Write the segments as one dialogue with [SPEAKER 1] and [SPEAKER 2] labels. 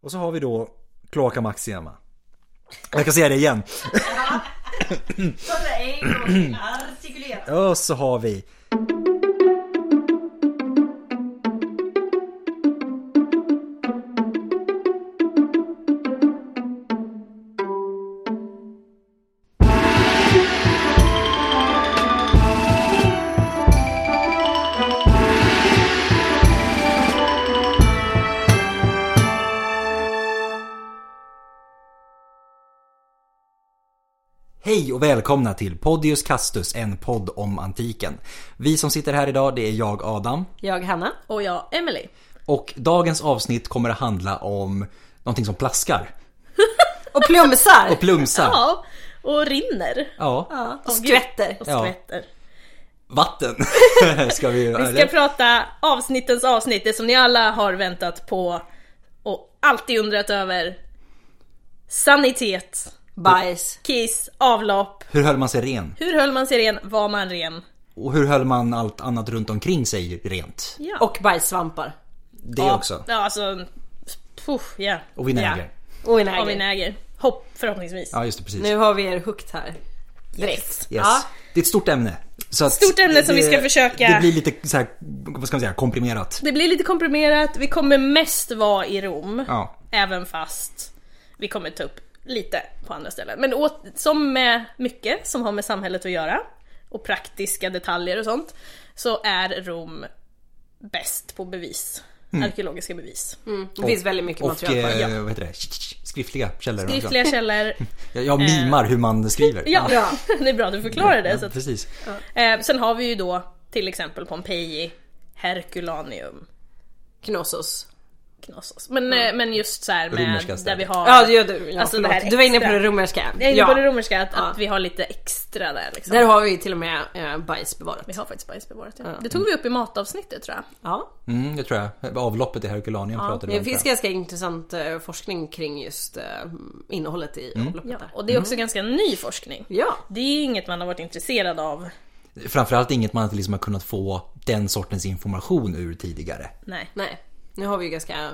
[SPEAKER 1] Och så har vi då Cloaca Maxima. Jag kan säga det igen.
[SPEAKER 2] Så att det är en gång till artikulerat.
[SPEAKER 1] Och så har vi Hej och välkomna till Podius Castus, en podd om antiken. Vi som sitter här idag, det är jag Adam.
[SPEAKER 2] Jag Hanna.
[SPEAKER 3] Och jag, Emily.
[SPEAKER 1] Och dagens avsnitt kommer att handla om någonting som plaskar
[SPEAKER 3] Och plumsar.
[SPEAKER 1] och plumsar.
[SPEAKER 3] Ja. Och rinner.
[SPEAKER 1] Ja,
[SPEAKER 3] Ja. Och skvätter. Och
[SPEAKER 1] Ja.
[SPEAKER 3] skvätter.
[SPEAKER 1] vatten ska vi göra.
[SPEAKER 3] Vi ska prata avsnittens avsnitt, det som ni alla har väntat på och alltid undrat över. Sanitet,
[SPEAKER 2] Bajs.
[SPEAKER 3] kiss, avlopp.
[SPEAKER 1] Hur höll man sig ren?
[SPEAKER 3] Hur höll man sig ren? Var man ren?
[SPEAKER 1] Och hur höll man allt annat runt omkring sig rent?
[SPEAKER 3] Ja.
[SPEAKER 2] Och bajssvampar.
[SPEAKER 1] Det
[SPEAKER 3] ja,
[SPEAKER 1] också.
[SPEAKER 3] Ja, alltså... Puff, ja.
[SPEAKER 1] Och vinäger.
[SPEAKER 2] Och
[SPEAKER 3] Ja. Och
[SPEAKER 2] vinäger.
[SPEAKER 3] vinäger. Hopp, förhoppningsvis.
[SPEAKER 1] Ja, just det, precis.
[SPEAKER 2] Nu har vi er hooked här.
[SPEAKER 3] Direkt.
[SPEAKER 1] Yes.
[SPEAKER 2] Ja.
[SPEAKER 1] Det är ett stort ämne. Så att
[SPEAKER 3] Stort ämne som vi ska försöka-
[SPEAKER 1] Det blir lite så här, vad ska man säga, komprimerat.
[SPEAKER 3] Det blir lite komprimerat, vi kommer mest vara i Rom.
[SPEAKER 1] Ja.
[SPEAKER 3] Även fast vi kommer ta upp lite på andra ställen. Men åt, som med mycket som har med samhället att göra och praktiska detaljer och sånt så är Rom bäst på bevis. Arkeologiska bevis.
[SPEAKER 2] Mm. Det finns väldigt mycket
[SPEAKER 1] Och
[SPEAKER 2] material på det.
[SPEAKER 1] eh, vad heter det? skriftliga källor. också.
[SPEAKER 3] Skriftliga källor.
[SPEAKER 1] Jag, jag mimar hur man skriver.
[SPEAKER 3] Ja, det är bra du förklarar det. Så
[SPEAKER 1] Ja,
[SPEAKER 3] att,
[SPEAKER 1] precis.
[SPEAKER 3] eh, sen har vi ju då till exempel Pompeji, Herculaneum,
[SPEAKER 2] Knossos.
[SPEAKER 3] Knossos. Men, eh, men just så här
[SPEAKER 1] Romerska
[SPEAKER 3] med där
[SPEAKER 1] städer.
[SPEAKER 3] vi har...
[SPEAKER 2] Ja, det gör du. Ja,
[SPEAKER 3] Alltså,
[SPEAKER 2] förlåt.
[SPEAKER 3] det här
[SPEAKER 2] du var inne på
[SPEAKER 3] extra.
[SPEAKER 2] det romerska.
[SPEAKER 3] Jag är inne
[SPEAKER 2] ja.
[SPEAKER 3] på det romerska, att,
[SPEAKER 2] Ja.
[SPEAKER 3] att vi har lite extra där liksom.
[SPEAKER 2] Där har vi ju till och med eh, bajs bevarat.
[SPEAKER 3] Vi har faktiskt bajs bevarat ja.
[SPEAKER 2] Ja.
[SPEAKER 3] Det tog vi upp i matavsnittet tror jag.
[SPEAKER 2] Ja.
[SPEAKER 1] Mm, det tror jag. Avloppet i Herculaneum pratade vi
[SPEAKER 2] Det
[SPEAKER 1] om.
[SPEAKER 2] finns
[SPEAKER 1] tror
[SPEAKER 2] ganska intressant eh, forskning kring just eh, innehållet i
[SPEAKER 1] Mm.
[SPEAKER 2] avloppet där.
[SPEAKER 3] Och det är också ganska ny forskning.
[SPEAKER 2] Mm. Ja.
[SPEAKER 3] Det är inget man har varit intresserad av.
[SPEAKER 1] jag. Framförallt inget man inte liksom har kunnat få den sortens information ur tidigare.
[SPEAKER 3] Nej.
[SPEAKER 2] Nej, nu har vi ju ganska,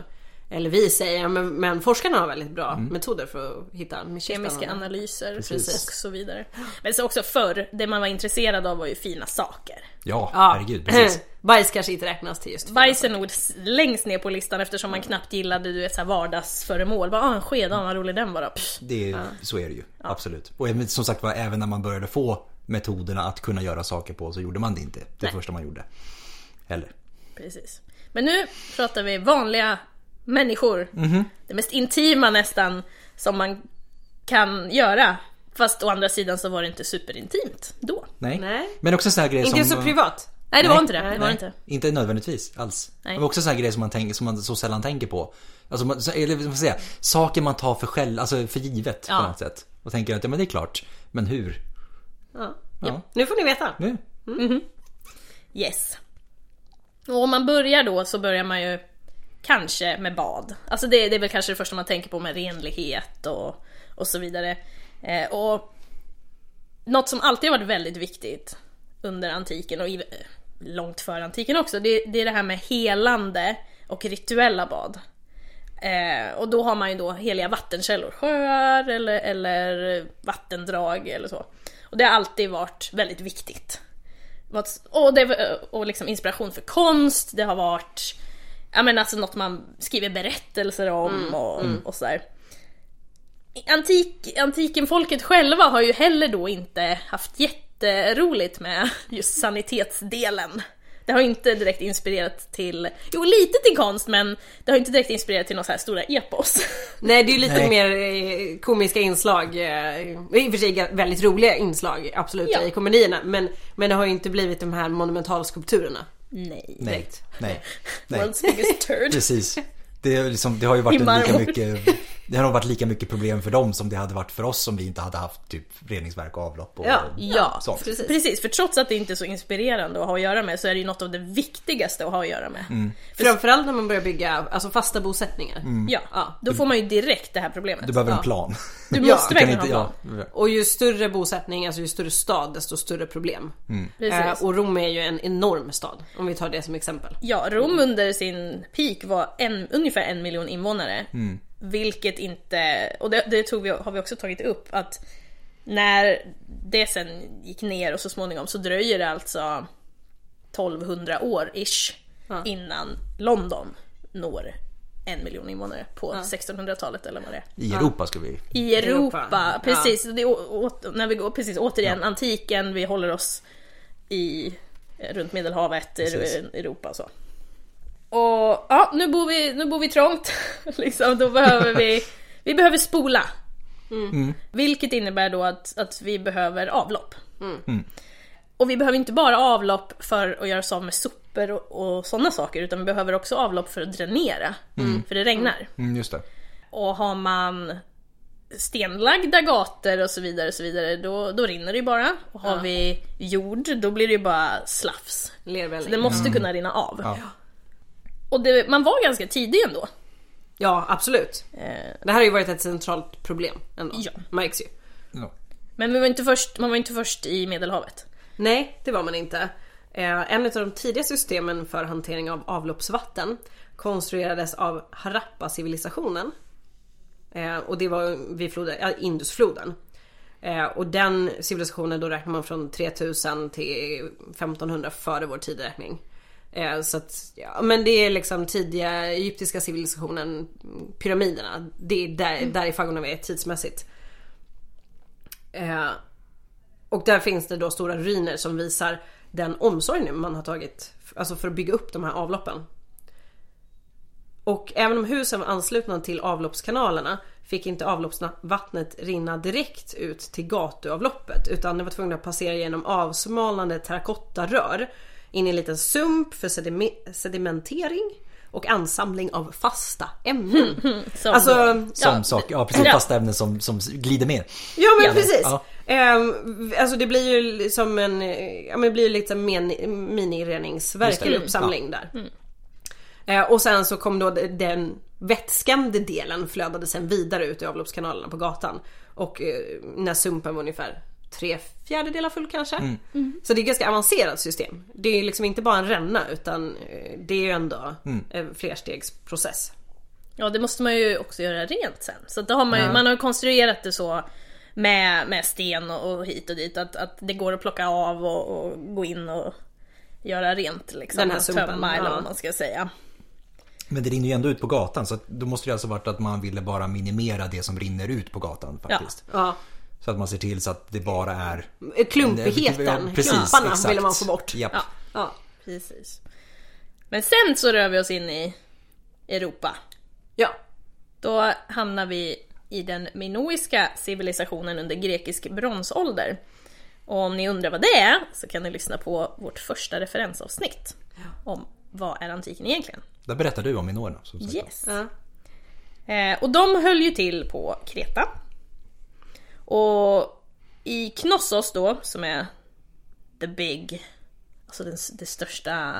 [SPEAKER 2] eller vi säger, men, men forskarna har väldigt bra
[SPEAKER 1] Mm.
[SPEAKER 2] metoder för att hitta
[SPEAKER 3] Kemiska
[SPEAKER 2] kistan.
[SPEAKER 3] analyser
[SPEAKER 1] Precis.
[SPEAKER 3] och så vidare. Men så också förr, det man var intresserad av var ju fina saker.
[SPEAKER 1] Ja,
[SPEAKER 2] Ja.
[SPEAKER 1] herregud. Precis.
[SPEAKER 2] Bajs kanske inte räknas till just
[SPEAKER 3] Bajs är nog s- längst ner på listan eftersom man knappt gillade du vet, så här vardagsföremål. Bara, ah, en sked, ah, vad rolig den var då. Pff.
[SPEAKER 1] Det, Så är det ju. Absolut. Och även- som sagt var, även när man började få metoderna att kunna göra saker på så gjorde man det inte. Det första man gjorde. Heller.
[SPEAKER 3] Precis. Men nu pratar vi vanliga människor.
[SPEAKER 1] Mhm.
[SPEAKER 3] Det mest intima nästan som man kan göra. Fast å andra sidan så var det inte superintimt då.
[SPEAKER 1] Nej.
[SPEAKER 2] Nej.
[SPEAKER 1] Men också så här grejer som... eh,
[SPEAKER 2] Inte så privat.
[SPEAKER 3] Nej det
[SPEAKER 1] Nej.
[SPEAKER 3] var inte det. det var
[SPEAKER 1] Nej,
[SPEAKER 3] inte.
[SPEAKER 1] inte nödvändigtvis alls.
[SPEAKER 3] Nej.
[SPEAKER 1] Men också sådana grejer som man, tänker, som man så sällan tänker på. Alltså, man, så- eller vad ska man säga, saker man tar för, själv, alltså för givet
[SPEAKER 3] Ja.
[SPEAKER 1] på något sätt. Och tänker att ja, men det är klart, men hur?
[SPEAKER 2] Ja.
[SPEAKER 1] Ja.
[SPEAKER 2] Nu får ni veta.
[SPEAKER 1] Nu.
[SPEAKER 3] Yes. Och om man börjar då så börjar man ju kanske med bad. Alltså det, det är väl kanske det första man tänker på med renlighet och, och så vidare. Eh, och något som alltid har varit väldigt viktigt under antiken och i, långt före antiken också, det, det är det här med helande och rituella bad. Eh, och då har man ju då heliga vattenkällor, sjöar eller, eller vattendrag eller så. Och det har alltid varit väldigt viktigt. Vad- Och, det, var- och liksom inspiration för konst, det har varit ja, men alltså något man skriver berättelser om och, och sådär. Antik, antikenfolket själva har ju heller då inte haft jätteroligt med just sanitetsdelen. Det har ju inte direkt inspirerat till, jo lite till konst men det har ju inte direkt inspirerat till några så här stora epos.
[SPEAKER 2] Nej det är ju lite
[SPEAKER 1] Nej.
[SPEAKER 2] mer eh, komiska inslag. eh, I och för sig ga- väldigt roliga inslag absolut
[SPEAKER 3] Ja.
[SPEAKER 2] i komedierna. Men, men det har ju inte blivit de här monumentalskulpturerna.
[SPEAKER 3] Nej.
[SPEAKER 1] Nej.
[SPEAKER 2] Direkt.
[SPEAKER 1] Nej. Nej.
[SPEAKER 3] World's biggest turd.
[SPEAKER 1] Precis. Det, är liksom, det har ju varit
[SPEAKER 3] I
[SPEAKER 1] lika
[SPEAKER 3] marmor.
[SPEAKER 1] mycket, det har nog varit lika mycket problem för dem som det hade varit för oss om vi inte hade haft typ reningsverk och avlopp. Och,
[SPEAKER 2] Ja.
[SPEAKER 3] Ja,
[SPEAKER 1] sånt.
[SPEAKER 3] precis. för trots att det inte är så inspirerande att ha att göra med så är det ju något av det viktigaste att ha att göra med.
[SPEAKER 1] Mm.
[SPEAKER 2] Framförallt när man börjar bygga alltså fasta bosättningar.
[SPEAKER 3] Ja, då får man ju direkt det här problemet.
[SPEAKER 1] Du behöver en
[SPEAKER 2] Ja.
[SPEAKER 1] plan.
[SPEAKER 3] Du
[SPEAKER 2] Ja,
[SPEAKER 3] måste
[SPEAKER 2] du
[SPEAKER 3] verkligen ha en
[SPEAKER 1] ja.
[SPEAKER 3] plan.
[SPEAKER 2] Och ju större bosättning, alltså ju större stad, desto större problem.
[SPEAKER 3] Precis.
[SPEAKER 2] Eh, och Rom är ju en enorm stad, om vi tar det som exempel.
[SPEAKER 3] Ja, Rom under sin peak var en, ungefär en miljon invånare. Vilket inte, och det, det tog vi, har vi också tagit upp, att när det sen gick ner och så småningom så dröjer det alltså 1200 år ish
[SPEAKER 2] Ja.
[SPEAKER 3] innan London når en miljon invånare på 1600-talet eller vad det är.
[SPEAKER 1] I Europa ska vi...
[SPEAKER 3] I Europa,
[SPEAKER 2] Europa,
[SPEAKER 3] precis. Det är å- å- när vi går, precis återigen antiken, vi håller oss i, eh, runt medelhavet,
[SPEAKER 1] Precis.
[SPEAKER 3] Precis. Europa och så. Och ja, nu bor vi, nu bor vi trångt. liksom, då behöver vi, vi behöver spola. Mm. Vilket innebär då att, att vi behöver avlopp. Och vi behöver inte bara avlopp för att göra sig av med sopor och, och sådana saker, utan vi behöver också avlopp för att dränera. För det regnar.
[SPEAKER 1] Mm, just det.
[SPEAKER 3] Och har man stenlagda gator och så vidare, och så vidare då, då rinner det ju bara. Och har vi jord, då blir det ju bara slafs.
[SPEAKER 2] Lervälling.
[SPEAKER 3] Det måste kunna rinna av.
[SPEAKER 1] Ja.
[SPEAKER 3] Och det, man var ganska tidig ändå.
[SPEAKER 2] Ja, absolut.
[SPEAKER 3] Eh,
[SPEAKER 2] Det här har ju varit ett centralt problem ändå.
[SPEAKER 3] Ja.
[SPEAKER 2] Märks ju.
[SPEAKER 1] Ja.
[SPEAKER 3] Men vi var inte först, man var inte först i Medelhavet.
[SPEAKER 2] Nej, det var man inte. Eh, en av de tidiga systemen för hantering av avloppsvatten konstruerades av Harappa-civilisationen. Eh, och det var vid floden, ja, Indusfloden. Eh, och den civilisationen då räknar man från 3000 till 1500 före vår tideräkning. Eh, så att, ja, men det är liksom tidiga egyptiska civilisationen, pyramiderna. Det är där, där i faggorna vi är tidsmässigt. Eh, och där finns det då stora ruiner som visar den omsorg man har tagit alltså för att bygga upp de här avloppen. Och även om husen var anslutna till avloppskanalerna fick inte avloppsvattnet rinna direkt ut till gatuavloppet utan det var tvungna att passera genom avsmalnande terrakottarör in i en liten sump för sedime- sedimentering och ansamling av fasta ämnen.
[SPEAKER 3] Som,
[SPEAKER 2] Alltså
[SPEAKER 1] Som
[SPEAKER 3] Ja.
[SPEAKER 1] sak, ja precis.
[SPEAKER 3] Ja.
[SPEAKER 1] Fasta ämnen som, som glider med.
[SPEAKER 2] Ja men
[SPEAKER 3] Ja.
[SPEAKER 2] precis.
[SPEAKER 1] Ja.
[SPEAKER 2] Ehm, alltså det blir ju som en, eh, ja men det blir ju lite mini-
[SPEAKER 1] Just
[SPEAKER 2] minireningsverk
[SPEAKER 1] det.
[SPEAKER 2] eller
[SPEAKER 1] Mm.
[SPEAKER 2] uppsamling där. Eh, och sen så kom då de- den vätskande delen flödade sen vidare ut i avloppskanalerna på gatan. Och eh, när sumpen var ungefär tre fjärdedelar full kanske.
[SPEAKER 1] Mm.
[SPEAKER 2] Så det är ett ganska avancerat system. Det är liksom inte bara en ränna utan eh, det är ju ändå
[SPEAKER 1] Mm.
[SPEAKER 2] en flerstegsprocess.
[SPEAKER 3] Ja, det måste man ju också göra rent sen. Så att då har man, ju, man har ju konstruerat det så med, med sten och, och hit och dit, att, att det går att plocka av och, och gå in och göra rent liksom.
[SPEAKER 2] Den här
[SPEAKER 3] och
[SPEAKER 2] sumpen,
[SPEAKER 3] tömma eller
[SPEAKER 2] ja.
[SPEAKER 3] vad man ska säga.
[SPEAKER 1] Men det rinner ju ändå ut på gatan så att då måste det alltså varit att man ville bara minimera det som rinner ut på gatan faktiskt.
[SPEAKER 2] Ja.
[SPEAKER 1] Så att man ser till så att det bara är...
[SPEAKER 2] Klumpigheten,
[SPEAKER 1] Ja, precis,
[SPEAKER 2] klumparna
[SPEAKER 1] exakt.
[SPEAKER 2] ville man få bort.
[SPEAKER 1] Japp.
[SPEAKER 3] Ja.
[SPEAKER 2] Ja.
[SPEAKER 3] Precis. Men sen så rör vi oss in i Europa.
[SPEAKER 2] ja.
[SPEAKER 3] Då hamnar vi i den minoiska civilisationen under grekisk bronsålder. Och om ni undrar vad det är så kan ni lyssna på vårt första referensavsnitt om vad är antiken egentligen?
[SPEAKER 1] Där berättar du om minorerna som sagt.
[SPEAKER 3] Yes.
[SPEAKER 2] ja.
[SPEAKER 3] Eh, och de höll ju till på Kreta. Och i Knossos då, som är the big, alltså den, s- det största...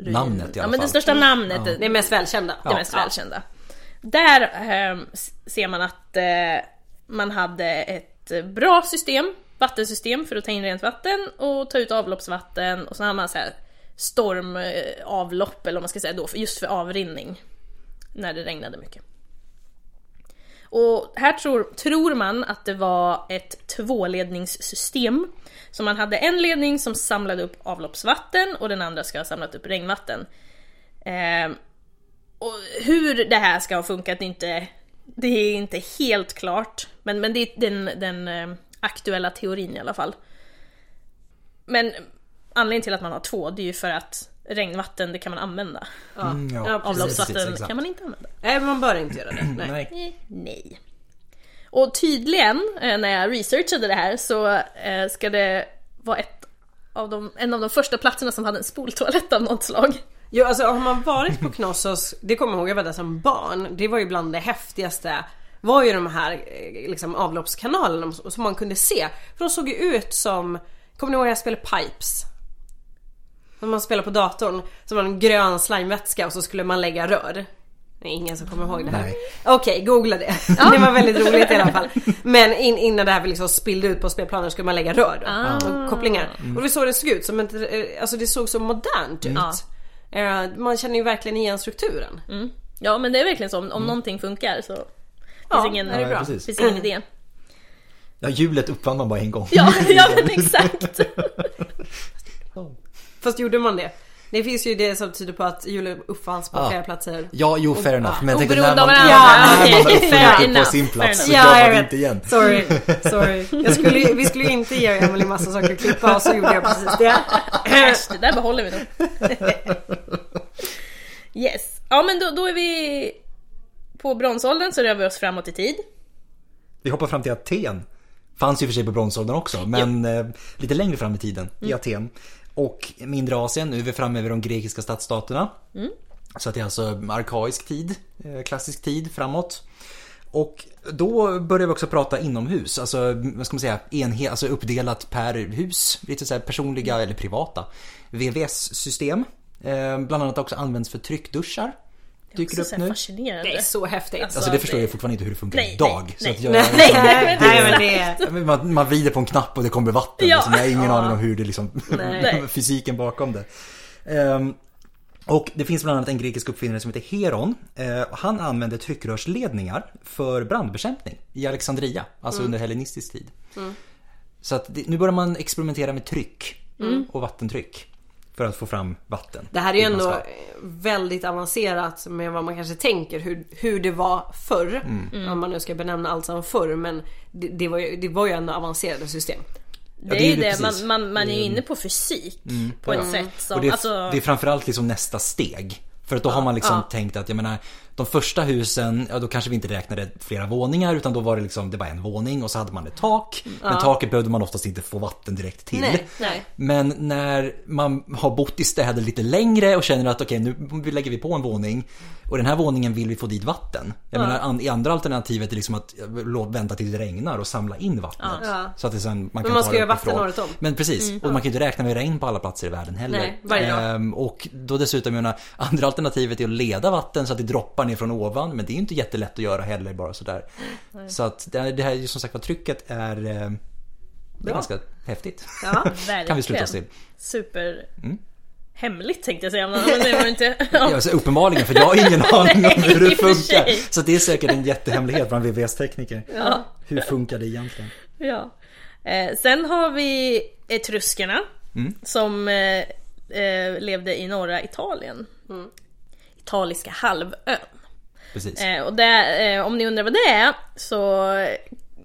[SPEAKER 3] ruin-
[SPEAKER 1] Namnet i alla
[SPEAKER 3] Ja men det
[SPEAKER 1] fall. Mm.
[SPEAKER 3] största namnet,
[SPEAKER 2] Det är mest välkända.
[SPEAKER 3] det mest välkända. Där eh, s- ser man att eh, man hade ett bra system, vattensystem för att ta in rent vatten och ta ut avloppsvatten och så hade man så här stormavlopp eller vad man ska säga då, för- just för avrinning. När det regnade mycket. Och här tror, tror man att det var ett tvåledningssystem. Så man hade en ledning som samlade upp avloppsvatten och den andra ska ha samlat upp regnvatten. Ehm, och hur det här ska ha funkat är inte, det är inte helt klart. Men, men det är den, den eh, aktuella teorin i alla fall. Men anledningen till att man har två, det är ju för att regnvatten, det kan man använda.
[SPEAKER 2] Ja.
[SPEAKER 1] Mm, ja.
[SPEAKER 2] ja, precis.
[SPEAKER 1] Avlopps-
[SPEAKER 3] Avloppsvatten
[SPEAKER 1] exakt.
[SPEAKER 3] kan man inte använda.
[SPEAKER 2] Nej man bör inte göra det. Nej.
[SPEAKER 1] Nej.
[SPEAKER 3] Eh, Nej. Och tydligen, eh, när jag researchade det här, så eh, ska det vara ett av de, en av de första platserna som hade en spoltoalett av något slag.
[SPEAKER 2] Jo, alltså, har man varit på Knossos, det kommer jag ihåg, jag var där som barn. Det var ju bland det häftigaste var ju de här eh, liksom, avloppskanalerna som som man kunde se. För de såg ju ut som, kommer ni ihåg jag spelade Pipes? När man spelar på datorn så var det en grön slimevätska och så skulle man lägga rör. Det är ingen som kommer ihåg det här.
[SPEAKER 1] Nej.
[SPEAKER 2] Okej, googla det. Det var väldigt roligt i alla fall. Men in, innan det här liksom spillde ut på spelplanen skulle man lägga rör då,
[SPEAKER 1] Ah.
[SPEAKER 2] och kopplingar.
[SPEAKER 1] Mm.
[SPEAKER 2] Och det såg det såg ut som ett, eh, alltså det såg så modernt ut. Eh, Man känner ju verkligen igen strukturen.
[SPEAKER 1] Mm.
[SPEAKER 3] Ja men det är verkligen så, om, om någonting funkar så Finns
[SPEAKER 2] Ja,
[SPEAKER 3] ingen,
[SPEAKER 2] det är bra.
[SPEAKER 1] precis.
[SPEAKER 3] finns ingen idé.
[SPEAKER 1] Ja, hjulet uppfann man bara en gång.
[SPEAKER 3] Ja, ja men exakt.
[SPEAKER 2] Fast gjorde man det? Det finns ju det som tyder på att hjulet uppfanns på
[SPEAKER 1] Ja.
[SPEAKER 2] flera platser.
[SPEAKER 1] Ja, jo, fair enough. Men jag tänkte
[SPEAKER 3] Oberoende
[SPEAKER 1] när
[SPEAKER 3] av
[SPEAKER 1] man, ja,
[SPEAKER 3] varandra.
[SPEAKER 1] när man
[SPEAKER 3] Okej, fair
[SPEAKER 1] uppfann det på
[SPEAKER 3] enough,
[SPEAKER 1] sin
[SPEAKER 3] fair
[SPEAKER 1] plats så
[SPEAKER 2] enough. Ja,
[SPEAKER 1] gör
[SPEAKER 2] jag
[SPEAKER 1] man det
[SPEAKER 2] vet.
[SPEAKER 1] inte igen.
[SPEAKER 2] Sorry, sorry. Jag skulle, vi skulle ju inte ge Emily massa saker att klippa och så gjorde jag precis det.
[SPEAKER 3] Äsch, det där behåller vi nog. Yes. Ja men då, då är vi på bronsåldern så rör vi oss framåt i tid.
[SPEAKER 1] Vi hoppar fram till Aten. Fanns ju för sig på bronsåldern också, men eh, lite längre fram i tiden i Aten. Och mindre Asien, nu är vi framme vid de grekiska stadsstaterna. Så att det är alltså arkaisk tid, eh, klassisk tid framåt. Och då börjar vi också prata inomhus, alltså vad ska man säga, enhet, alltså uppdelat per hus, lite så här personliga eller privata. VVS-system, eh, bland annat också används för tryckduschar. Dyker
[SPEAKER 3] Så
[SPEAKER 1] upp
[SPEAKER 3] så här
[SPEAKER 1] nu.
[SPEAKER 3] fascinerande.
[SPEAKER 2] Det är så häftigt.
[SPEAKER 1] Alltså det förstår jag fortfarande inte hur det funkar
[SPEAKER 3] Nej,
[SPEAKER 1] idag.
[SPEAKER 3] nej,
[SPEAKER 1] så att
[SPEAKER 3] nej.
[SPEAKER 1] jag,
[SPEAKER 2] Nej, nej, men det...
[SPEAKER 1] Ja, men Man, man vrider på en knapp och det kommer vatten.
[SPEAKER 3] Ja.
[SPEAKER 1] Liksom. Jag har ingen
[SPEAKER 2] Ja.
[SPEAKER 1] aning om hur det liksom,
[SPEAKER 3] Nej.
[SPEAKER 1] fysiken bakom det. Ehm, och det finns bland annat en grekisk uppfinnare som heter Heron. Eh, och han använde tryckrörsledningar för brandbekämpning i Alexandria, alltså under hellenistisk tid. Så att det, nu börjar man experimentera med tryck och vattentryck för att få fram vatten.
[SPEAKER 2] Det här är ju
[SPEAKER 1] Hur man
[SPEAKER 2] ändå
[SPEAKER 1] ska-
[SPEAKER 2] eh, väldigt avancerat med vad man kanske tänker hur, hur det var förr. Om man nu ska benämna allt som förr men det, det, var ju, det var ju ändå avancerade system.
[SPEAKER 3] Det är ju det,
[SPEAKER 1] precis.
[SPEAKER 3] man, man, man är ju inne på fysik på ett sätt som...
[SPEAKER 1] Mm. Och det, är,
[SPEAKER 3] alltså,
[SPEAKER 1] det är framförallt liksom nästa steg. För att då har man liksom tänkt att, jag menar, de första husen, ja då kanske vi inte räknade flera våningar utan då var det liksom, det var en våning och så hade man ett tak. Men taket behövde man oftast inte få vatten direkt till.
[SPEAKER 2] Nej, nej.
[SPEAKER 1] Men när man har bott i städer lite längre och känner att okej nu lägger vi på en våning och den här våningen vill vi få dit vatten. Jag menar an, i andra alternativet är liksom att eh, låt vänta tills det regnar och samla in vattnet.
[SPEAKER 2] Ja.
[SPEAKER 1] Så att det sen, man kan
[SPEAKER 2] man
[SPEAKER 1] ta
[SPEAKER 2] ska
[SPEAKER 1] det
[SPEAKER 2] göra vatten
[SPEAKER 1] uppifrån.
[SPEAKER 2] året om.
[SPEAKER 1] Men precis,
[SPEAKER 3] Mm.
[SPEAKER 1] och man kan ju inte räkna med regn på alla platser i världen heller.
[SPEAKER 2] Nej, varje dag.
[SPEAKER 1] Ehm, och då dessutom, jag menar, andra alternativet är att leda vatten så att det droppar ner från ovan. Men det är ju inte jättelätt att göra heller bara sådär. Så att det här, det här är ju som sagt var trycket är, eh, det är ganska häftigt.
[SPEAKER 2] Ja.
[SPEAKER 3] verkligen.
[SPEAKER 1] kan vi sluta oss till. Mm.
[SPEAKER 3] Super... Hemligt tänkte jag säga, men det var det inte...
[SPEAKER 1] Ja, alltså, uppenbarligen, för jag har ingen aning om hur
[SPEAKER 3] Nej, i
[SPEAKER 1] det
[SPEAKER 3] och för
[SPEAKER 1] funkar.
[SPEAKER 3] sig.
[SPEAKER 1] Så det är säkert en jättehemlighet bland VVS-tekniker. Hur funkar det egentligen?
[SPEAKER 3] Ja. Eh, sen har vi etruskerna
[SPEAKER 1] Mm.
[SPEAKER 3] som eh, eh, levde i norra Italien. Italiska halvön.
[SPEAKER 1] Precis.
[SPEAKER 3] Eh, och det, eh, om ni undrar vad det är så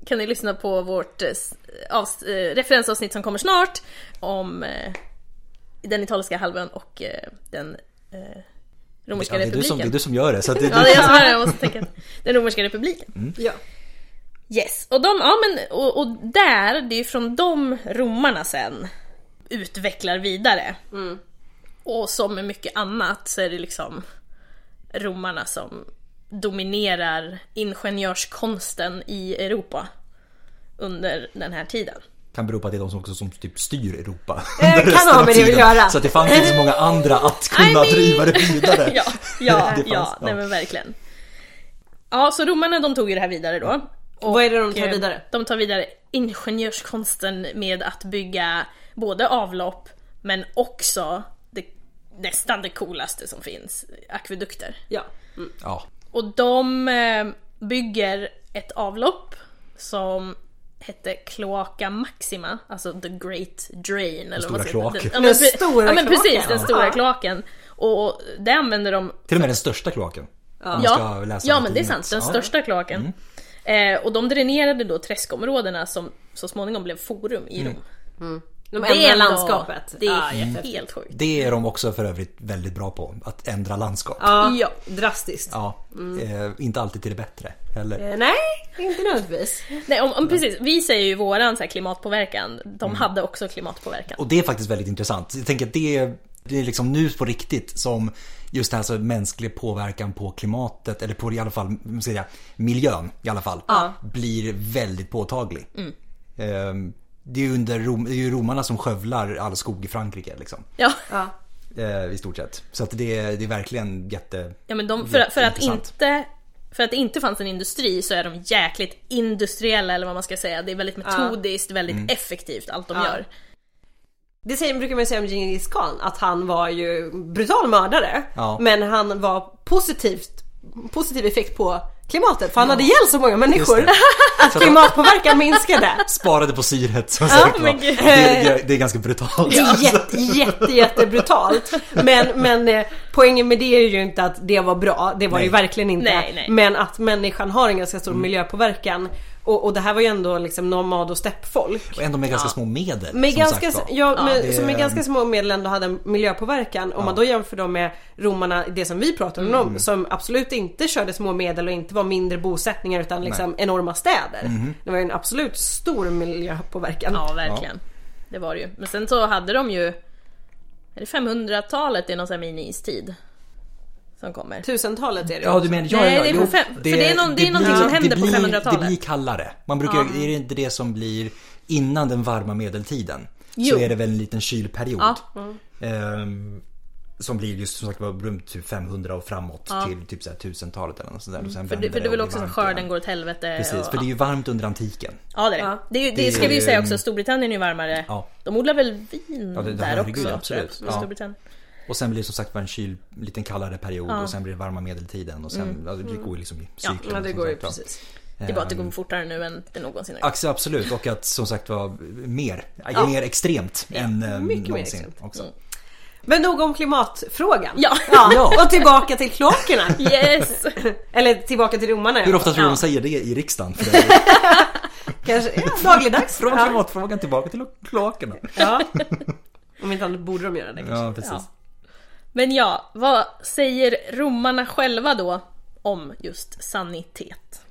[SPEAKER 3] kan ni lyssna på vårt eh, s- avs- eh, referensavsnitt som kommer snart om eh, den italiska halvön och eh, den eh, romerska
[SPEAKER 1] Ja, det, är du
[SPEAKER 3] republiken.
[SPEAKER 1] som, det är du som gör det. Så att det,
[SPEAKER 3] Ja, det är jag som är det, jag måste tänka. Den romerska republiken.
[SPEAKER 2] Ja.
[SPEAKER 3] Yes, och, de, ja, men, och, och där, det är ju från de romarna sen utvecklar vidare. Och som med mycket annat så är det liksom romarna som dominerar ingenjörskonsten i Europa under den här tiden.
[SPEAKER 1] kan bero på att det är de som också som typ styr Europa.
[SPEAKER 2] Eh,
[SPEAKER 1] under
[SPEAKER 2] kan
[SPEAKER 1] resten
[SPEAKER 2] ha
[SPEAKER 1] av
[SPEAKER 2] med det att
[SPEAKER 1] tiden.
[SPEAKER 2] göra.
[SPEAKER 1] Så att det fanns inte så många andra att kunna
[SPEAKER 3] I mean-
[SPEAKER 1] driva det vidare.
[SPEAKER 3] ja, ja,
[SPEAKER 1] Det fanns,
[SPEAKER 3] ja,
[SPEAKER 1] ja.
[SPEAKER 3] nej men verkligen. Ja, så romarna de tog ju det här vidare då. Och,
[SPEAKER 2] Vad är det de tar
[SPEAKER 3] eh,
[SPEAKER 2] vidare?
[SPEAKER 3] De tar vidare ingenjörskonsten med att bygga både avlopp men också det, nästan det coolaste som finns, akvedukter.
[SPEAKER 2] Ja.
[SPEAKER 1] Ja.
[SPEAKER 3] Och de eh, bygger ett avlopp som hette Cloaca Maxima, alltså The Great Drain. Den eller vad man
[SPEAKER 1] stora
[SPEAKER 3] säger.
[SPEAKER 1] kloaken.
[SPEAKER 3] Ja, men,
[SPEAKER 2] Den
[SPEAKER 3] pre-
[SPEAKER 2] stora
[SPEAKER 3] ja, men precis,
[SPEAKER 2] kloaken.
[SPEAKER 3] den stora
[SPEAKER 2] Ja.
[SPEAKER 3] kloaken. Och det använder de
[SPEAKER 1] Till och med den största kloaken. Om man ska
[SPEAKER 3] Ja,
[SPEAKER 1] läsa
[SPEAKER 3] ja
[SPEAKER 1] något
[SPEAKER 3] men det är
[SPEAKER 1] tidning.
[SPEAKER 3] sant. Den
[SPEAKER 1] Ja. Mm.
[SPEAKER 3] största kloaken. Eh, och de dränerade då träskområdena som så småningom blev forum i
[SPEAKER 1] Mm.
[SPEAKER 3] Rom.
[SPEAKER 2] De
[SPEAKER 3] Det
[SPEAKER 2] ändrar
[SPEAKER 3] är ändå-
[SPEAKER 2] landskapet. Ah,
[SPEAKER 3] Det är
[SPEAKER 2] ja,
[SPEAKER 3] helt,
[SPEAKER 2] jättehäftigt.
[SPEAKER 3] sjukt.
[SPEAKER 1] Det är de också för övrigt väldigt bra på. Att ändra landskap. Ja.
[SPEAKER 2] ja.
[SPEAKER 3] Ja. Mm.
[SPEAKER 2] drastiskt.
[SPEAKER 1] Eh, inte alltid till det bättre heller.
[SPEAKER 2] Eh, Nej, inte nödvändigtvis.
[SPEAKER 3] Nej, om, om, precis. Vi säger ju våran så här, klimatpåverkan. De
[SPEAKER 1] Mm.
[SPEAKER 3] hade också klimatpåverkan.
[SPEAKER 1] Och det är faktiskt väldigt intressant. Jag tänker att det är, det är liksom nu på riktigt som just det här så mänsklig påverkan på klimatet eller på i alla fall vad ska jag, säga, miljön i alla fall blir väldigt påtaglig.
[SPEAKER 2] Mm.
[SPEAKER 1] Ehm, Det är ju under Rom, det är ju romarna som skövlar all skog i Frankrike liksom.
[SPEAKER 3] Ja.
[SPEAKER 2] Ja.
[SPEAKER 1] Eh, I stort sett. Så att det, är- det är verkligen jätte...
[SPEAKER 3] Ja, men de, för, för, att
[SPEAKER 1] Jätteintressant.
[SPEAKER 3] inte, för att det inte fanns en industri så är de jäkligt industriella eller vad man ska säga. Det är väldigt
[SPEAKER 2] Ah.
[SPEAKER 3] metodiskt, väldigt
[SPEAKER 1] Mm.
[SPEAKER 3] effektivt allt de gör.
[SPEAKER 2] Det säger, brukar man ju säga om Djingis khan att han var ju brutal mördare.
[SPEAKER 1] Ja.
[SPEAKER 2] Men han var positivt, positiv effekt på klimatet. För han hade ihjäl så många människor.
[SPEAKER 1] Just det.
[SPEAKER 2] Att klimatpåverkan minskade.
[SPEAKER 1] Sparade på syret som sagt var.
[SPEAKER 3] men
[SPEAKER 1] Det,
[SPEAKER 3] gud.
[SPEAKER 1] det, det är ganska brutalt.
[SPEAKER 2] Det är jätte, jätte, jätte brutalt. Men, men eh, poängen med det är ju inte att det var bra, det var
[SPEAKER 1] Nej. Mm.
[SPEAKER 2] ju verkligen inte.
[SPEAKER 3] Nej, nej.
[SPEAKER 2] Men att människan har en ganska stor miljöpåverkan. Och, och det här var ju ändå liksom nomad och steppfolk.
[SPEAKER 1] Och ändå med ganska små medel.
[SPEAKER 2] Med
[SPEAKER 1] som
[SPEAKER 2] ganska,
[SPEAKER 1] sagt var.
[SPEAKER 2] ja, med,
[SPEAKER 1] det-
[SPEAKER 2] som med ganska små medel ändå hade en miljöpåverkan. Om man då jämför dem med romarna, det som vi pratar om,
[SPEAKER 1] Mm.
[SPEAKER 2] de som absolut inte körde små medel och inte var mindre bosättningar utan liksom enorma städer.
[SPEAKER 1] Mm.
[SPEAKER 2] Det var ju en absolut stor miljöpåverkan.
[SPEAKER 3] Ja, verkligen. Det var det ju. Men sen så hade de ju... Är det 500-talet i någon sån här mini-istid? Som kommer.
[SPEAKER 2] Typ. Tusentalet är det ju
[SPEAKER 1] Ja, du
[SPEAKER 2] också.
[SPEAKER 1] menar, ja,
[SPEAKER 3] Nej,
[SPEAKER 1] ja,
[SPEAKER 3] det är
[SPEAKER 1] jo,
[SPEAKER 3] på fem- för det är någon- det är någonting som
[SPEAKER 1] det
[SPEAKER 3] händer på
[SPEAKER 1] blir-
[SPEAKER 3] 500-talet.
[SPEAKER 1] Det blir kallare. Man brukar, Är det inte det som blir innan den varma medeltiden?
[SPEAKER 3] Jo.
[SPEAKER 1] Så är det väl en liten kylperiod.
[SPEAKER 3] Ja.
[SPEAKER 1] Ehm, som blir just som sagt var runt typ 500 och framåt till typ så här 1000-talet eller något sånt där. Och sen
[SPEAKER 3] Mm, För
[SPEAKER 1] vänder
[SPEAKER 3] det, för det är
[SPEAKER 1] och
[SPEAKER 3] väl
[SPEAKER 1] blir
[SPEAKER 3] också som
[SPEAKER 1] varmt
[SPEAKER 3] skörden
[SPEAKER 1] igen.
[SPEAKER 3] går åt helvete.
[SPEAKER 1] Precis,
[SPEAKER 3] och,
[SPEAKER 1] för det är ju varmt under antiken.
[SPEAKER 3] Ja, det är det.
[SPEAKER 2] Ja.
[SPEAKER 3] Det, är ju-
[SPEAKER 1] Det
[SPEAKER 3] det ska vi
[SPEAKER 1] är
[SPEAKER 3] ju
[SPEAKER 1] ju-
[SPEAKER 3] säga också, Storbritannien är ju varmare.
[SPEAKER 1] Ja.
[SPEAKER 3] De odlar väl vin
[SPEAKER 1] Ja, det-
[SPEAKER 3] där
[SPEAKER 1] herregud,
[SPEAKER 3] också?
[SPEAKER 1] absolut.
[SPEAKER 3] tror jag,
[SPEAKER 1] Ja.
[SPEAKER 3] Storbritannien.
[SPEAKER 1] Och sen blir det som sagt var en kyl, lite kallare period och sen blir det varma medeltiden och sen,
[SPEAKER 3] Mm.
[SPEAKER 1] ja, det går ju liksom i cykeln.
[SPEAKER 2] Ja,
[SPEAKER 1] som
[SPEAKER 2] det går ju
[SPEAKER 1] sagt Ehm. var.
[SPEAKER 2] precis.
[SPEAKER 3] Det är bara att det går fortare nu än det någonsin har gjort.
[SPEAKER 1] Axel, absolut. Och att som sagt var mer, mer extremt än eh,
[SPEAKER 2] mycket mer
[SPEAKER 1] någonsin.
[SPEAKER 2] extremt.
[SPEAKER 1] också.
[SPEAKER 3] Mm.
[SPEAKER 2] Men nog om klimatfrågan.
[SPEAKER 3] Ja.
[SPEAKER 2] Och tillbaka till kloakerna.
[SPEAKER 3] Yes!
[SPEAKER 2] Eller tillbaka till romarna.
[SPEAKER 1] Hur ofta tror du
[SPEAKER 3] Ja.
[SPEAKER 1] de säger det i riksdagen? För det-
[SPEAKER 2] Kanske, ja, dagligdags.
[SPEAKER 1] Från
[SPEAKER 2] Ja.
[SPEAKER 1] klimatfrågan tillbaka till kloakerna.
[SPEAKER 2] Ja. Om inte annat borde de göra det kanske.
[SPEAKER 1] Ja, precis.
[SPEAKER 3] Ja. Men ja, vad säger romarna själva då om just sanitet?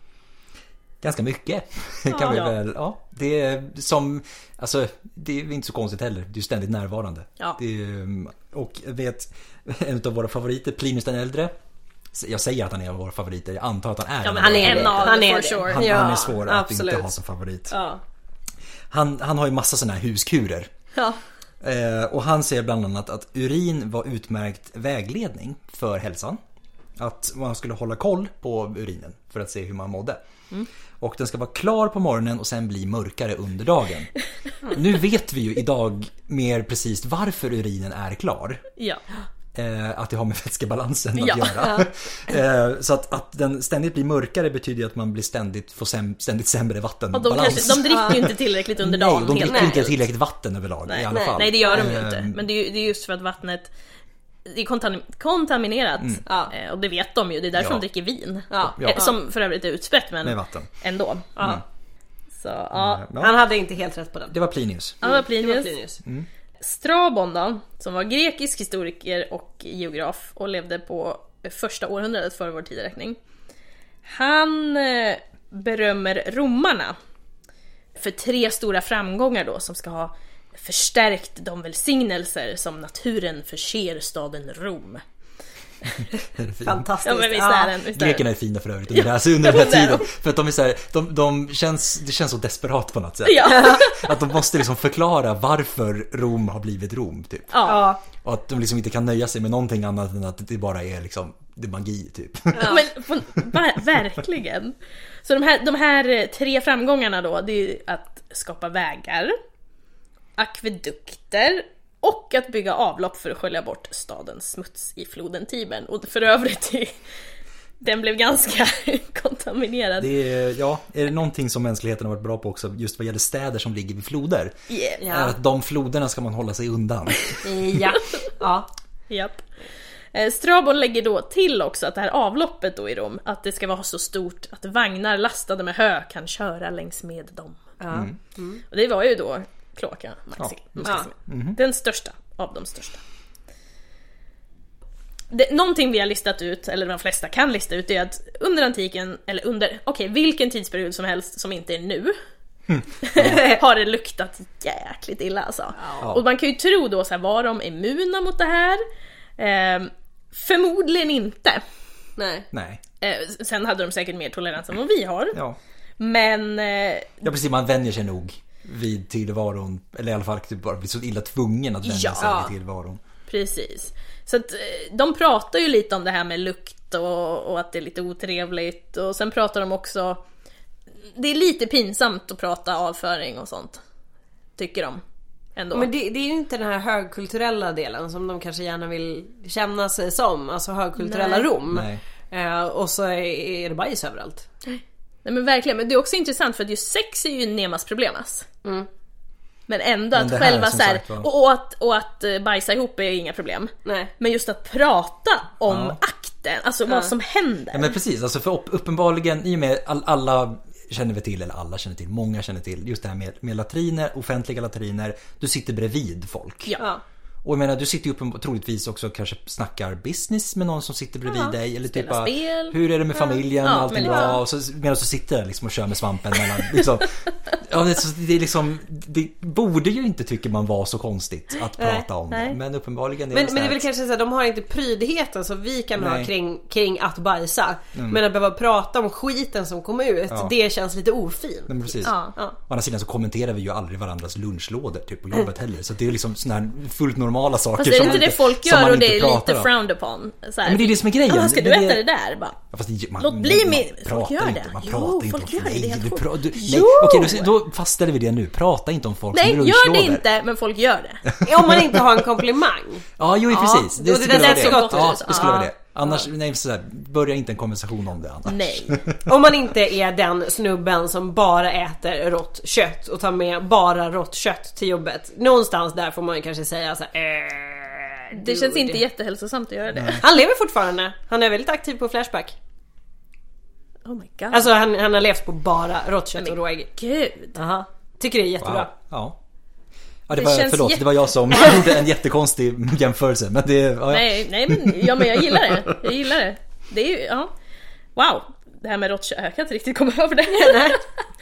[SPEAKER 1] Ganska mycket. Kan vi
[SPEAKER 3] Ja.
[SPEAKER 1] väl, ja. Det är som, alltså det är inte så konstigt heller. Det är ju ständigt närvarande.
[SPEAKER 3] Ja.
[SPEAKER 1] Det är, um, och jag vet, en av våra favoriter, Plinus den äldre. Jag säger att han är en av våra favoriter, jag antar att han är
[SPEAKER 3] Ja,
[SPEAKER 1] en
[SPEAKER 3] men
[SPEAKER 1] av
[SPEAKER 3] han
[SPEAKER 1] våra
[SPEAKER 3] är en
[SPEAKER 1] favoriter.
[SPEAKER 3] av
[SPEAKER 2] Han
[SPEAKER 3] dem for
[SPEAKER 2] är det.
[SPEAKER 3] sure.
[SPEAKER 1] han,
[SPEAKER 2] Ja,
[SPEAKER 1] han är svår att inte
[SPEAKER 2] absolut.
[SPEAKER 1] ha som favorit.
[SPEAKER 2] Ja.
[SPEAKER 1] Han, han har ju massa sådana här huskurer.
[SPEAKER 3] Ja.
[SPEAKER 1] Eh, och han säger bland annat att urin var utmärkt vägledning för hälsan. Att man skulle hålla koll på urinen för att se hur man mådde.
[SPEAKER 3] Mm.
[SPEAKER 1] Och den ska vara klar på morgonen och sen bli mörkare under dagen. Nu vet vi ju idag mer precis varför urinen är klar.
[SPEAKER 3] ja.
[SPEAKER 1] Eh, att det har med vätskebalansen att
[SPEAKER 3] Ja.
[SPEAKER 1] göra. eh, så att, att den ständigt blir mörkare betyder ju att man blir ständigt, får säm, ständigt sämre
[SPEAKER 3] Och de,
[SPEAKER 1] vattenbalans.
[SPEAKER 3] kanske, de dricker ju inte tillräckligt under dagen
[SPEAKER 1] Nej, de dricker
[SPEAKER 3] enkelt.
[SPEAKER 1] inte tillräckligt vatten överlag i alla
[SPEAKER 3] nej,
[SPEAKER 1] fall.
[SPEAKER 3] Nej det gör de ju
[SPEAKER 1] Eh,
[SPEAKER 3] inte. Men det är, ju- det är just för att vattnet det är kontam- kontaminerat.
[SPEAKER 2] Ja.
[SPEAKER 3] Eh, Och det vet de ju, det är därför
[SPEAKER 1] Mm. Ja.
[SPEAKER 3] de dricker vin.
[SPEAKER 2] Ja.
[SPEAKER 1] Ja.
[SPEAKER 3] Eh, Som för övrigt är utspätt men
[SPEAKER 1] Med vatten. Mm.
[SPEAKER 3] ändå.
[SPEAKER 2] Ja.
[SPEAKER 3] Så ja,
[SPEAKER 1] Ja.
[SPEAKER 2] Han hade inte helt rätt på den. Mm.
[SPEAKER 1] Det var Plinius.
[SPEAKER 3] ja det var
[SPEAKER 2] Det var
[SPEAKER 3] Plinius.
[SPEAKER 2] Plinius.
[SPEAKER 3] Strabon då, som var grekisk historiker och geograf och levde på första århundradet före vår tideräkning. Han eh, berömmer romarna för tre stora framgångar då som ska ha förstärkt de välsignelser som naturen förser staden Rom.
[SPEAKER 2] Fantastiskt.
[SPEAKER 3] Ja men visst är den, visst är den.
[SPEAKER 1] Grekerna är fina för övrigt under, det här, alltså under den här tiden. För att de är så här, de, de känns, det känns så desperat på något sätt.
[SPEAKER 3] Ja,
[SPEAKER 1] Att de måste liksom förklara varför Rom har blivit Rom typ.
[SPEAKER 3] ja.
[SPEAKER 2] Ja.
[SPEAKER 1] Och att de liksom inte kan nöja sig med någonting annat än att det bara är liksom, det är magi typ.
[SPEAKER 3] Men på, ver- verkligen. Så de här, de här eh, tre framgångarna då, det är ju att skapa vägar, akvedukter och att bygga avlopp för att skölja bort stadens smuts i floden Tibern. Och för övrigt, det- den blev ganska kontaminerad.
[SPEAKER 1] Det är, ja, är det någonting som mänskligheten har varit bra på också just vad gäller städer som ligger vid floder?
[SPEAKER 3] Yeah.
[SPEAKER 2] Ja.
[SPEAKER 1] Är att de floderna ska man hålla sig undan.
[SPEAKER 2] Ja. ja.
[SPEAKER 3] Japp. Eh, Strabon lägger då till också att det här avloppet då i Rom, att det ska vara så stort att vagnar lastade med hö kan köra längs med dem. Och det var ju då kloaka Maxi.
[SPEAKER 2] Ja.
[SPEAKER 3] Den största av de största. Det, någonting vi har listat ut, eller de flesta kan lista ut, är att under antiken, eller under, okej vilken tidsperiod som helst som inte är nu, har det luktat jäkligt illa alltså. Och man kan ju tro då så här, var de immuna mot det här? Ehm, förmodligen inte.
[SPEAKER 2] Nej.
[SPEAKER 1] Nej,
[SPEAKER 3] Eh, sen hade de säkert mer tolerans än vad vi har.
[SPEAKER 1] ja.
[SPEAKER 3] Men eh,
[SPEAKER 1] Ja precis, man vänjer sig nog vid tillvaron. Eller i alla fall typ bara blir så illa tvungen att vänja
[SPEAKER 3] Ja.
[SPEAKER 1] sig vid tillvaron.
[SPEAKER 3] Precis. Så att eh, de pratar ju lite om det här med lukt och, och att det är lite otrevligt och sen pratar de också... Det är lite pinsamt att prata avföring och sånt. Tycker de. Ändå.
[SPEAKER 2] Men det, det är ju inte den här högkulturella delen som de kanske gärna vill känna sig som. Alltså högkulturella
[SPEAKER 3] Nej.
[SPEAKER 2] Rom.
[SPEAKER 1] Nej.
[SPEAKER 2] Eh, och så är det bajs överallt.
[SPEAKER 3] Nej men verkligen, men det är också intressant för att just sex är ju Nemas problemas. Men ändå
[SPEAKER 1] Men
[SPEAKER 3] att
[SPEAKER 1] det här,
[SPEAKER 3] själva
[SPEAKER 1] som
[SPEAKER 3] så här,
[SPEAKER 1] sagt var-
[SPEAKER 3] och, och, att, och att eh, bajsa ihop är inga problem.
[SPEAKER 2] Nej.
[SPEAKER 3] Men just att prata om
[SPEAKER 1] Ja.
[SPEAKER 3] akten, alltså vad som händer.
[SPEAKER 1] Ja, men precis, alltså för upp- uppenbarligen i och med all, alla känner vi till, eller alla känner till, många känner till just det här med, med latriner, offentliga latriner. Du sitter bredvid folk.
[SPEAKER 3] Ja.
[SPEAKER 2] Ja.
[SPEAKER 1] Och jag menar du sitter ju uppen- troligtvis också kanske snackar business med någon som sitter bredvid
[SPEAKER 3] Ja,
[SPEAKER 1] dig. Eller typ
[SPEAKER 3] spelar
[SPEAKER 1] bara,
[SPEAKER 3] spel.
[SPEAKER 1] hur är det med familjen,
[SPEAKER 3] Ja,
[SPEAKER 1] allting
[SPEAKER 3] men-
[SPEAKER 1] bra?
[SPEAKER 3] ja.
[SPEAKER 1] Och så, medan du sitter där liksom och kör med svampen mellan. Liksom. ja, det, är så- det, är liksom, det borde ju inte tycker man vara så konstigt att prata om det.
[SPEAKER 3] nej.
[SPEAKER 1] Men uppenbarligen är
[SPEAKER 2] Men,
[SPEAKER 1] det så
[SPEAKER 2] men det är
[SPEAKER 1] här-
[SPEAKER 2] väl kanske så att de har inte prydheten som vi kan ha
[SPEAKER 1] Nej.
[SPEAKER 2] kring, kring att bajsa. Men att behöva prata om skiten som kom ut,
[SPEAKER 1] Ja.
[SPEAKER 2] det känns lite ofint.
[SPEAKER 1] Nej, men precis.
[SPEAKER 3] Ja. Mm.
[SPEAKER 2] Ja.
[SPEAKER 1] Å andra sidan så kommenterar vi ju aldrig varandras lunchlådor typ på jobbet heller. Så det är liksom såna här fullt normala saker
[SPEAKER 3] Fast är det
[SPEAKER 1] som
[SPEAKER 3] inte
[SPEAKER 1] man
[SPEAKER 3] det folk
[SPEAKER 1] som man
[SPEAKER 3] gör och
[SPEAKER 1] inte
[SPEAKER 3] det är
[SPEAKER 1] pratar
[SPEAKER 3] lite
[SPEAKER 1] om.
[SPEAKER 3] frowned upon? Så här,
[SPEAKER 1] Men det är det som är grejen.
[SPEAKER 3] "Ah, ska du
[SPEAKER 1] Det är det-
[SPEAKER 3] äta det där? Bara.
[SPEAKER 1] Ja, fast det- man,
[SPEAKER 3] Låt bli
[SPEAKER 1] man
[SPEAKER 3] min- folk
[SPEAKER 1] pratar
[SPEAKER 3] gör
[SPEAKER 1] inte,
[SPEAKER 3] det.
[SPEAKER 1] Man
[SPEAKER 3] Jo,
[SPEAKER 1] pratar inte
[SPEAKER 3] folk
[SPEAKER 1] om
[SPEAKER 3] gör det, det är
[SPEAKER 1] Nej,
[SPEAKER 3] helt
[SPEAKER 1] du
[SPEAKER 3] sjukt.
[SPEAKER 1] pra, du, nej.
[SPEAKER 3] Jo!
[SPEAKER 1] Okej, då, då fastställer vi det nu. Prata inte om folk
[SPEAKER 3] Nej,
[SPEAKER 1] som
[SPEAKER 3] gör
[SPEAKER 1] lunchlådor.
[SPEAKER 3] det inte, men folk gör det.
[SPEAKER 2] Om man inte har en komplimang.
[SPEAKER 1] Ja, jo, precis.
[SPEAKER 2] det- det
[SPEAKER 1] skulle
[SPEAKER 2] där
[SPEAKER 1] vara
[SPEAKER 2] lät så gott.
[SPEAKER 1] Ja, det skulle
[SPEAKER 3] Ja.
[SPEAKER 1] vara det. Annars, nej, sådär, börja inte en konversation om det annars.
[SPEAKER 3] Nej.
[SPEAKER 2] Om man inte är den snubben som bara äter rått kött och tar med bara rått kött till jobbet. Någonstans där får man ju kanske säga så här, eh,
[SPEAKER 3] Det känns
[SPEAKER 2] dude."
[SPEAKER 3] inte jättehälsosamt att göra det.
[SPEAKER 2] Han lever fortfarande. Han är väldigt aktiv på Flashback.
[SPEAKER 3] Oh my god.
[SPEAKER 2] Alltså han, han har levt på bara rått kött och råägg.
[SPEAKER 3] Gud.
[SPEAKER 2] Aha. Tycker det är jättebra.
[SPEAKER 1] Wow. Ja. Ja, det
[SPEAKER 3] Det
[SPEAKER 1] var,
[SPEAKER 3] känns
[SPEAKER 1] förlåt,
[SPEAKER 3] jätte-
[SPEAKER 1] det var jag som gjorde en jättekonstig jämförelse. Men det, ja, ja.
[SPEAKER 3] Nej, nej men, ja, men jag gillar det. Jag gillar det. Det är ju, ja. Wow. Det här med råttkött, jag kan inte riktigt komma över det.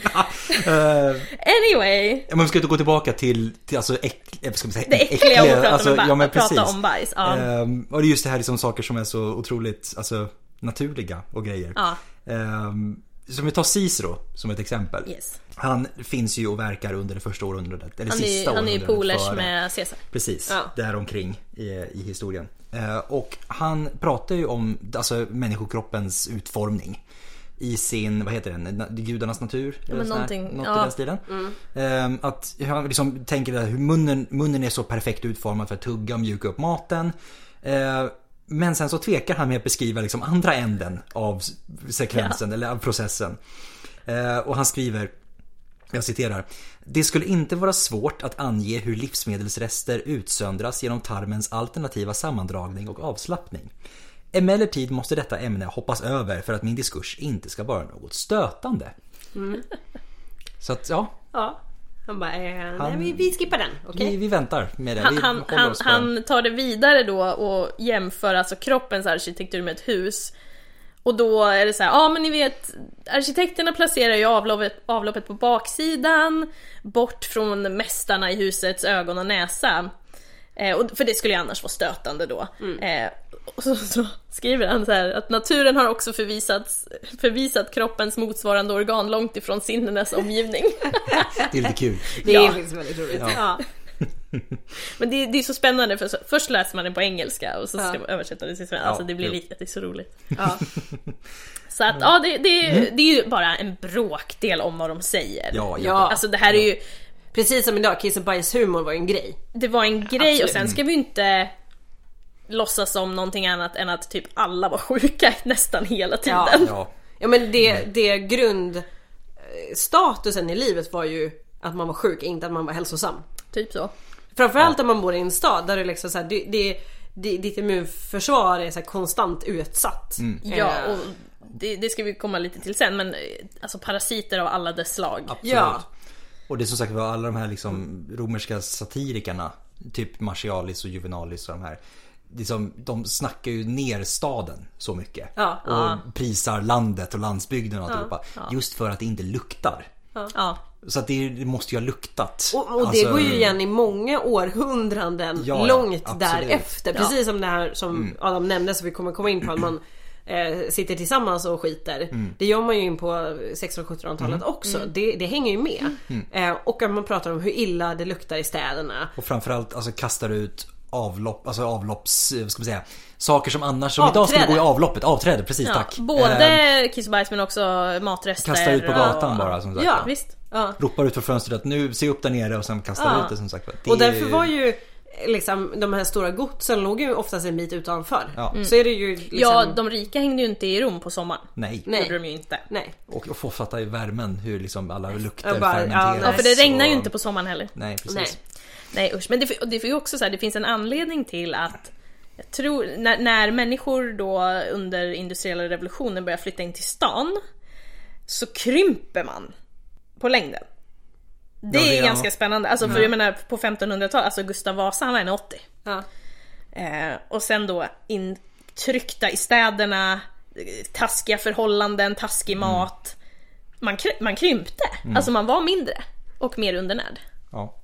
[SPEAKER 1] Eh,
[SPEAKER 3] anyway.
[SPEAKER 1] Ja, men vi ska inte gå tillbaka till, till alltså äck, eh, ska man säga,
[SPEAKER 3] Det äckliga om att prata, med ba-
[SPEAKER 1] Alltså, ja, men
[SPEAKER 3] att prata
[SPEAKER 1] precis.
[SPEAKER 3] om bajs. Ja.
[SPEAKER 1] Ehm, och det är just det här liksom saker som är så otroligt alltså, naturliga och grejer.
[SPEAKER 3] Ja.
[SPEAKER 1] Ehm, som vi tar Cicero som ett exempel.
[SPEAKER 3] Yes.
[SPEAKER 1] Han finns ju och verkar under det första århundradet, eller
[SPEAKER 3] Han, är,
[SPEAKER 1] sista
[SPEAKER 3] ju- han är ju
[SPEAKER 1] århundradet
[SPEAKER 3] polers
[SPEAKER 1] före.
[SPEAKER 3] med Caesar.
[SPEAKER 1] Precis,
[SPEAKER 2] Ja.
[SPEAKER 1] däromkring i, i historien. Eh, och han pratar ju om alltså, människokroppens utformning. I sin, vad heter den, Na- gudarnas natur? eller
[SPEAKER 3] men
[SPEAKER 1] sån här-
[SPEAKER 3] någonting,
[SPEAKER 1] något i
[SPEAKER 3] ja. Mm.
[SPEAKER 1] den stilen. Eh, att han liksom tänker det här, hur munnen, munnen är så perfekt utformad för att tugga och mjuka upp maten. Eh, men sen så tvekar han med att beskriva liksom andra änden av s- sekvensen eller av processen. Eh, och han skriver jag citerar. Det skulle inte vara svårt att ange hur livsmedelsrester utsöndras genom tarmens alternativa sammandragning och avslappning. Emellertid måste detta ämne hoppas över för att min diskurs inte ska vara något stötande.
[SPEAKER 3] Mm.
[SPEAKER 1] Så att ja,
[SPEAKER 2] Ja. Han bara, eh,
[SPEAKER 1] Han-
[SPEAKER 2] nej vi, vi skippar den. Okej?
[SPEAKER 1] vi, vi väntar med det. Vi
[SPEAKER 3] Han, han,
[SPEAKER 1] håller
[SPEAKER 3] han,
[SPEAKER 1] oss på den.
[SPEAKER 3] han tar det vidare då och jämför alltså kroppens arkitektur med ett hus. Och då är det så här, ja men ni vet, arkitekterna placerar ju avloppet, avloppet på baksidan, bort från mästarna i husets ögon och näsa. Eh, och, för det skulle ju annars vara stötande då. Eh, och så, så skriver han så här att naturen har också förvisats, förvisat kroppens motsvarande organ långt ifrån sinnenas omgivning.
[SPEAKER 1] Det är lite kul.
[SPEAKER 2] Det är
[SPEAKER 3] Ja.
[SPEAKER 2] faktiskt väldigt roligt.
[SPEAKER 3] Ja. Men det, det är så spännande för så, först läser man det på engelska och så ska
[SPEAKER 2] Ja.
[SPEAKER 3] man översätta det till svenska. Alltså
[SPEAKER 1] Ja,
[SPEAKER 3] det blir
[SPEAKER 1] jo.
[SPEAKER 3] lite, det är så roligt.
[SPEAKER 2] Ja.
[SPEAKER 3] Så att ja, det, det, det är ju bara en bråkdel om vad de säger.
[SPEAKER 1] Mm. Ja, ja.
[SPEAKER 2] Ja.
[SPEAKER 3] Alltså det här är ju,
[SPEAKER 2] Precis som idag, kiss och bajshumor var ju en grej.
[SPEAKER 3] det var en grej och sen ska vi ju inte låtsas som någonting annat än att typ alla var sjuka nästan hela tiden.
[SPEAKER 2] Ja.
[SPEAKER 1] Ja.
[SPEAKER 2] Ja men det, det grundstatusen i livet var ju att man var sjuk, inte att man var hälsosam.
[SPEAKER 3] Typ så.
[SPEAKER 2] Framförallt om man bor i en stad där det liksom så här, det, det, det, ditt immunförsvar är så här konstant utsatt.
[SPEAKER 1] Mm.
[SPEAKER 3] Ja,
[SPEAKER 2] Eh,
[SPEAKER 3] och det, det ska vi komma lite till sen men eh, alltså parasiter av alla dess slag.
[SPEAKER 1] Absolut.
[SPEAKER 2] Ja.
[SPEAKER 1] Och det är som sagt var alla de här liksom romerska satirikerna. Typ Martialis och Juvenalis och de här. Liksom, de snackar ju ner staden så mycket.
[SPEAKER 2] Ja.
[SPEAKER 1] och prisar landet och landsbygden och alltihopa. Just för att det inte luktar.
[SPEAKER 3] Ja.
[SPEAKER 1] Så att det, det måste ju ha luktat.
[SPEAKER 2] Och, och det
[SPEAKER 1] Alltså,
[SPEAKER 2] går ju igen i många århundraden
[SPEAKER 1] Ja, ja,
[SPEAKER 2] långt
[SPEAKER 1] absolut. Mm.
[SPEAKER 2] därefter. Precis som det här som Adam nämnde som vi kommer komma in på. Att man eh, sitter tillsammans och skiter.
[SPEAKER 1] Mm.
[SPEAKER 2] Det gör man ju in på 1600-1700-talet också.
[SPEAKER 3] Mm.
[SPEAKER 2] Det, det hänger ju med.
[SPEAKER 1] Mm.
[SPEAKER 2] Eh, och att man pratar om hur illa det luktar i städerna.
[SPEAKER 1] Och framförallt alltså, kastar ut avlopp, alltså avlopps, eh, vad ska man säga, saker som annars, som idag skulle
[SPEAKER 2] Avträde.
[SPEAKER 1] gå i avloppet. Avträde, precis
[SPEAKER 3] Ja,
[SPEAKER 1] tack. Eh,
[SPEAKER 3] Både kiss och bajs men också matrester.
[SPEAKER 1] kasta ut på
[SPEAKER 3] och-
[SPEAKER 1] gatan bara som sagt
[SPEAKER 3] Ja,
[SPEAKER 1] var.
[SPEAKER 3] visst.
[SPEAKER 2] Ja.
[SPEAKER 1] Ropar ut för fönstret att nu, se upp där nere och sen kastar
[SPEAKER 2] Ja.
[SPEAKER 1] ut det som sagt var. Det
[SPEAKER 2] Och
[SPEAKER 1] är
[SPEAKER 2] därför var ju liksom, de här stora godsen låg ju oftast en bit utanför.
[SPEAKER 1] Ja.
[SPEAKER 2] Så är det ju liksom...
[SPEAKER 3] Ja, de rika hängde ju inte i Rom på sommaren.
[SPEAKER 1] Nej.
[SPEAKER 2] Nej.
[SPEAKER 3] Gjorde de ju inte.
[SPEAKER 2] Nej.
[SPEAKER 1] Och, och få fatta i värmen hur liksom alla lukter
[SPEAKER 2] Ja, bara- ja,
[SPEAKER 1] fermenteras.
[SPEAKER 3] Ja, för det regnar ju
[SPEAKER 1] och-
[SPEAKER 3] inte på sommaren heller.
[SPEAKER 1] Nej, precis.
[SPEAKER 2] Nej.
[SPEAKER 3] Nej usch, men det, och det är ju också så här, det finns en anledning till att jag tror, när, när människor då under industriella revolutionen börjar flytta in till stan så krymper man på längden. Det
[SPEAKER 1] Ja, det-
[SPEAKER 3] är
[SPEAKER 1] ja.
[SPEAKER 3] ganska spännande, alltså för jag menar på 1500-talet, alltså Gustav Vasa han var 1,80.
[SPEAKER 2] Ja.
[SPEAKER 3] Eh, och sen då intryckta i städerna, eh, taskiga förhållanden, taskig mat. Man, kry- man krympte, alltså man var mindre och mer undernärd.
[SPEAKER 1] Ja.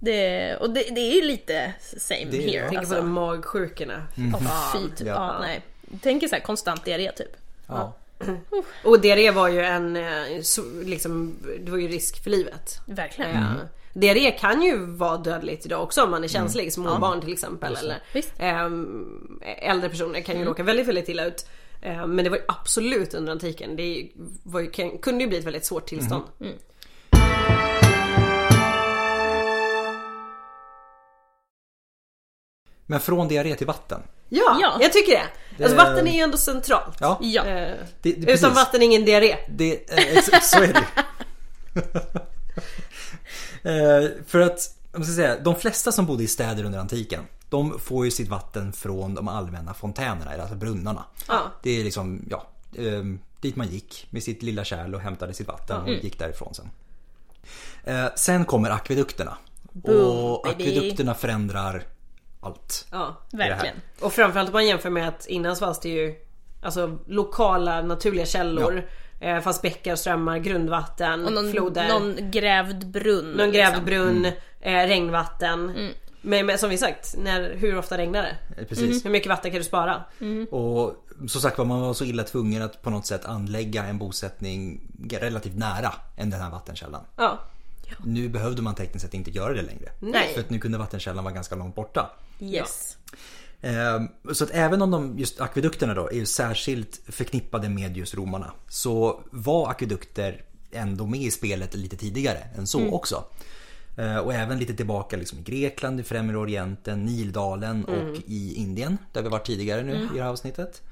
[SPEAKER 3] Det, och det, det är ju lite same
[SPEAKER 1] Det-
[SPEAKER 3] here.
[SPEAKER 1] ja.
[SPEAKER 2] Tänk
[SPEAKER 3] alltså.
[SPEAKER 2] på de magsjukorna.
[SPEAKER 1] Mm.
[SPEAKER 3] Åh, fy, typ.
[SPEAKER 1] Ja.
[SPEAKER 3] ja. nej. Tänk så här konstant diarré typ.
[SPEAKER 1] ja.
[SPEAKER 2] Och diarré var ju en, eh, så- liksom, det var ju risk för livet.
[SPEAKER 3] Verkligen.
[SPEAKER 2] Mm. Diarré kan ju vara dödligt idag också om man är känslig.
[SPEAKER 1] Mm.
[SPEAKER 2] Små barn till exempel. Eller,
[SPEAKER 3] Visst.
[SPEAKER 2] ehm, äldre personer kan ju
[SPEAKER 1] Mm.
[SPEAKER 2] råka väldigt, väldigt illa ut. Ehm, men det var ju absolut under antiken. Det är ju- var ju, kan, kunde ju bli ett väldigt svårt tillstånd.
[SPEAKER 1] Mm. Men från diarré till vatten.
[SPEAKER 2] Ja,
[SPEAKER 3] Ja.
[SPEAKER 2] jag tycker det. Alltså
[SPEAKER 1] Det-
[SPEAKER 2] vatten är ju ändå centralt.
[SPEAKER 1] Ja,
[SPEAKER 3] Ja.
[SPEAKER 2] Eh,
[SPEAKER 1] det, det,
[SPEAKER 2] utan
[SPEAKER 1] precis.
[SPEAKER 2] vatten ingen diarré.
[SPEAKER 1] Det, eh, ex- så är det Eh, För att, om jag ska säga, de flesta som bodde i städer under antiken, de får ju sitt vatten från de allmänna fontänerna, eller alltså brunnarna.
[SPEAKER 2] Ja.
[SPEAKER 1] Det är liksom, ja, ehm, dit man gick med sitt lilla kärl och hämtade sitt vatten
[SPEAKER 3] Mm.
[SPEAKER 1] och gick därifrån sen. Eh, Sen kommer akvedukterna.
[SPEAKER 3] Boom,
[SPEAKER 1] och
[SPEAKER 3] baby.
[SPEAKER 1] akvedukterna förändrar allt.
[SPEAKER 2] Ja.
[SPEAKER 3] Verkligen.
[SPEAKER 2] Och framförallt om man jämför med att innan så fanns det ju alltså, lokala naturliga källor. Eh, fanns bäckar, strömmar, grundvatten,
[SPEAKER 3] Och någon,
[SPEAKER 2] floder.
[SPEAKER 3] någon grävd brunn.
[SPEAKER 2] Någon grävd
[SPEAKER 3] liksom.
[SPEAKER 2] brunn,
[SPEAKER 1] Mm.
[SPEAKER 2] eh, regnvatten. Men, men som vi sagt, när, hur ofta regnar det?
[SPEAKER 1] Eh, Precis.
[SPEAKER 2] Hur mycket vatten kan du spara?
[SPEAKER 1] Och som sagt var, man var så illa tvungen att på något sätt anlägga en bosättning relativt nära än den här vattenkällan.
[SPEAKER 2] Ja.
[SPEAKER 1] Nu behövde man tekniskt sett inte göra det längre.
[SPEAKER 3] Nej.
[SPEAKER 1] För att nu kunde vattenkällan vara ganska långt borta.
[SPEAKER 3] Yes.
[SPEAKER 1] Ehm, Så att även om de, just akvedukterna då, är ju särskilt förknippade med just romarna. Så var akvedukter ändå med i spelet lite tidigare än så också. Ehm, Och även lite tillbaka liksom i Grekland, i Främre Orienten, Nildalen och i Indien. Där vi varit tidigare nu i det här avsnittet.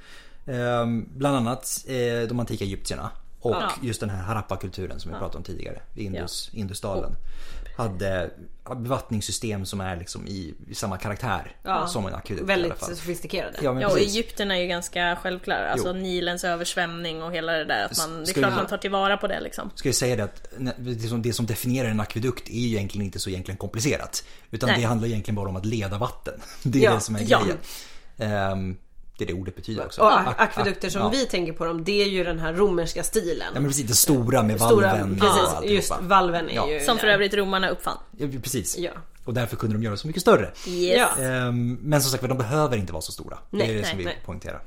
[SPEAKER 1] Ehm, Bland annat eh, de antika egyptierna. Och just den här Harappa-kulturen som vi pratade om tidigare. i Indus, Indusdalen. Hade bevattningssystem som är liksom i, i samma karaktär
[SPEAKER 2] Ja.
[SPEAKER 1] som en akvedukt i alla
[SPEAKER 2] Väldigt
[SPEAKER 1] fall.
[SPEAKER 2] sofistikerade.
[SPEAKER 1] Ja, men
[SPEAKER 3] Ja, och
[SPEAKER 1] precis.
[SPEAKER 3] Egypten är ju ganska självklar. Alltså Nilens översvämning och hela det där. Att man, det är
[SPEAKER 1] Skulle-
[SPEAKER 3] klart man tar tillvara på det liksom.
[SPEAKER 1] Ska jag säga det att när- det som, det som definierar en akvedukt är ju egentligen inte så egentligen komplicerat. Utan
[SPEAKER 3] Nej.
[SPEAKER 1] det handlar egentligen bara om att leda vatten. Det är
[SPEAKER 2] Ja,
[SPEAKER 1] det som är
[SPEAKER 3] ja.
[SPEAKER 1] grejen. Ehm, det är det ordet betyder också.
[SPEAKER 2] Och
[SPEAKER 1] Ak-
[SPEAKER 2] ak- akvedukter som
[SPEAKER 1] ja.
[SPEAKER 2] vi tänker på dem, det är ju den här romerska stilen.
[SPEAKER 1] Ja men precis, det stora med
[SPEAKER 2] Stora,
[SPEAKER 1] valven
[SPEAKER 2] precis,
[SPEAKER 1] och
[SPEAKER 2] just
[SPEAKER 1] alltihopa.
[SPEAKER 2] valven är
[SPEAKER 1] Ja.
[SPEAKER 2] ju
[SPEAKER 3] Som för
[SPEAKER 2] där.
[SPEAKER 3] övrigt romarna uppfann.
[SPEAKER 1] Ja, precis.
[SPEAKER 2] Ja.
[SPEAKER 1] Och därför kunde de göra så mycket större.
[SPEAKER 3] Yes.
[SPEAKER 2] Ja.
[SPEAKER 1] Ehm, men som sagt de behöver inte vara så stora. det är det
[SPEAKER 3] nej,
[SPEAKER 1] som vi
[SPEAKER 2] nej.
[SPEAKER 1] poängterar.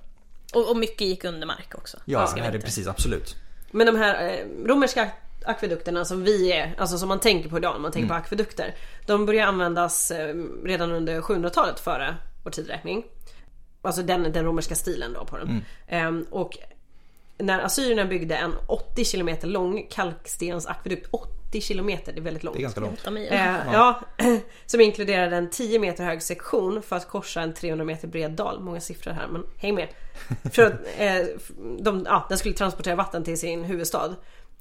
[SPEAKER 3] Och, och mycket gick under mark också.
[SPEAKER 1] Ja,
[SPEAKER 3] ska
[SPEAKER 1] det
[SPEAKER 3] vi
[SPEAKER 1] här är
[SPEAKER 3] inte-
[SPEAKER 1] precis, absolut.
[SPEAKER 2] Men de här eh, romerska ak- akvedukterna som vi är, alltså som man tänker på idag när man tänker på akvedukter. De börjar användas eh, redan under 700-talet före vår tidräkning. Alltså den, den romerska stilen då på den. Ehm, och när assyrierna byggde en 80 km lång kalkstensakvedukt, 80 km, det är väldigt långt.
[SPEAKER 1] Det är ganska långt.
[SPEAKER 3] Åtta mil.
[SPEAKER 2] Eh, ja, som inkluderade en 10 meter hög sektion för att korsa en 300 meter bred dal. Många siffror här men häng med. För att, eh, de, ja, den skulle transportera vatten till sin huvudstad.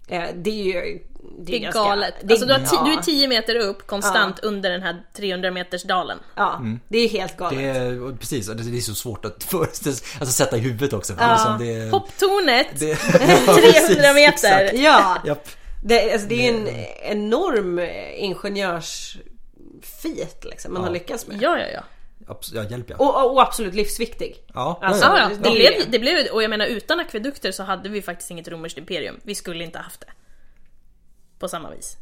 [SPEAKER 2] Eh, det är ju...
[SPEAKER 3] Det är
[SPEAKER 2] ganska-
[SPEAKER 3] galet.
[SPEAKER 2] det är-
[SPEAKER 3] alltså, du, har ti-
[SPEAKER 2] ja,
[SPEAKER 3] du är 10 meter upp konstant under den här 300 meters dalen.
[SPEAKER 2] Ja, Mm. det är ju helt galet.
[SPEAKER 1] Det är, och precis, och det det är så svårt att föreställa sig- alltså sätta i huvudet också. För det är som det,
[SPEAKER 3] Hopptornet,
[SPEAKER 1] det,
[SPEAKER 3] 300 meter!
[SPEAKER 2] Ja,
[SPEAKER 1] Japp.
[SPEAKER 2] det, alltså, det är ju en enorm ingenjörsfeat liksom, man har lyckats med.
[SPEAKER 3] Ja, ja, ja.
[SPEAKER 1] Abs- Ja, hjälp ja.
[SPEAKER 2] Och, och, och absolut livsviktig.
[SPEAKER 1] Ja,
[SPEAKER 2] Alltså,
[SPEAKER 1] ja, ja.
[SPEAKER 3] Det,
[SPEAKER 2] Det är ju
[SPEAKER 3] blev,
[SPEAKER 2] det.
[SPEAKER 3] det blev, ju- och jag menar utan akvedukter så hade vi faktiskt inget romerskt imperium. Vi skulle inte haft det. På samma vis.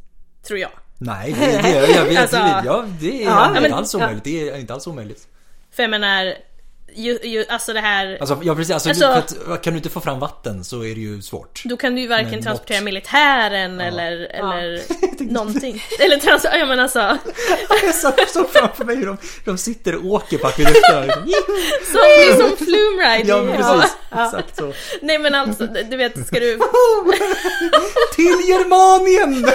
[SPEAKER 3] Tror jag.
[SPEAKER 1] Nej, det, det, jag, jag vet,
[SPEAKER 3] Alltså-
[SPEAKER 1] ja, det är
[SPEAKER 2] Ja,
[SPEAKER 1] inte
[SPEAKER 3] men-
[SPEAKER 1] alls omöjligt. Det är inte alls omöjligt.
[SPEAKER 3] För jag menar, ju, ju, alltså det här...
[SPEAKER 1] Alltså, ja, precis, alltså,
[SPEAKER 3] Alltså-
[SPEAKER 1] för att, kan du inte få fram vatten så är det ju svårt.
[SPEAKER 3] Då kan du ju varken
[SPEAKER 1] Men
[SPEAKER 3] transportera
[SPEAKER 1] något-
[SPEAKER 3] militären eller, eller någonting. Eller trans... Ja men alltså.
[SPEAKER 1] Jag såg så framför mig hur de, de sitter och åker på akvedukterna.
[SPEAKER 3] Så, det är som flume riding.
[SPEAKER 1] Ja, men precis. Exakt så.
[SPEAKER 3] Nej men alltså, du vet, ska du...
[SPEAKER 1] Till Germanien!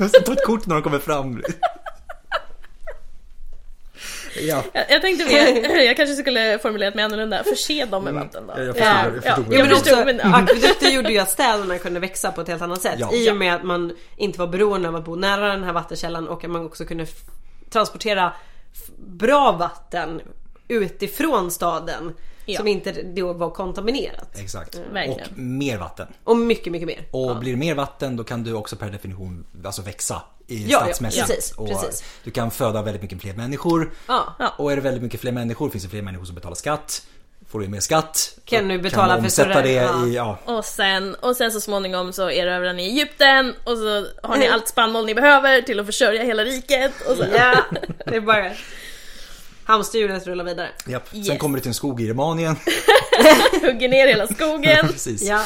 [SPEAKER 1] Och så ta ett kort när de kommer fram. Ja,
[SPEAKER 3] Jag, jag tänkte mer, jag kanske skulle formulerat mig annorlunda. Förse dem med vatten då.
[SPEAKER 1] Mm. jag förstod-
[SPEAKER 3] ja,
[SPEAKER 1] jag förstod
[SPEAKER 3] ja,
[SPEAKER 1] vad du menade.
[SPEAKER 3] ja, men förstod, men, ja.
[SPEAKER 2] Akvedukter Mm. gjorde ju att städerna kunde växa på ett helt annat sätt.
[SPEAKER 1] Ja.
[SPEAKER 2] I och med att man inte var beroende av att bo nära den här vattenkällan och att man också kunde f- transportera f- bra vatten utifrån staden.
[SPEAKER 3] Ja.
[SPEAKER 2] Som inte då var kontaminerat.
[SPEAKER 1] exakt.
[SPEAKER 3] verkligen.
[SPEAKER 1] Och mer vatten.
[SPEAKER 2] Och mycket, mycket
[SPEAKER 3] Mm.
[SPEAKER 2] mer.
[SPEAKER 1] Och blir det mer vatten då kan du också per definition alltså växa i
[SPEAKER 2] Ja, ja,
[SPEAKER 1] stadsmässigt.
[SPEAKER 2] precis,
[SPEAKER 1] och
[SPEAKER 2] precis.
[SPEAKER 1] Du kan föda väldigt mycket fler människor.
[SPEAKER 2] Ja.
[SPEAKER 3] Ja.
[SPEAKER 1] Och är det väldigt mycket fler människor finns det fler människor som betalar skatt. Får du mer skatt.
[SPEAKER 2] Kan
[SPEAKER 1] då
[SPEAKER 2] du betala
[SPEAKER 1] du
[SPEAKER 2] för
[SPEAKER 1] omsätta
[SPEAKER 2] större-
[SPEAKER 1] det
[SPEAKER 2] ja.
[SPEAKER 1] i, ja.
[SPEAKER 3] Och sen, och sen så småningom så erövrar ni Egypten och så har ni allt spannmål ni behöver till att försörja hela riket. Och så,
[SPEAKER 2] Ja, det är bara... Hamsterhjulet rullar vidare.
[SPEAKER 1] Japp. Sen
[SPEAKER 3] Yes.
[SPEAKER 1] kommer du till en skog i Romanien.
[SPEAKER 3] hugger ner hela skogen.
[SPEAKER 1] Precis.
[SPEAKER 2] Ja.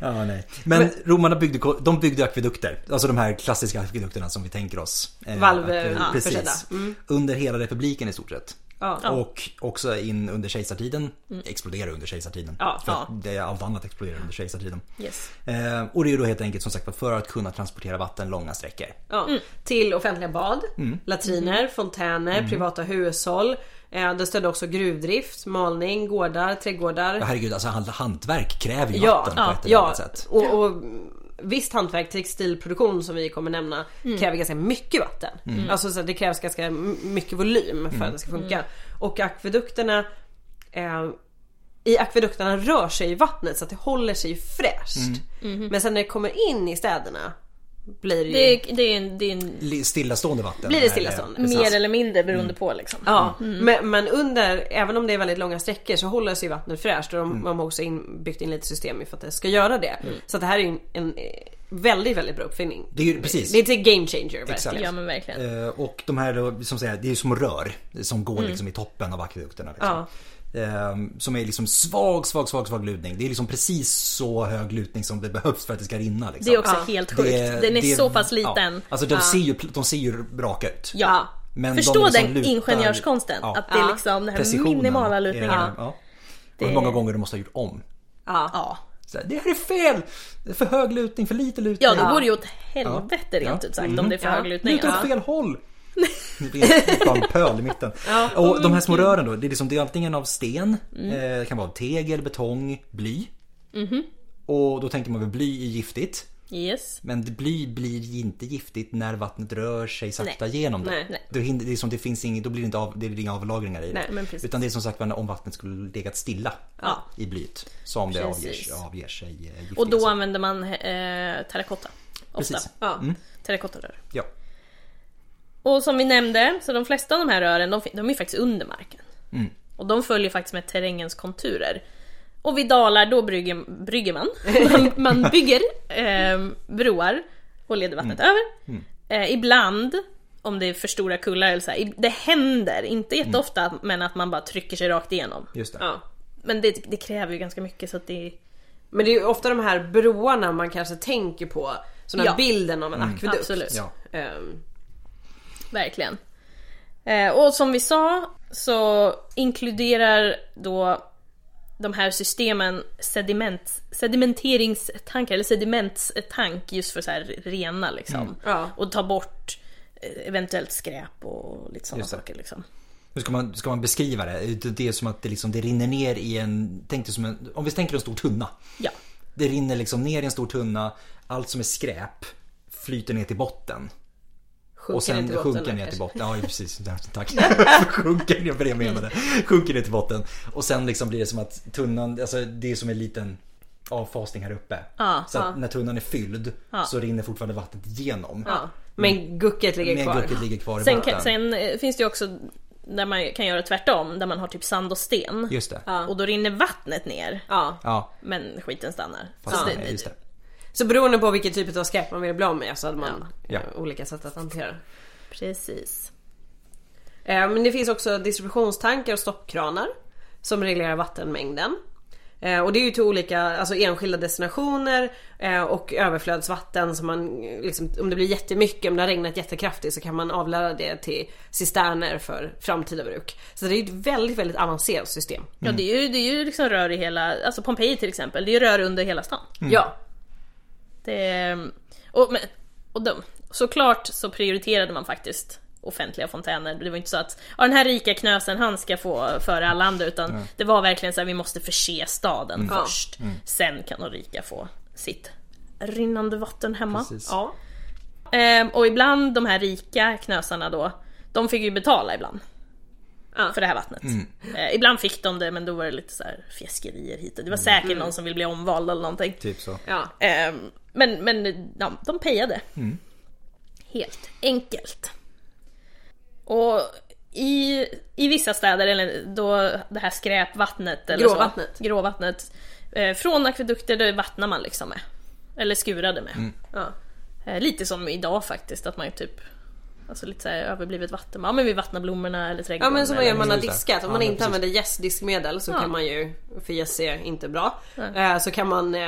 [SPEAKER 1] Ja, nej. Men, romarna byggde, ko- de byggde akvedukter, alltså de här klassiska akvedukterna som vi tänker oss. Eh,
[SPEAKER 2] Valv-
[SPEAKER 1] att, eh,
[SPEAKER 2] ja, försedda. Mm.
[SPEAKER 1] precis. Under hela republiken i stort sett.
[SPEAKER 2] Ja.
[SPEAKER 1] Och också in under kejsartiden. Explodera under kejsartiden.
[SPEAKER 2] Ja,
[SPEAKER 1] för
[SPEAKER 3] ja.
[SPEAKER 1] att Det, allt annat exploderar under kejsartiden.
[SPEAKER 3] Yes.
[SPEAKER 1] Eh, och det är ju då helt enkelt som sagt var, för att kunna transportera vatten långa sträckor.
[SPEAKER 2] Ja.
[SPEAKER 3] Mm.
[SPEAKER 2] Till offentliga bad, latriner, fontäner,
[SPEAKER 3] Mm.
[SPEAKER 2] privata hushåll. Eh, Det stödde också gruvdrift, malning, gårdar, trädgårdar.
[SPEAKER 1] Ja, herregud, alltså hand- hantverk kräver ju
[SPEAKER 2] Ja,
[SPEAKER 1] vatten på ett eller
[SPEAKER 2] Ja,
[SPEAKER 1] annat sätt.
[SPEAKER 2] och, och visst hantverk, textilproduktion som vi kommer nämna
[SPEAKER 3] Mm.
[SPEAKER 2] kräver ganska mycket vatten.
[SPEAKER 1] Mm.
[SPEAKER 2] Alltså så att det krävs ganska m- mycket volym för att det ska funka.
[SPEAKER 3] Mm.
[SPEAKER 2] Och akvedukterna eh, i akvedukterna rör sig i vattnet så att det håller sig ju fräscht.
[SPEAKER 1] Mm.
[SPEAKER 2] Men sen när det kommer in i städerna blir det,
[SPEAKER 3] Mm-hmm. Det,
[SPEAKER 2] ju,
[SPEAKER 3] är- det är en, det är en
[SPEAKER 1] Li- Stillastående vatten.
[SPEAKER 2] blir det
[SPEAKER 1] Eh,
[SPEAKER 2] stillastående.
[SPEAKER 3] mer eller mindre beroende
[SPEAKER 1] Mm.
[SPEAKER 3] på liksom.
[SPEAKER 2] Ja, Mm. men, men under, även om det är väldigt långa sträckor så håller sig vattnet fräscht och de,
[SPEAKER 1] Mm.
[SPEAKER 2] de har också in, byggt in lite system för att det ska göra det. Så att det här är ju en, en eh, väldigt, väldigt bra uppfinning.
[SPEAKER 1] Det är ju precis.
[SPEAKER 2] Det är ett game changer
[SPEAKER 1] Exakt.
[SPEAKER 2] verkligen.
[SPEAKER 3] Ja men verkligen. Mm.
[SPEAKER 1] Eh, Och de här då, som säger, det är ju som rör som går liksom i toppen av akvedukterna. Liksom. Eh, Som är liksom svag, svag, svag, svag lutning. Det är liksom precis så hög lutning som det behövs för att det ska rinna. Liksom.
[SPEAKER 3] Det är också
[SPEAKER 2] Ja.
[SPEAKER 3] helt sjukt. Den är
[SPEAKER 1] det
[SPEAKER 3] så pass
[SPEAKER 1] ja.
[SPEAKER 3] liten.
[SPEAKER 1] Alltså de, ser ju, de ser ju raka ut.
[SPEAKER 3] Ja.
[SPEAKER 1] Men
[SPEAKER 3] Förstå
[SPEAKER 1] de liksom
[SPEAKER 3] den
[SPEAKER 1] lutar-
[SPEAKER 3] ingenjörskonsten.
[SPEAKER 1] Ja.
[SPEAKER 3] Att det är
[SPEAKER 2] Ja.
[SPEAKER 3] liksom den här
[SPEAKER 1] Precisionen
[SPEAKER 3] minimala
[SPEAKER 1] är-
[SPEAKER 3] lutningen.
[SPEAKER 1] Ja. Och hur många gånger du måste ha gjort om.
[SPEAKER 2] Ja.
[SPEAKER 3] Ja.
[SPEAKER 1] Så här, det här är fel! Det är för hög lutning, för lite lutning.
[SPEAKER 3] Ja, då går det ju åt helvete
[SPEAKER 1] Ja. Mm.
[SPEAKER 3] rent
[SPEAKER 1] Ja.
[SPEAKER 3] ut sagt om det är för hög lutning.
[SPEAKER 1] Lutar åt
[SPEAKER 3] Ja.
[SPEAKER 1] fel håll! Ni vet, Bara en pöl i mitten. Och de här små rören då, det är, liksom, det är antingen av sten, eh, det kan vara av tegel, betong, bly. Och då tänker man väl bly är giftigt.
[SPEAKER 3] Yes.
[SPEAKER 1] Men det- bly blir ju inte giftigt när vattnet rör sig sakta genom det.
[SPEAKER 2] Nej,
[SPEAKER 1] Nej,
[SPEAKER 2] nej.
[SPEAKER 1] Då, hinner, det är som det finns inget, då blir det, inte av, det blir inga avlagringar i det.
[SPEAKER 2] Nej,
[SPEAKER 3] men precis.
[SPEAKER 1] Utan det är som sagt var när- om vattnet skulle legat stilla
[SPEAKER 2] Ja.
[SPEAKER 1] i blyet. Som det avger,
[SPEAKER 3] Precis.
[SPEAKER 1] avger sig eh, giftiga
[SPEAKER 3] Och då
[SPEAKER 1] saker.
[SPEAKER 3] använder man eh, terrakotta. Ofta.
[SPEAKER 1] Precis. Mm.
[SPEAKER 2] Ja.
[SPEAKER 3] Terrakottarör.
[SPEAKER 1] Ja.
[SPEAKER 3] Och som vi nämnde, så de flesta av de här rören, de, fin- de är faktiskt under marken. Och de följer faktiskt med terrängens konturer. Och vid dalar, då brygger, brygger man. man. Man bygger eh, broar och leder vattnet över. Eh, ibland, om det är för stora kullar eller så här, i- det händer, inte jätteofta, men att man bara trycker sig rakt igenom.
[SPEAKER 1] Just det.
[SPEAKER 2] Ja.
[SPEAKER 3] Men det, det kräver ju ganska mycket så att det...
[SPEAKER 2] Men det är ju ofta de här broarna man kanske tänker på. Så den här
[SPEAKER 3] Ja.
[SPEAKER 2] bilden av en akvedukt.
[SPEAKER 3] Absolut.
[SPEAKER 1] Mm. Ja.
[SPEAKER 2] Ehm,
[SPEAKER 3] Verkligen. Eh, och som vi sa så inkluderar då de här systemen sediment, sedimenteringstankar, eller sedimentstank just för så här rena liksom.
[SPEAKER 1] Mm.
[SPEAKER 2] Ja.
[SPEAKER 3] Och ta bort eh, eventuellt skräp och lite sådana
[SPEAKER 1] Just det.
[SPEAKER 3] saker liksom.
[SPEAKER 1] Hur ska man, ska man beskriva det? Det det är som att det, liksom, det rinner ner i en, tänk dig som en, om vi tänker en stor tunna.
[SPEAKER 3] Ja.
[SPEAKER 1] Det rinner liksom ner i en stor tunna, allt som är skräp flyter ner till botten.
[SPEAKER 2] sjunker
[SPEAKER 1] Och sen
[SPEAKER 2] ner till
[SPEAKER 1] sjunker
[SPEAKER 2] botten,
[SPEAKER 1] ner till
[SPEAKER 2] kanske.
[SPEAKER 1] botten. Ja, precis. Där, Tack. sjunker ner, för det jag menade. Sjunker ner till botten. Och sen liksom blir det som att tunnan, alltså det är som en liten avfasning här uppe.
[SPEAKER 3] Ja,
[SPEAKER 1] så att när tunnan är fylld så rinner fortfarande vattnet igenom.
[SPEAKER 2] Ja. Men gucket ligger
[SPEAKER 1] Men
[SPEAKER 2] kvar.
[SPEAKER 1] gucket ligger kvar i
[SPEAKER 3] Sen,
[SPEAKER 1] botten.
[SPEAKER 3] kan, sen eh, finns det ju också där man kan göra tvärtom, där man har typ sand och sten.
[SPEAKER 1] Just det. Ja.
[SPEAKER 3] Och då rinner vattnet ner,
[SPEAKER 2] Ja.
[SPEAKER 3] men skiten stannar.
[SPEAKER 1] fast
[SPEAKER 3] Så
[SPEAKER 1] nej, just det.
[SPEAKER 2] Så beroende på vilken typ av skräp man vill bli av med så hade man
[SPEAKER 1] Ja.
[SPEAKER 2] eh, olika sätt att hantera det.
[SPEAKER 3] Precis.
[SPEAKER 2] Eh, Men det finns också distributionstankar och stoppkranar som reglerar vattenmängden. Eh, Och det är ju till olika, alltså enskilda destinationer eh, och överflödsvatten som man eh, liksom, om det blir jättemycket, om det har regnat jättekraftigt så kan man avlära det till cisterner för framtida bruk. Så det är ju ett väldigt, väldigt avancerat system.
[SPEAKER 3] Ja det är ju, det är ju liksom rör i hela, alltså Pompeji till exempel, det är ju rör under hela stan.
[SPEAKER 2] Ja.
[SPEAKER 3] Det är, och, men, och de, såklart så prioriterade man faktiskt offentliga fontäner. Det var inte så att ja, den här rika knösen han ska få före alla andra utan det var verkligen så här vi måste förse staden
[SPEAKER 2] Ja.
[SPEAKER 3] först. Sen kan de rika få sitt rinnande vatten hemma.
[SPEAKER 1] Precis.
[SPEAKER 2] Ja.
[SPEAKER 3] Ehm, och ibland de här rika knösarna då, de fick ju betala ibland.
[SPEAKER 2] Ja.
[SPEAKER 3] För det här vattnet. Eh, ibland fick de det men då var det lite så här fjäskerier hit och det var säkert någon som ville bli omvald eller någonting.
[SPEAKER 1] Typ så.
[SPEAKER 2] Ja.
[SPEAKER 3] Ehm, men men ja, de pejade. Helt enkelt. Och i, i vissa städer, eller då det här skräpvattnet eller
[SPEAKER 2] Gråvattnet.
[SPEAKER 3] Så, gråvattnet eh, från akvedukter det vattnar man liksom med. Eller skurade med.
[SPEAKER 2] Ja.
[SPEAKER 3] Eh, lite som idag faktiskt, att man typ Alltså lite så här överblivet vatten. Ja men vi vattnar blommorna eller
[SPEAKER 2] Ja
[SPEAKER 3] trädgården.
[SPEAKER 2] men som man gör
[SPEAKER 3] eller...
[SPEAKER 2] man har
[SPEAKER 1] Just det.
[SPEAKER 2] diskat. Om
[SPEAKER 1] Ja,
[SPEAKER 2] man
[SPEAKER 1] men
[SPEAKER 2] inte
[SPEAKER 1] precis.
[SPEAKER 2] använder jästdiskmedel så
[SPEAKER 3] Ja.
[SPEAKER 2] kan man ju, för jäst är inte bra, eh, så kan man eh,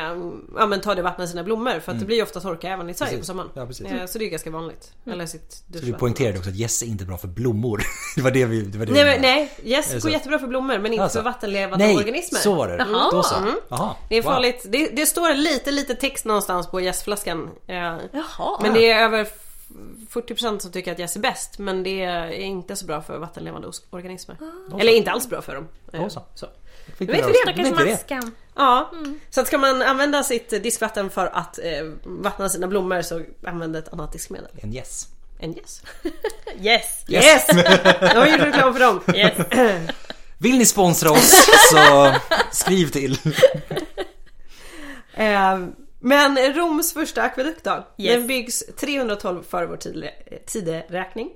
[SPEAKER 2] ja, men ta det vattnet i sina blommor för att det blir ju ofta torka även i Sverige
[SPEAKER 1] Mm. Precis.
[SPEAKER 2] på sommaren.
[SPEAKER 1] Ja, precis.
[SPEAKER 2] Eh, Så det är ju ganska vanligt. Eller sitt
[SPEAKER 1] Du
[SPEAKER 2] duschvatten.
[SPEAKER 1] poängterade också att gäss är inte bra för blommor. Det var det vi... Det var det
[SPEAKER 2] Nej,
[SPEAKER 1] vi
[SPEAKER 2] men, nej jäst
[SPEAKER 1] Är det
[SPEAKER 2] går
[SPEAKER 1] så?
[SPEAKER 2] jättebra för blommor men inte
[SPEAKER 1] Alltså.
[SPEAKER 2] för vattenlevande
[SPEAKER 1] nej,
[SPEAKER 2] organismer.
[SPEAKER 1] så var det.
[SPEAKER 3] Jaha.
[SPEAKER 1] Då så.
[SPEAKER 2] Mm.
[SPEAKER 1] Jaha.
[SPEAKER 2] Det är
[SPEAKER 1] Wow.
[SPEAKER 2] farligt. Det, det står lite lite text någonstans på jästflaskan. Eh,
[SPEAKER 3] Jaha.
[SPEAKER 2] Men det är över f- 40% som tycker att jäst är bäst men det är inte så bra för vattenlevande os- organismer. Eller inte alls bra för dem. Eh,
[SPEAKER 1] Då så.
[SPEAKER 2] Så.
[SPEAKER 1] Fick
[SPEAKER 2] Vet
[SPEAKER 1] vi det?
[SPEAKER 2] du det?
[SPEAKER 1] Vet
[SPEAKER 3] Stackars
[SPEAKER 1] du det?
[SPEAKER 3] maskan.
[SPEAKER 2] Ja,
[SPEAKER 3] Mm.
[SPEAKER 2] så att ska man använda sitt eh, diskvatten för att eh, vattna sina blommor så använd ett annat diskmedel
[SPEAKER 1] En gäss.
[SPEAKER 2] än yes.
[SPEAKER 3] Yes!
[SPEAKER 2] Yes! Jag har gjort reklam för dem.
[SPEAKER 3] yes.
[SPEAKER 1] Vill ni sponsra oss så skriv till.
[SPEAKER 2] Eh, men Roms första akvedukt då?
[SPEAKER 3] Yes.
[SPEAKER 2] Den byggs 312 före vår tidre- tideräkning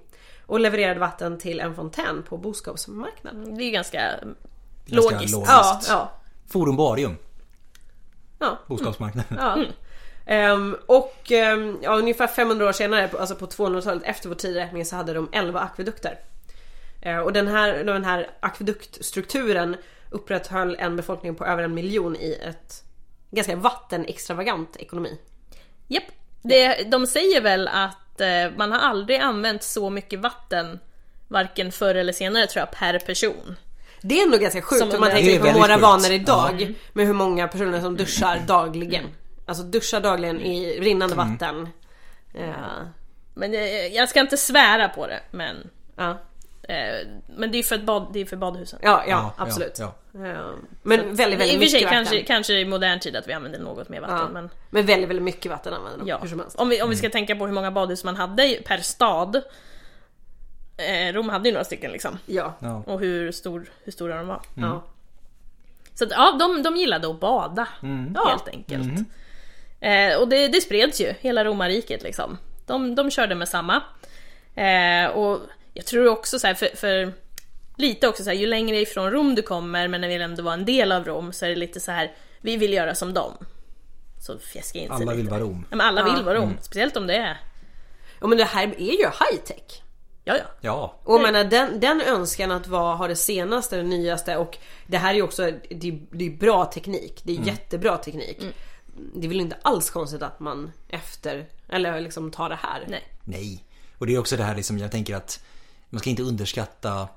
[SPEAKER 2] och levererade vatten till en fontän på boskapsmarknaden.
[SPEAKER 3] Det är ju ganska
[SPEAKER 1] Ganska
[SPEAKER 3] logiskt.
[SPEAKER 1] logiskt.
[SPEAKER 2] Ja, ja,
[SPEAKER 1] Forum Barium,
[SPEAKER 2] ja.
[SPEAKER 1] boskapsmarknaden.
[SPEAKER 2] Ja.
[SPEAKER 3] Mm.
[SPEAKER 2] Ehm, och ehm, ja, ungefär 500 år senare, på- alltså på 200-talet efter vår tideräkning så hade de 11 akvedukter. Eh, och den här, den här akveduktstrukturen upprätthöll en befolkning på över en miljon i ett ganska vattenextravagant ekonomi.
[SPEAKER 3] Japp. Det, de säger väl att eh, man har aldrig använt så mycket vatten varken förr eller senare tror jag, per person.
[SPEAKER 2] Det är nog ganska
[SPEAKER 3] Som
[SPEAKER 2] sjukt om
[SPEAKER 3] under-
[SPEAKER 2] man
[SPEAKER 3] Det är
[SPEAKER 2] tänker på
[SPEAKER 1] väldigt
[SPEAKER 2] våra
[SPEAKER 1] sjukt.
[SPEAKER 2] vanor idag med hur många personer som duschar
[SPEAKER 3] Mm.
[SPEAKER 2] dagligen. Alltså duschar dagligen i rinnande vatten. Eh,
[SPEAKER 3] Men eh, jag ska inte svära på det, men,
[SPEAKER 2] ja.
[SPEAKER 3] eh, men det är ju för, ett bad, det är för badhusen.
[SPEAKER 2] Ja, ja,
[SPEAKER 1] Ja, ja,
[SPEAKER 2] absolut.
[SPEAKER 1] ja.
[SPEAKER 2] Eh, Men väldigt,
[SPEAKER 3] I
[SPEAKER 2] väldigt
[SPEAKER 3] och för sig
[SPEAKER 2] mycket vatten.
[SPEAKER 3] kanske, kanske i modern tid att vi använder något mer vatten.
[SPEAKER 2] Ja.
[SPEAKER 3] Men,
[SPEAKER 2] Men... väldigt, väldigt mycket vatten använder de.
[SPEAKER 3] ja.
[SPEAKER 2] Hur som helst. Mm.
[SPEAKER 3] om, vi, om vi ska tänka på hur många badhus man hade i- per stad. Eh, Rom hade ju några stycken liksom.
[SPEAKER 2] Ja. ja. Mm.
[SPEAKER 1] Ja.
[SPEAKER 3] Och hur, stor, hur stora de var. Så att, ja, de, de gillade att bada
[SPEAKER 1] Mm.
[SPEAKER 3] helt enkelt. Eh, och det, det spreds ju, hela romarriket liksom. De, de körde med samma. Eh, och jag tror också så här, för, för lite också så här, ju längre ifrån Rom du kommer, men när vi ändå var en del av Rom, så är det lite så här, vi vill göra som dem. Så fjäska in sig
[SPEAKER 1] Alla
[SPEAKER 3] lite.
[SPEAKER 1] vill vara Mm. Rom.
[SPEAKER 3] Ja, men alla
[SPEAKER 2] Ja.
[SPEAKER 3] vill vara Rom, speciellt om det är...
[SPEAKER 2] Ja, men det här är ju high tech.
[SPEAKER 3] Ja, ja.
[SPEAKER 1] Ja,
[SPEAKER 2] Och jag menar den, den önskan att vara, ha det senaste, det nyaste och det här är ju också, det, är- det är bra teknik. Det är jättebra teknik.
[SPEAKER 3] Mm.
[SPEAKER 2] Det är väl inte alls konstigt att man efter, eller liksom tar det här.
[SPEAKER 3] Nej.
[SPEAKER 1] Nej. Och det är också det här liksom, jag tänker att man ska inte underskatta,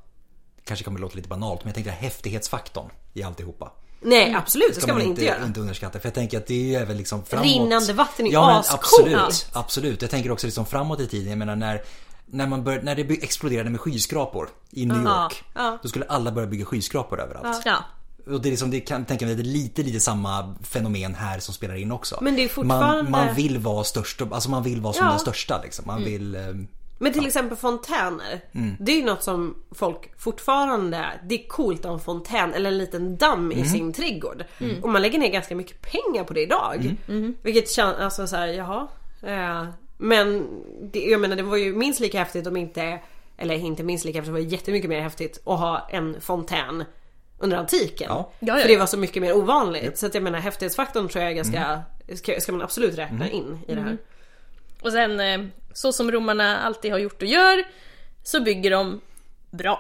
[SPEAKER 1] kanske kommer det låta lite banalt, men jag tänker häftighetsfaktorn i alltihopa.
[SPEAKER 2] Nej
[SPEAKER 3] Mm.
[SPEAKER 2] absolut, det ska man, inte göra.
[SPEAKER 1] inte underskatta. För jag tänker att det är ju även liksom framåt.
[SPEAKER 2] Rinnande vatten är ju
[SPEAKER 1] ja, men
[SPEAKER 2] ascoolt.
[SPEAKER 1] absolut, absolut. Jag tänker också liksom framåt i tiden. Jag menar när, när, man bör, när det by- exploderade med skyskrapor i New York.
[SPEAKER 2] ja.
[SPEAKER 1] Då skulle alla börja bygga skyskrapor överallt.
[SPEAKER 3] Ja.
[SPEAKER 1] Och det är liksom, det kan tänka mig, det är lite, lite samma fenomen här som spelar in också.
[SPEAKER 2] Men det är fortfarande-
[SPEAKER 1] Man, man vill vara störst, och- alltså man vill vara som
[SPEAKER 2] Ja. Mm.
[SPEAKER 1] den största liksom. Man vill... ehm,
[SPEAKER 2] Men till exempel fontäner. Det är ju något som folk fortfarande, det är coolt att ha en fontän eller en liten damm i sin trädgård.
[SPEAKER 3] Mm.
[SPEAKER 2] Och man lägger ner ganska mycket pengar på det idag. Vilket känns, alltså såhär, jaha. Eh, men det, jag menar det var ju minst lika häftigt om inte, eller inte minst lika häftigt, det var jättemycket mer häftigt att ha en fontän under antiken.
[SPEAKER 1] Ja.
[SPEAKER 3] Ja, ja,
[SPEAKER 2] För det
[SPEAKER 3] ja.
[SPEAKER 2] var så mycket mer ovanligt. Så att jag menar häftighetsfaktorn tror jag är ganska, ska, ska man absolut räkna in i det
[SPEAKER 3] Mm.
[SPEAKER 2] här.
[SPEAKER 3] Och sen, eh, så som romarna alltid har gjort och gör, så bygger de bra.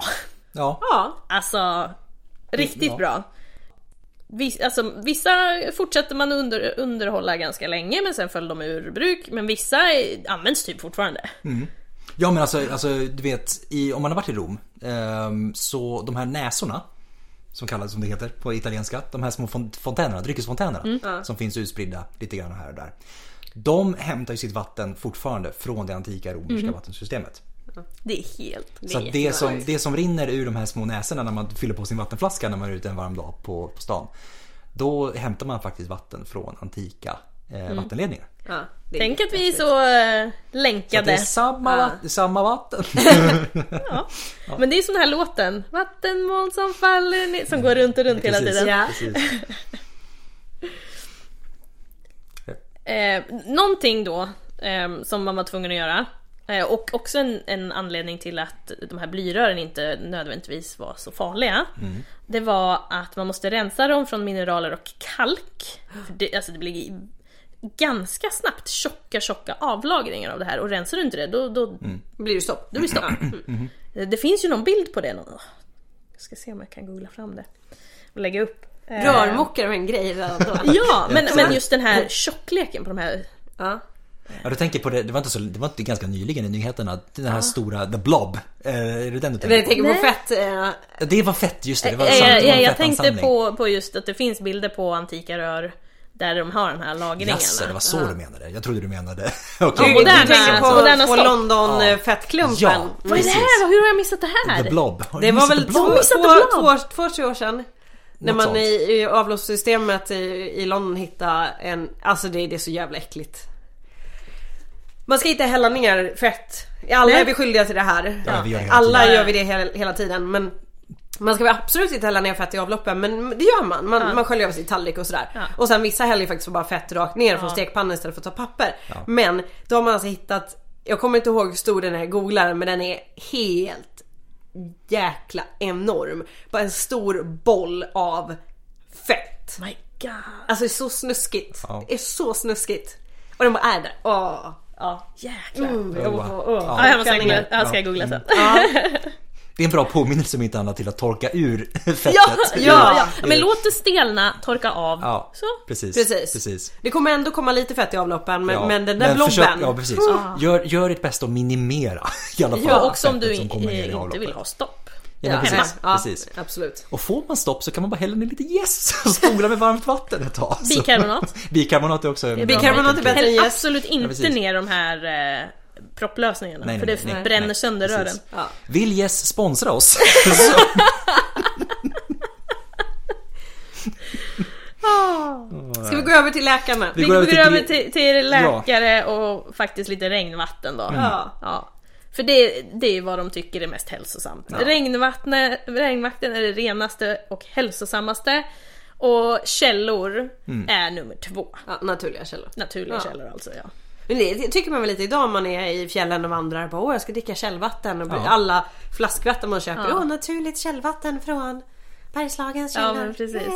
[SPEAKER 1] Ja.
[SPEAKER 2] Ja,
[SPEAKER 3] Alltså, riktigt
[SPEAKER 1] Ja.
[SPEAKER 3] bra. Vis, alltså, vissa fortsätter man under, underhålla ganska länge men sen föll de ur bruk. Men vissa eh, används typ fortfarande.
[SPEAKER 1] Ja men alltså, alltså du vet, i, om man har varit i Rom ehm, så de här näsorna som kallas som det heter på italienska. De här små fon- fontänerna, dryckesfontänerna som finns utspridda lite grann här och där. De hämtar ju sitt vatten fortfarande från det antika romerska vattensystemet.
[SPEAKER 3] Det är helt...
[SPEAKER 1] Så att det,
[SPEAKER 2] jättebra.
[SPEAKER 1] som, det som rinner ur de här små näsorna när man fyller på sin vattenflaska när man är ute en varm dag på, på stan. Då hämtar man faktiskt vatten från antika eh, vattenledningar.
[SPEAKER 2] Ja, det är
[SPEAKER 3] Tänk att vi är
[SPEAKER 2] jättehäftigt.
[SPEAKER 3] så eh,
[SPEAKER 1] Så att det är
[SPEAKER 3] länkade.
[SPEAKER 1] samma,
[SPEAKER 2] Ja.
[SPEAKER 1] vatten, samma vatten.
[SPEAKER 3] Ja. Men det är sån här låten. Vattenmoln som faller ner, Som går runt och runt hela
[SPEAKER 1] Precis.
[SPEAKER 3] tiden.
[SPEAKER 2] Ja.
[SPEAKER 1] Precis.
[SPEAKER 3] Eh, någonting då ehm, som man var tvungen att göra. Eh, och också en, en anledning till att de här blyrören inte nödvändigtvis var så farliga. Det var att man måste rensa dem från mineraler och kalk. För det, alltså det blir i- ganska snabbt tjocka, tjocka avlagringar av det här. Och rensar du inte det då... då
[SPEAKER 2] Blir det stopp? Då blir det stopp. Mm.
[SPEAKER 3] Det finns ju någon bild på det. Någon, jag ska se om jag kan googla fram det. Och lägga upp. Eh,
[SPEAKER 2] Rörmokare var en grej redan då.
[SPEAKER 3] Ja, men, men just den här tjockleken på de här
[SPEAKER 2] Ja.
[SPEAKER 1] Ja, du tänker på det, det var inte, så, det var inte ganska nyligen i nyheterna, den
[SPEAKER 3] Ah.
[SPEAKER 1] här stora The Blob. Eh, är det den du
[SPEAKER 2] Men
[SPEAKER 1] tänker
[SPEAKER 2] jag
[SPEAKER 1] på?
[SPEAKER 2] tänker
[SPEAKER 3] Nej.
[SPEAKER 2] på fett... Eh,
[SPEAKER 1] Ja, Det var fett, just det. det var
[SPEAKER 3] Eh,
[SPEAKER 1] sant, det var en
[SPEAKER 3] jag, jag tänkte
[SPEAKER 1] fettansamling.
[SPEAKER 3] på, på just att det finns bilder på antika rör där de har de här lagringarna.
[SPEAKER 1] Jaså, det var så du menade? Jag trodde du menade... Okej. alltså
[SPEAKER 2] du,
[SPEAKER 3] moderna-
[SPEAKER 2] du tänker
[SPEAKER 3] moderna
[SPEAKER 2] på, eh, på
[SPEAKER 3] stopp.
[SPEAKER 2] London-fettklumpen.
[SPEAKER 1] Ja.
[SPEAKER 3] Vad är det här? Hur har jag missat det här?
[SPEAKER 1] The Blob. Har
[SPEAKER 2] Det
[SPEAKER 1] du
[SPEAKER 2] var
[SPEAKER 1] missat
[SPEAKER 2] väl
[SPEAKER 1] The
[SPEAKER 2] två,
[SPEAKER 1] Blob?
[SPEAKER 3] Har du missat The
[SPEAKER 2] två,
[SPEAKER 3] Blob?
[SPEAKER 2] två, två, tre år sedan. När man
[SPEAKER 1] sånt.
[SPEAKER 2] i, i avloppssystemet i, i London hittade en, alltså det, det är så jävla äckligt. Man ska inte hälla ner fett. Alla
[SPEAKER 3] Nej.
[SPEAKER 2] är vi skyldiga till det här.
[SPEAKER 1] Ja, vi gör det hela
[SPEAKER 2] Alla
[SPEAKER 3] tiden.
[SPEAKER 2] gör vi det hela, hela tiden men man ska väl absolut inte hälla ner fett i avloppen men det gör man. Man, man sköljer över sin tallrik och sådär.
[SPEAKER 3] Ja.
[SPEAKER 2] Och sen vissa häller ju faktiskt bara fett rakt ner från stekpannan istället för att ta papper. Men då har man alltså hittat, jag kommer inte ihåg hur stor den här googlaren men den är helt jäkla enorm. Bara en stor boll av fett.
[SPEAKER 3] My God.
[SPEAKER 2] Alltså det är så snuskigt.
[SPEAKER 1] Ja.
[SPEAKER 2] Det är så snuskigt. Och den bara är där. Åh.
[SPEAKER 3] Ja, jäklar.
[SPEAKER 1] Ja, det var-
[SPEAKER 2] åh, åh.
[SPEAKER 1] ja.
[SPEAKER 3] Ja, jag måste
[SPEAKER 2] Kan
[SPEAKER 3] googla,
[SPEAKER 2] ingen-
[SPEAKER 3] jag ska googla
[SPEAKER 1] Mm.
[SPEAKER 3] sen.
[SPEAKER 1] Det är en bra påminnelse om inte annat till att torka ur fettet.
[SPEAKER 3] Ja, ja, ja.
[SPEAKER 1] Ur-
[SPEAKER 3] Men låt det stelna, torka av.
[SPEAKER 1] Ja,
[SPEAKER 3] Så.
[SPEAKER 1] precis.
[SPEAKER 2] Precis.
[SPEAKER 1] precis.
[SPEAKER 2] Det kommer ändå komma lite fett i avloppen men,
[SPEAKER 1] Ja,
[SPEAKER 2] men den där Mm. blobben.
[SPEAKER 1] försök- ja, precis. Gör, gör ditt bästa att minimera i alla fall.
[SPEAKER 3] Ah. Ja, också om du
[SPEAKER 1] fettet som kommer ner i
[SPEAKER 3] in, inte
[SPEAKER 1] avloppet.
[SPEAKER 3] vill ha stopp.
[SPEAKER 1] Ja, men
[SPEAKER 2] hemma.
[SPEAKER 1] precis.
[SPEAKER 2] Ja,
[SPEAKER 1] precis.
[SPEAKER 2] Absolut.
[SPEAKER 1] Och får man stopp så kan man bara hälla ner lite jäst och spola med varmt vatten ett tag. Så-
[SPEAKER 3] Bikarbonat.
[SPEAKER 1] Bikarbonat är också en bra
[SPEAKER 2] Bikarbonat är
[SPEAKER 1] metod.
[SPEAKER 2] bättre.
[SPEAKER 3] Häll
[SPEAKER 2] Yes.
[SPEAKER 3] absolut inte
[SPEAKER 1] precis.
[SPEAKER 3] ner de här eh, propplösningarna
[SPEAKER 1] Nej, nej,
[SPEAKER 3] för det
[SPEAKER 1] nej, nej,
[SPEAKER 3] bränner
[SPEAKER 1] nej.
[SPEAKER 3] sönder
[SPEAKER 1] Precis.
[SPEAKER 3] rören.
[SPEAKER 2] Ja.
[SPEAKER 1] Vill Jess sponsra oss? Så-
[SPEAKER 2] Ska vi gå över till läkarna?
[SPEAKER 1] Vi
[SPEAKER 3] Vi
[SPEAKER 1] går
[SPEAKER 3] går,
[SPEAKER 1] över till
[SPEAKER 3] över
[SPEAKER 1] gre-
[SPEAKER 3] till, till läkare och faktiskt lite regnvatten
[SPEAKER 1] Mm.
[SPEAKER 3] då.
[SPEAKER 2] Ja.
[SPEAKER 3] Ja. För det, det är vad de tycker är mest hälsosamt. Regnvattne, regnvatten är det renaste och hälsosammaste. Och källor
[SPEAKER 1] Mm.
[SPEAKER 3] är nummer två.
[SPEAKER 2] Ja, naturliga källor.
[SPEAKER 3] Naturliga
[SPEAKER 2] Ja.
[SPEAKER 3] källor alltså ja.
[SPEAKER 2] Men det tycker man väl lite idag om man är i fjällen och vandrar. Bara, Åh jag ska dricka källvatten. Och
[SPEAKER 1] Ja.
[SPEAKER 2] Alla flaskvatten man köper.
[SPEAKER 3] Ja.
[SPEAKER 2] Åh naturligt källvatten från Bergslagens
[SPEAKER 3] Ja,
[SPEAKER 2] källor.
[SPEAKER 3] men precis.
[SPEAKER 2] Eh.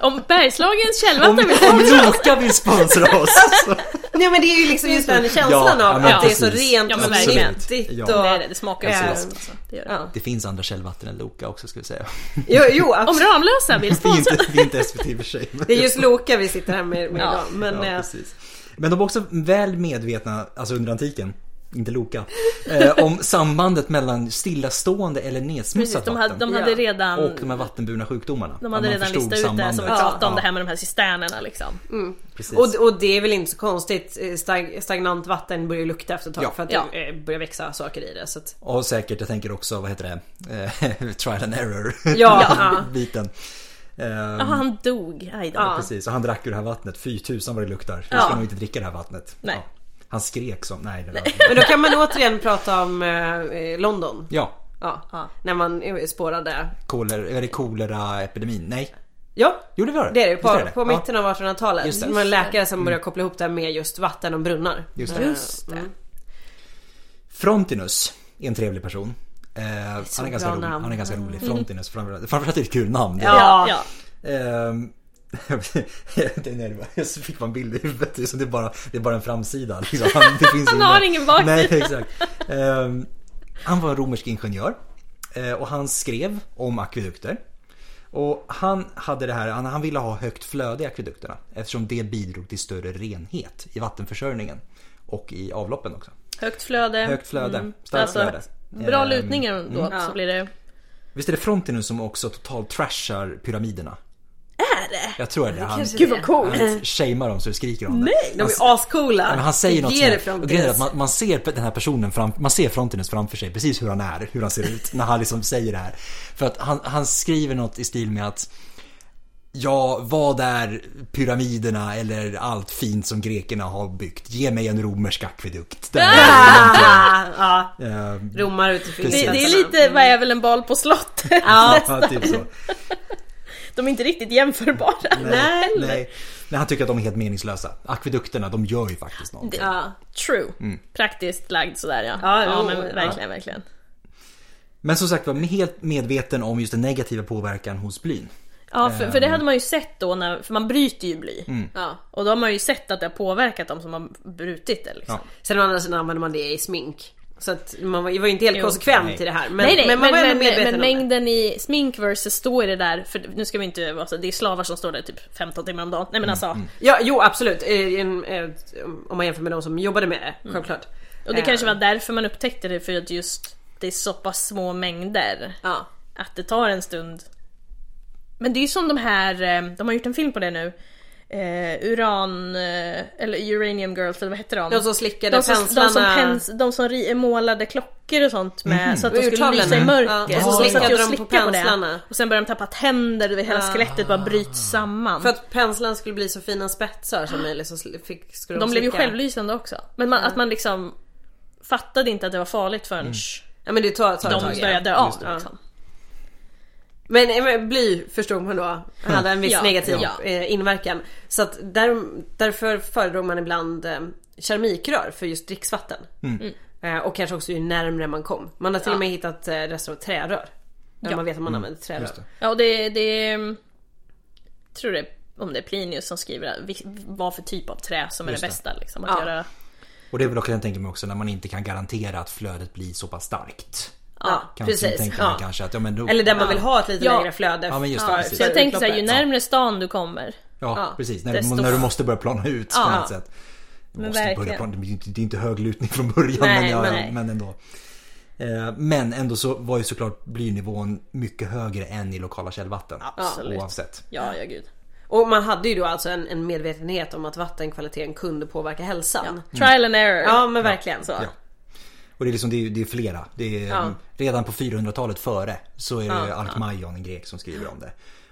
[SPEAKER 3] Om Bergslagens
[SPEAKER 1] Om,
[SPEAKER 3] källvatten vill
[SPEAKER 1] om Loka vill sponsra oss! så-
[SPEAKER 2] Nej men det är ju liksom just den känslan
[SPEAKER 1] Ja,
[SPEAKER 2] av
[SPEAKER 1] men
[SPEAKER 2] att det är så
[SPEAKER 1] precis.
[SPEAKER 2] rent
[SPEAKER 3] Ja,
[SPEAKER 2] och
[SPEAKER 3] men verkligen.
[SPEAKER 2] svettigt.
[SPEAKER 1] Ja.
[SPEAKER 2] Och...
[SPEAKER 3] det, är det, det smakar ju så
[SPEAKER 2] Ja.
[SPEAKER 3] gott alltså. Det gör det.
[SPEAKER 2] Ja.
[SPEAKER 1] Det finns andra källvatten än Loka också ska vi säga.
[SPEAKER 2] Jo, jo
[SPEAKER 3] Om
[SPEAKER 2] absolut.
[SPEAKER 3] Ramlösa vill
[SPEAKER 1] Vi är
[SPEAKER 3] sponsra.
[SPEAKER 1] inte, vi är inte SVT i och för sig. men-
[SPEAKER 2] Det är just Loka vi sitter här med, med
[SPEAKER 3] Ja.
[SPEAKER 2] idag. Men
[SPEAKER 1] ja,
[SPEAKER 2] eh,
[SPEAKER 1] precis. Men de var också väl medvetna, alltså under antiken, inte Loka, eh, om sambandet mellan stillastående eller
[SPEAKER 3] Precis,
[SPEAKER 1] nedsmutsat
[SPEAKER 3] de hade,
[SPEAKER 1] vatten.
[SPEAKER 3] de hade
[SPEAKER 2] Ja.
[SPEAKER 3] redan,
[SPEAKER 1] Och de här vattenburna sjukdomarna.
[SPEAKER 3] de hade
[SPEAKER 1] Att man
[SPEAKER 3] redan
[SPEAKER 1] förstod
[SPEAKER 3] listat ut det som vi
[SPEAKER 1] sambandet.
[SPEAKER 3] pratade om,
[SPEAKER 1] Ja,
[SPEAKER 3] det här med de här cisternerna liksom.
[SPEAKER 2] Mm.
[SPEAKER 1] precis.
[SPEAKER 2] och, och det är väl inte så konstigt. Eh, Stag, stagnant vatten börjar ju lukta efter ett tag
[SPEAKER 1] Ja.
[SPEAKER 2] för att
[SPEAKER 3] Ja.
[SPEAKER 2] det eh, börjar växa saker i det. Så att,
[SPEAKER 1] Och säkert, jag tänker också, vad heter det? Eh, trial and error.
[SPEAKER 2] Ja.
[SPEAKER 1] Biten. Ehm,
[SPEAKER 3] Ja, han dog. Aj då.
[SPEAKER 2] Ja.
[SPEAKER 1] Precis, och han drack ur det här vattnet. Fy tusan vad det luktar. Jag ska
[SPEAKER 3] Ja.
[SPEAKER 1] nog inte dricka det här vattnet.
[SPEAKER 3] Nej.
[SPEAKER 1] Ja. Han skrek som, nej det var...
[SPEAKER 2] men då kan man återigen prata om eh, eh, London.
[SPEAKER 1] Ja,
[SPEAKER 2] Ja.
[SPEAKER 3] Ja.
[SPEAKER 2] När man eh, spårade.
[SPEAKER 1] kolera, är det koleraepidemin? Nej.
[SPEAKER 2] Ja.
[SPEAKER 1] Jo det var det.
[SPEAKER 2] Det är det. På,
[SPEAKER 1] Visst
[SPEAKER 2] på
[SPEAKER 1] Ja.
[SPEAKER 2] mitten av 1800-talet.
[SPEAKER 1] Just det. Mm.
[SPEAKER 2] Det var en läkare som började koppla ihop det här med just vatten och brunnar. Mm.
[SPEAKER 1] Just det.
[SPEAKER 3] Just det.
[SPEAKER 1] Frontinus är en trevlig person. Eh, han, är ganska
[SPEAKER 2] bra
[SPEAKER 1] rolig.
[SPEAKER 2] namn. Mm.
[SPEAKER 1] han är ganska rolig. Frontinus framförallt. Framförallt är det ett kul namn.
[SPEAKER 2] Ja.
[SPEAKER 3] Ja, ja.
[SPEAKER 1] Ehm, det är när det bara- så fick man bild i huvudet. Så det, är bara, det är bara en framsida. Liksom. Han, det finns
[SPEAKER 3] Han har ingen baksida.
[SPEAKER 1] Nej, exakt. Ehm, han var en romersk ingenjör. eh, Och han skrev om akvedukter. Och han, hade det här, han, han ville ha högt flöde i akvedukterna. Eftersom det bidrog till större renhet i vattenförsörjningen. Och i avloppen också.
[SPEAKER 3] Högt flöde.
[SPEAKER 1] Högt flöde.
[SPEAKER 3] Mm.
[SPEAKER 1] Starkt
[SPEAKER 3] Alltså,
[SPEAKER 1] flöde.
[SPEAKER 3] Bra
[SPEAKER 1] Ehm,
[SPEAKER 3] lutningar då, så blir det...
[SPEAKER 1] Visst är det Frontinus som också totalt trashar pyramiderna?
[SPEAKER 3] Är är det!
[SPEAKER 1] Jag tror det. Han,
[SPEAKER 2] kanske-
[SPEAKER 3] Gud vad coolt!
[SPEAKER 1] han shamear dem så det skriker om det.
[SPEAKER 2] De är ju ascoola.
[SPEAKER 1] Men han säger något
[SPEAKER 2] Ge det
[SPEAKER 1] sånt här-
[SPEAKER 2] fram
[SPEAKER 1] och
[SPEAKER 2] till
[SPEAKER 1] grejen är
[SPEAKER 2] det
[SPEAKER 1] att man, man ser den här personen fram, man ser Frontinus framför sig precis hur han är, hur han ser ut när han liksom säger det här. För att han, han skriver något i stil med att Ja, vad är pyramiderna eller allt fint som grekerna har byggt? Ge mig en romersk akvedukt. Det är-
[SPEAKER 2] ah, ah,
[SPEAKER 1] Eh,
[SPEAKER 2] Romar ut i
[SPEAKER 3] Det,
[SPEAKER 1] Precis.
[SPEAKER 3] det är lite, vad är väl en bal på slottet?
[SPEAKER 2] Ja.
[SPEAKER 1] ja, typ så.
[SPEAKER 3] De är inte riktigt jämförbara.
[SPEAKER 2] Nej, eller?
[SPEAKER 1] nej. nej, han tycker att de är helt meningslösa. Akvedukterna, de gör ju faktiskt något.
[SPEAKER 2] Ja.
[SPEAKER 3] True.
[SPEAKER 1] Mm.
[SPEAKER 3] Praktiskt lagd sådär ja.
[SPEAKER 2] Ja,
[SPEAKER 3] ja
[SPEAKER 2] jo,
[SPEAKER 3] men
[SPEAKER 2] ja.
[SPEAKER 3] verkligen, verkligen.
[SPEAKER 1] Men som sagt var, helt medveten om just den negativa påverkan hos blyn.
[SPEAKER 3] Ja, för,
[SPEAKER 1] Ehm.
[SPEAKER 3] för det hade man ju sett då, när, för man bryter ju bly.
[SPEAKER 1] Mm.
[SPEAKER 2] Ja.
[SPEAKER 3] Och då har man ju sett att det har påverkat dem som har brutit det liksom.
[SPEAKER 1] Ja.
[SPEAKER 2] Sen å andra sidan använder man det i smink. Så att man var, jag var ju inte helt
[SPEAKER 3] Jo.
[SPEAKER 2] konsekvent
[SPEAKER 1] Nej.
[SPEAKER 2] i det här. Men,
[SPEAKER 3] nej nej, men,
[SPEAKER 2] men man var
[SPEAKER 3] men,
[SPEAKER 2] ändå
[SPEAKER 3] men,
[SPEAKER 2] medveten om det.
[SPEAKER 3] mängden i smink versus står i det där, för nu ska vi inte vara så, det är slavar som står där typ 15 timmar om dagen. Nej
[SPEAKER 1] Mm,
[SPEAKER 3] men alltså.
[SPEAKER 2] Ja, jo absolut. Eh, en, eh, Om man jämför med de som jobbade med det, självklart.
[SPEAKER 3] Mm. Och det
[SPEAKER 2] Eh,
[SPEAKER 3] kanske var därför man upptäckte det, för att just det är så pass små mängder.
[SPEAKER 2] Ja.
[SPEAKER 3] Att det tar en stund. Men det är ju som de här, eh, de har gjort en film på det nu. Eh, uran, eh, eller Uranium Girls eller vad hette de?
[SPEAKER 2] De som slickade
[SPEAKER 3] de som,
[SPEAKER 2] penslarna.
[SPEAKER 3] de som, pens, de som ri, målade klockor och sånt med, så att de skulle
[SPEAKER 2] Urtavlorna.
[SPEAKER 3] lysa i mörker.
[SPEAKER 2] Ja,
[SPEAKER 3] så
[SPEAKER 1] och så
[SPEAKER 3] de satt ju
[SPEAKER 2] slickade
[SPEAKER 3] och
[SPEAKER 2] de på
[SPEAKER 3] slickade på det.
[SPEAKER 2] penslarna. Ah.
[SPEAKER 3] Och sen började de tappa tänder, du vet, hela skelettet bara bryts samman.
[SPEAKER 2] För att penslan skulle bli så fina spetsar som möjligt så sl- fick, skulle
[SPEAKER 3] de blev ju
[SPEAKER 2] slicka.
[SPEAKER 3] självlysande också. Men man, att man liksom fattade inte att det var farligt förrän
[SPEAKER 2] Ja men det tar, tar ett tag.
[SPEAKER 3] de
[SPEAKER 2] ja.
[SPEAKER 3] började dö av.
[SPEAKER 2] det.
[SPEAKER 3] Liksom.
[SPEAKER 2] Men, eh, men bly förstod man då hade en viss
[SPEAKER 3] Mm. Ja,
[SPEAKER 2] negativ
[SPEAKER 3] ja.
[SPEAKER 2] eh, inverkan. Så att där, därför föredrog man ibland eh, keramikrör för just dricksvatten.
[SPEAKER 1] Mm.
[SPEAKER 3] Mm.
[SPEAKER 2] Eh, och kanske också ju närmre man kom. Man har till och med hittat eh, rester av trärör. När
[SPEAKER 3] Ja.
[SPEAKER 2] man vet att man använder trärör.
[SPEAKER 1] Mm. det.
[SPEAKER 3] Ja, och det, det jag tror det är- om det är Plinius som skriver det, vi- vad för typ av trä som är det
[SPEAKER 1] Just det.
[SPEAKER 3] bästa. Liksom, att
[SPEAKER 2] Ja.
[SPEAKER 3] göra.
[SPEAKER 1] Och det är väl också, jag tänker mig också, när man inte kan garantera att flödet blir så pass starkt.
[SPEAKER 2] Ja,
[SPEAKER 1] Kan Precis.
[SPEAKER 2] precis.
[SPEAKER 1] tänka mig
[SPEAKER 2] Ja.
[SPEAKER 1] kanske att, ja men då...
[SPEAKER 2] Eller där man vill ha ett lite
[SPEAKER 3] Ja.
[SPEAKER 2] lägre flöde.
[SPEAKER 1] Ja, men just det, precis.
[SPEAKER 3] Så jag
[SPEAKER 2] för
[SPEAKER 3] tänker såhär, ju
[SPEAKER 2] utloppet.
[SPEAKER 3] närmre stan du kommer.
[SPEAKER 1] Ja,
[SPEAKER 2] ja,
[SPEAKER 1] precis. När,
[SPEAKER 3] desto-
[SPEAKER 1] när du måste börja plana ut på
[SPEAKER 3] Ja.
[SPEAKER 1] något sätt. Du
[SPEAKER 3] Men
[SPEAKER 1] måste börja
[SPEAKER 3] verkligen.
[SPEAKER 1] plana, det blir ju inte- det är inte hög lutning från början
[SPEAKER 3] Nej,
[SPEAKER 1] men, ja,
[SPEAKER 3] nej.
[SPEAKER 1] men ändå. Eh, Men ändå så var ju såklart blynivån mycket högre än i lokala källvatten.
[SPEAKER 3] Absolut.
[SPEAKER 1] Oavsett.
[SPEAKER 3] Ja, ja gud.
[SPEAKER 1] Mm.
[SPEAKER 2] Och man hade ju då alltså en, en medvetenhet om att vattenkvaliteten kunde påverka hälsan. Ja,
[SPEAKER 3] Trial and error.
[SPEAKER 2] men verkligen. Så.
[SPEAKER 1] Ja. Och det är, liksom, det är, det är flera. Det är,
[SPEAKER 2] Ja.
[SPEAKER 1] Redan på 400-talet före så är det Alkmaion, en grek, som skriver om det.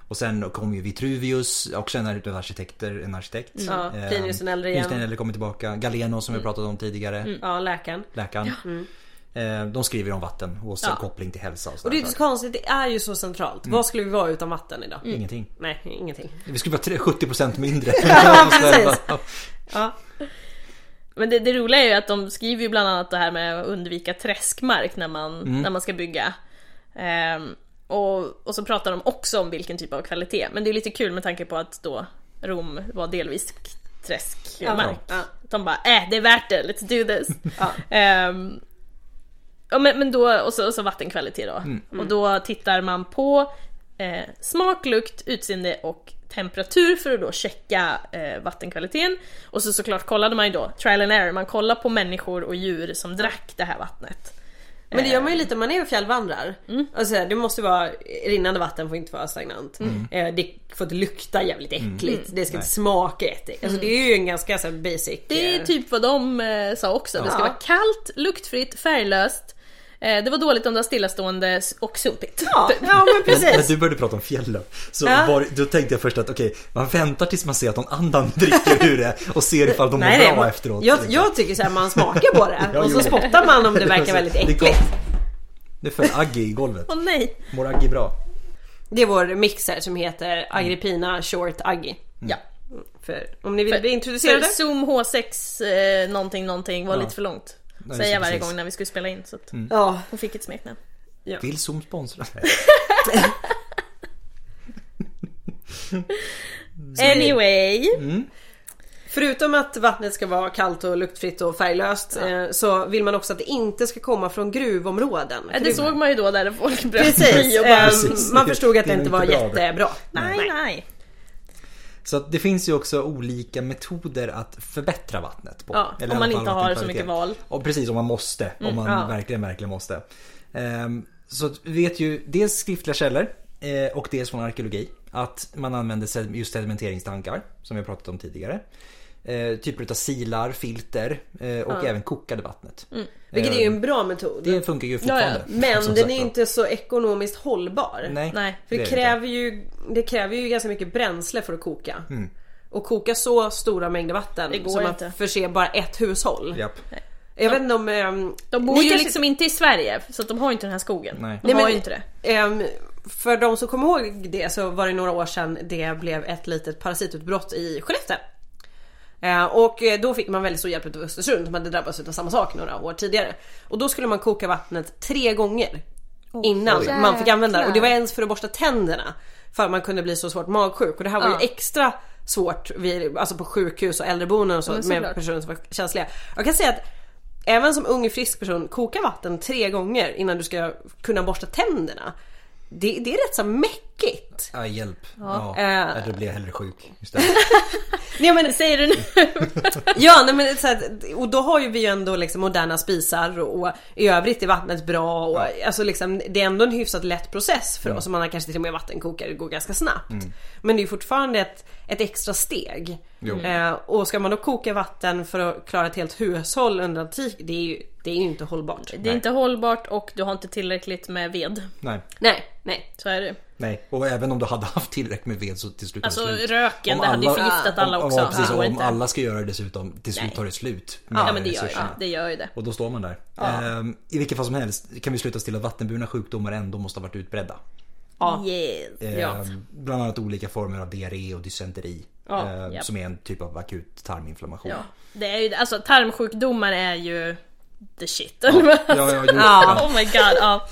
[SPEAKER 1] Och sen kom ju Vitruvius, också en, en, typ arkitekter, en arkitekt.
[SPEAKER 2] Ja,
[SPEAKER 1] Eh,
[SPEAKER 2] Plinius den äldre
[SPEAKER 1] Plinius
[SPEAKER 2] igen. Mm.
[SPEAKER 1] den äldre kommer tillbaka. Galeno som vi pratat om tidigare.
[SPEAKER 2] Ja, läkaren.
[SPEAKER 1] Läkaren. Eh, De skriver om vatten och sen
[SPEAKER 3] Ja.
[SPEAKER 1] koppling till hälsa och,
[SPEAKER 2] Mm. Och det är inte så
[SPEAKER 1] sådär.
[SPEAKER 2] konstigt, det är ju så centralt.
[SPEAKER 1] Mm.
[SPEAKER 2] Vad skulle vi vara utan vatten idag?
[SPEAKER 3] Mm.
[SPEAKER 1] Ingenting.
[SPEAKER 2] Nej, ingenting.
[SPEAKER 1] Vi skulle vara tre- 70% mindre.
[SPEAKER 2] precis. Ja.
[SPEAKER 3] Men det, det roliga är ju att de skriver ju bland annat det här med att undvika träskmark när man,
[SPEAKER 1] Mm.
[SPEAKER 3] när man ska bygga. Ehm, och, och så pratar de också om vilken typ av kvalitet. Men det är ju lite kul med tanke på att då Rom var delvis k- träskmark.
[SPEAKER 2] Ja.
[SPEAKER 3] De bara äh, det är värt det, let's do this.
[SPEAKER 2] Ja.
[SPEAKER 3] Ehm, ja, men, men då, och, så, och så vattenkvalitet då.
[SPEAKER 2] Mm.
[SPEAKER 3] Och då tittar man på eh, smak, lukt, utseende och temperatur för att då checka eh, vattenkvaliteten. Och så såklart kollade man ju då, trial and error, man kollar på människor och djur som drack det här vattnet.
[SPEAKER 2] Men det gör
[SPEAKER 3] Eh.
[SPEAKER 2] man ju lite om man är och fjällvandrar.
[SPEAKER 3] Mm.
[SPEAKER 2] Alltså, det måste vara, rinnande vatten får inte vara stagnant.
[SPEAKER 3] Mm.
[SPEAKER 2] Eh, Det får inte lukta jävligt
[SPEAKER 1] Mm.
[SPEAKER 2] äckligt. Det ska inte smaka äckligt. Alltså, det är ju en ganska så här, basic...
[SPEAKER 3] Mm. Det är
[SPEAKER 2] eh,
[SPEAKER 3] typ vad de eh, sa också, det ska
[SPEAKER 2] Ja.
[SPEAKER 3] vara kallt, luktfritt, färglöst. Eh, det var dåligt om det var stillastående s- och sotigt.
[SPEAKER 2] Ja, ja men
[SPEAKER 1] Men när
[SPEAKER 2] precis.
[SPEAKER 1] du började prata om fjällen så
[SPEAKER 2] Ja.
[SPEAKER 1] var, då tänkte jag först att okej, man väntar tills man ser att någon annan dricker ur det och ser ifall de mår
[SPEAKER 2] Nej, nej,
[SPEAKER 1] bra
[SPEAKER 2] man,
[SPEAKER 1] efteråt. liksom.
[SPEAKER 2] jag, jag tycker såhär man smakar på det
[SPEAKER 1] Ja,
[SPEAKER 2] och
[SPEAKER 1] jo.
[SPEAKER 2] så spottar man om det verkar väldigt
[SPEAKER 1] är
[SPEAKER 2] äckligt.
[SPEAKER 1] gott. Det föll Agge i golvet.
[SPEAKER 3] Åh nej!
[SPEAKER 1] Mår Agge bra?
[SPEAKER 2] Det är vår mixer som heter Agrippina Short Aggi.
[SPEAKER 3] Ja.
[SPEAKER 2] För om ni vill
[SPEAKER 3] För
[SPEAKER 2] bli introducerade.
[SPEAKER 3] Zoom H6 eh, någonting någonting var
[SPEAKER 1] Ja.
[SPEAKER 3] lite för långt.
[SPEAKER 1] Nej,
[SPEAKER 3] Säga varje
[SPEAKER 1] precis.
[SPEAKER 3] gång när vi skulle spela in så att
[SPEAKER 2] Ja,
[SPEAKER 3] hon fick ett smeknamn.
[SPEAKER 1] Vill Zoom sponsra?
[SPEAKER 3] Anyway.
[SPEAKER 2] Förutom att vattnet ska vara kallt och luktfritt och färglöst eh, så vill man också att det inte ska komma från gruvområden.
[SPEAKER 3] Ja, det såg man ju då där folk bröt
[SPEAKER 2] Precis,
[SPEAKER 3] i och bara...
[SPEAKER 2] ehm,
[SPEAKER 1] Precis.
[SPEAKER 2] man förstod att
[SPEAKER 1] Det
[SPEAKER 2] det
[SPEAKER 1] är
[SPEAKER 2] inte
[SPEAKER 1] nog
[SPEAKER 2] var
[SPEAKER 1] inte bra det.
[SPEAKER 2] jättebra.
[SPEAKER 3] Nej, nej.
[SPEAKER 1] Så att det finns ju också olika metoder att förbättra vattnet på.
[SPEAKER 3] Ja, om
[SPEAKER 1] i alla
[SPEAKER 3] man
[SPEAKER 1] fall
[SPEAKER 3] inte har så
[SPEAKER 1] vattenkvalitet.
[SPEAKER 3] mycket val.
[SPEAKER 1] Ja, precis, om man måste. om man
[SPEAKER 2] Mm, ja.
[SPEAKER 1] verkligen, verkligen måste. Ehm, så att vi vet ju dels skriftliga källor eh, och dels från arkeologi Att man använder sed- just sedimenteringstankar som vi har pratat om tidigare. Eh, typer av silar, filter eh, och även kokade vattnet.
[SPEAKER 2] Mm.
[SPEAKER 1] Ehm,
[SPEAKER 2] Vilket är ju en bra metod.
[SPEAKER 1] Eh, Det funkar ju fortfarande.
[SPEAKER 2] men
[SPEAKER 1] som
[SPEAKER 2] den
[SPEAKER 1] sagt
[SPEAKER 2] är
[SPEAKER 1] var.
[SPEAKER 2] inte så ekonomiskt hållbar.
[SPEAKER 1] Nej,
[SPEAKER 3] Nej,
[SPEAKER 2] För
[SPEAKER 1] är
[SPEAKER 2] det
[SPEAKER 1] inte.
[SPEAKER 2] kräver, ju, det kräver ju ganska mycket bränsle för att koka. Och koka så stora mängder vatten
[SPEAKER 3] Det går
[SPEAKER 2] som
[SPEAKER 3] inte.
[SPEAKER 2] att förse bara ett hushåll.
[SPEAKER 1] Japp.
[SPEAKER 2] Jag vet inte om... ehm,
[SPEAKER 3] De
[SPEAKER 2] ni
[SPEAKER 3] bor ju
[SPEAKER 2] kanske-
[SPEAKER 3] liksom inte i Sverige så att de har ju inte den här skogen.
[SPEAKER 1] Nej.
[SPEAKER 3] De
[SPEAKER 2] Nej,
[SPEAKER 3] har
[SPEAKER 2] men-
[SPEAKER 3] ju inte det.
[SPEAKER 2] Ehm, för de som kommer ihåg det så var det några år sedan det blev ett litet parasitutbrott i Skellefteå. Eh, Och eh, då fick man väldigt stor hjälp av Östersund som hade drabbats av samma sak några år tidigare. Och då skulle man koka vattnet tre gånger innan
[SPEAKER 3] oj.
[SPEAKER 2] man fick använda det. Och det var
[SPEAKER 3] Jäklar.
[SPEAKER 2] ens för att borsta tänderna. För man kunde bli så svårt magsjuk. Och det här var
[SPEAKER 3] Ja.
[SPEAKER 2] ju extra svårt vid, alltså på sjukhus och äldreboenden och så
[SPEAKER 3] men
[SPEAKER 2] med
[SPEAKER 3] såklart.
[SPEAKER 2] personer som var känsliga. Jag kan säga att även som ung frisk person, koka vatten tre gånger innan du ska kunna borsta tänderna. Det, det är rätt så mäckigt.
[SPEAKER 1] Ja, hjälp. Ja.
[SPEAKER 2] Eh.
[SPEAKER 1] Eller blir jag hellre sjuk istället.
[SPEAKER 3] Nej men säger du nu?
[SPEAKER 2] Ja, nej, men så här, och då har ju vi ju ändå liksom moderna spisar och, och i övrigt är vattnet bra och alltså liksom, det är ändå en hyfsat lätt process för oss. Man har kanske till och med vattenkokare, det går ganska snabbt. Men det är ju fortfarande ett, ett extra steg.
[SPEAKER 1] Jo.
[SPEAKER 2] Eh, och ska man då koka vatten för att klara ett helt hushåll under en tid, det är ju, det är ju inte hållbart.
[SPEAKER 3] Det är inte hållbart och du har inte tillräckligt med ved.
[SPEAKER 1] Nej.
[SPEAKER 2] Nej, nej.
[SPEAKER 3] Så är det
[SPEAKER 1] Nej, och även om du hade haft tillräckligt med ved så till slut tar
[SPEAKER 3] Alltså
[SPEAKER 1] det slut.
[SPEAKER 3] röken,
[SPEAKER 1] Om
[SPEAKER 3] det hade ju
[SPEAKER 1] alla-
[SPEAKER 3] förgiftat alla
[SPEAKER 1] om,
[SPEAKER 3] också.
[SPEAKER 1] Ja, precis,
[SPEAKER 3] Det
[SPEAKER 1] och
[SPEAKER 3] går
[SPEAKER 1] om
[SPEAKER 3] inte.
[SPEAKER 1] alla ska göra det dessutom, till slut tar det slut.
[SPEAKER 3] Ja men det gör ju
[SPEAKER 1] resurserna.
[SPEAKER 3] det. gör ju det.
[SPEAKER 1] Och då står man där. Ehm, I vilket fall som helst kan vi sluta oss till att vattenburna sjukdomar ändå måste ha varit utbredda.
[SPEAKER 2] Ja.
[SPEAKER 3] Yes.
[SPEAKER 1] Ehm,
[SPEAKER 2] Ja.
[SPEAKER 1] Bland annat olika former av diarré och dysenteri.
[SPEAKER 2] Ja,
[SPEAKER 1] ehm,
[SPEAKER 3] japp.
[SPEAKER 1] Som är en typ av akut tarminflammation.
[SPEAKER 3] Ja. Det är ju det. Alltså tarmsjukdomar är ju the shit. Ja.
[SPEAKER 1] Ja, ja, jo,
[SPEAKER 2] Ja.
[SPEAKER 1] ja.
[SPEAKER 3] oh my god. Ja.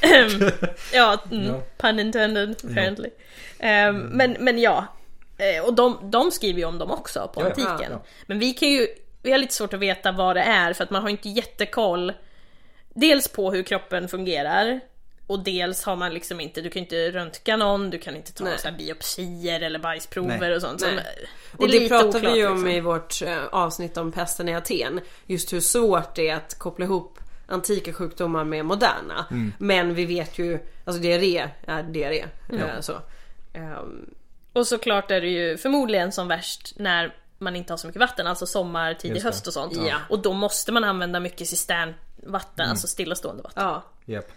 [SPEAKER 3] Ehm, ja, mm,
[SPEAKER 1] Ja.
[SPEAKER 3] pun intended apparently. Ehm, men, men ja. Eh, Och de, de skriver ju om dem också på
[SPEAKER 1] Ja, ja.
[SPEAKER 3] antiken.
[SPEAKER 1] Ja.
[SPEAKER 3] Men vi kan ju, vi har lite svårt att veta vad det är för att man har inte jättekoll. Dels på hur kroppen fungerar och dels har man liksom inte, du kan inte röntga någon, du kan inte ta
[SPEAKER 2] Nej.
[SPEAKER 3] så här biopsier eller bajsprover
[SPEAKER 1] Nej.
[SPEAKER 3] och sånt. Så
[SPEAKER 2] Nej.
[SPEAKER 3] det är
[SPEAKER 2] Och det
[SPEAKER 3] lite
[SPEAKER 2] pratade
[SPEAKER 3] oklart,
[SPEAKER 2] vi ju om
[SPEAKER 3] liksom.
[SPEAKER 2] i vårt eh, avsnitt om pesten i Aten. Just hur svårt det är att koppla ihop antika sjukdomar med moderna.
[SPEAKER 3] Mm.
[SPEAKER 2] Men vi vet ju, alltså diarré är diarré. eh, Så. Ehm,
[SPEAKER 3] Och såklart är det ju förmodligen som värst när man inte har så mycket vatten, alltså sommar, tidig
[SPEAKER 1] Just det.
[SPEAKER 3] höst och sånt.
[SPEAKER 2] Ja.
[SPEAKER 3] Och då måste man använda mycket cisternvatten,
[SPEAKER 1] Mm.
[SPEAKER 3] alltså stillastående vatten.
[SPEAKER 2] Ja.
[SPEAKER 1] Japp.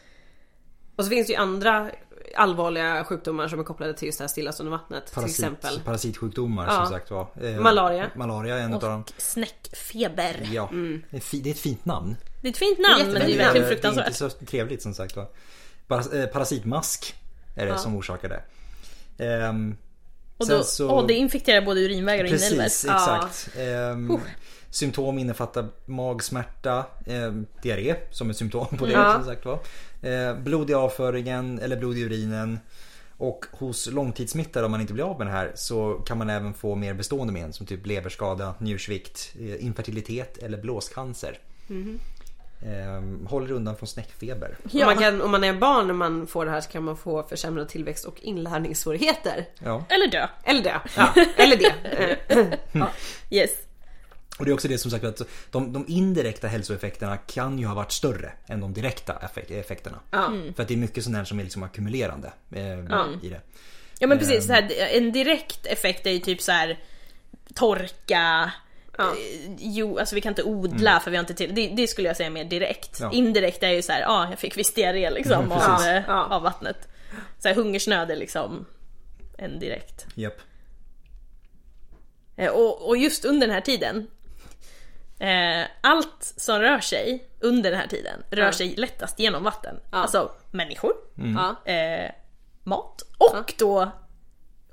[SPEAKER 2] Och så finns det ju andra allvarliga sjukdomar som är kopplade till just det här stillastående vattnet. Till exempel.
[SPEAKER 1] Parasit, parasitsjukdomar
[SPEAKER 2] Ja.
[SPEAKER 1] som sagt var. Ehm,
[SPEAKER 2] Malaria.
[SPEAKER 1] Malaria är en utav dem.
[SPEAKER 3] Och snäckfeber.
[SPEAKER 1] Ja. Det är ett fi- det är ett fint namn. eh,
[SPEAKER 3] Det är ett fint namn men det är ju
[SPEAKER 2] jättefint
[SPEAKER 3] verkligen
[SPEAKER 1] det är inte
[SPEAKER 3] fruktansvärt.
[SPEAKER 1] så trevligt som sagt va. Paras- eh, Parasitmask är det som orsakar det. Ehm,
[SPEAKER 3] Och,
[SPEAKER 1] sen
[SPEAKER 3] då, och det infekterar både urinvägar och inälvor.
[SPEAKER 1] Precis, exakt. Ehm, Symptom innefattar magsmärta, ehm, diarré som ett symptom på det.
[SPEAKER 2] Ja.
[SPEAKER 1] Som sagt, va? Eh, blod i avföringen eller blod i urinen. Och hos långtidssmittade om man inte blir av med det här så kan man även få mer bestående men som typ leverskada, njursvikt, eh, infertilitet eller blåscancer. Ehm, håller undan från snäckfeber.
[SPEAKER 2] Om,
[SPEAKER 3] Ja.
[SPEAKER 2] man kan, om man är barn när man får det här så kan man få försämrad tillväxt och inlärningssvårigheter.
[SPEAKER 1] Ja.
[SPEAKER 3] Eller dö.
[SPEAKER 2] Eller det. Ja. Eller det. Eh,
[SPEAKER 3] Yes.
[SPEAKER 1] Och det är också det som sagt att de, de indirekta hälsoeffekterna kan ju ha varit större än de direkta effek- effekterna.
[SPEAKER 2] Ja.
[SPEAKER 1] För att det är mycket sånt här som är liksom ackumulerande eh, i det.
[SPEAKER 3] Ja men
[SPEAKER 2] Ehm.
[SPEAKER 3] precis, så här, en direkt effekt är ju typ så här torka,
[SPEAKER 2] Ja. Mm.
[SPEAKER 3] eh, jo, alltså vi kan inte odla för vi har inte till, det, det skulle jag säga mer direkt.
[SPEAKER 1] Ja.
[SPEAKER 3] Indirekt är ju så här, ja jag fick viss diarré liksom
[SPEAKER 1] Mm,
[SPEAKER 3] av,
[SPEAKER 1] precis.
[SPEAKER 3] eh,
[SPEAKER 2] Ja.
[SPEAKER 3] av vattnet. Så här, hungersnöd är liksom en direkt.
[SPEAKER 1] Japp.
[SPEAKER 3] Eh, Och, och just under den här tiden, eh, allt som rör sig under den här tiden rör
[SPEAKER 2] Ja. Mm.
[SPEAKER 3] sig lättast genom vatten. Alltså människor,
[SPEAKER 2] Ja.
[SPEAKER 3] eh, mat och då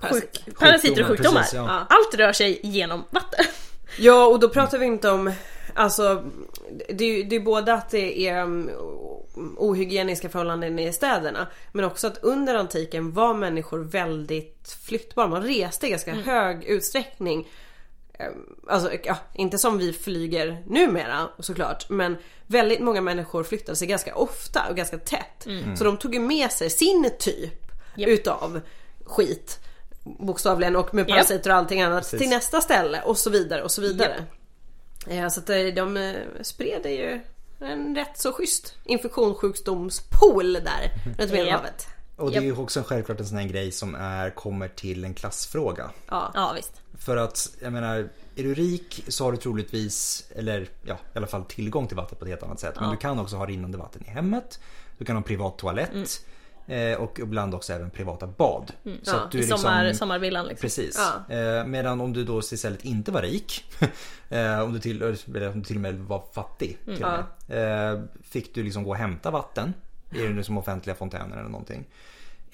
[SPEAKER 2] Parasit.
[SPEAKER 3] sjuk, parasiter och sjukdomar.
[SPEAKER 1] Sjukdomar, precis, ja.
[SPEAKER 3] Allt rör sig genom vatten.
[SPEAKER 2] Ja och då pratar vi inte om, alltså det är ju det är både att det är mm, ohygieniska förhållanden i städerna men också att under antiken var människor väldigt flyttbara. Man reste i ganska hög utsträckning. Eh, Alltså ja, inte som vi flyger numera såklart men väldigt många människor flyttade sig ganska ofta och ganska tätt. Så de tog ju med sig sin typ
[SPEAKER 3] Japp.
[SPEAKER 2] utav skit bokstavligen och med parasiter och allting annat till nästa ställe och så vidare och så vidare. Eh, Så att eh, de eh, spred det ju en rätt så schysst infektionssjukdomspool där runt Medelhavet.
[SPEAKER 1] Och det är ju också självklart en sån här grej som är, kommer till en klassfråga.
[SPEAKER 2] Ja.
[SPEAKER 3] Ja, visst.
[SPEAKER 1] För att, jag menar, är du rik så har du troligtvis, eller ja, i alla fall tillgång till vattnet på ett helt annat sätt. Men du kan också ha rinnande vatten i hemmet. Du kan ha en privat toalett. eh, Och ibland också även privata bad. Så
[SPEAKER 2] Ja,
[SPEAKER 3] I sommar, sommarvillan liksom.
[SPEAKER 1] Precis.
[SPEAKER 2] Ja.
[SPEAKER 1] Eh, medan om du då istället inte var rik, eh, om, du till, eller om du till och med var fattig, till och
[SPEAKER 2] Mm.
[SPEAKER 1] med, eh, fick du liksom gå och hämta vatten i den som offentliga fontäner eller någonting.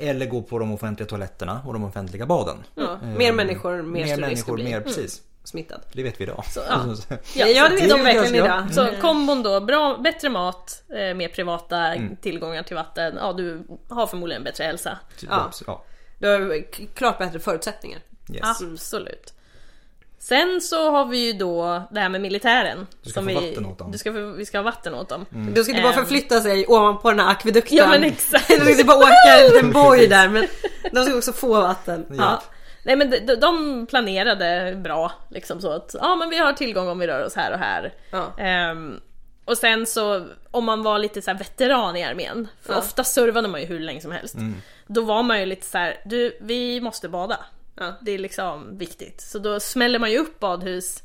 [SPEAKER 1] Eller gå på de offentliga toaletterna och de offentliga baden.
[SPEAKER 2] Ja. Mer människor, mer,
[SPEAKER 1] mer
[SPEAKER 2] mer risk
[SPEAKER 1] människor,
[SPEAKER 2] att bli
[SPEAKER 1] mer, precis.
[SPEAKER 2] smittad.
[SPEAKER 1] Det vet vi idag.
[SPEAKER 3] ja.
[SPEAKER 2] Ja, ja det vet
[SPEAKER 1] det
[SPEAKER 2] de
[SPEAKER 1] är
[SPEAKER 2] verkligen
[SPEAKER 1] ganska-
[SPEAKER 2] idag.
[SPEAKER 1] Mm.
[SPEAKER 3] Så kombon då, bra, bättre mat, eh, mer privata
[SPEAKER 1] Mm.
[SPEAKER 3] tillgångar till vatten. Ja, du har förmodligen bättre hälsa.
[SPEAKER 1] typ, Ja. Ja.
[SPEAKER 2] Du har k- klart bättre förutsättningar.
[SPEAKER 1] Yes.
[SPEAKER 3] Absolut. Sen så har vi ju då det här med militären. Du
[SPEAKER 1] ska få vatten åt dem. Mm.
[SPEAKER 3] Du ska, få- vi ska ha vatten åt dem.
[SPEAKER 2] Du ska inte bara
[SPEAKER 3] Ehm.
[SPEAKER 2] förflytta sig ovanpå den här akvedukten.
[SPEAKER 3] Ja, men exakt.
[SPEAKER 2] Du ska inte bara åka en liten boj där. Men de ska också få vatten.
[SPEAKER 3] Ja. Nej men de, de planerade bra liksom så att ja men vi har tillgång om vi rör oss här och här.
[SPEAKER 2] Ja.
[SPEAKER 3] Ehm, och sen så om man var lite så här veteran i armén, för
[SPEAKER 2] Ja. Mm.
[SPEAKER 3] ofta servade man ju hur länge som helst. Då var man ju lite så här, du vi måste bada.
[SPEAKER 2] Ja.
[SPEAKER 3] Det är liksom viktigt. Så då smäller man ju upp badhus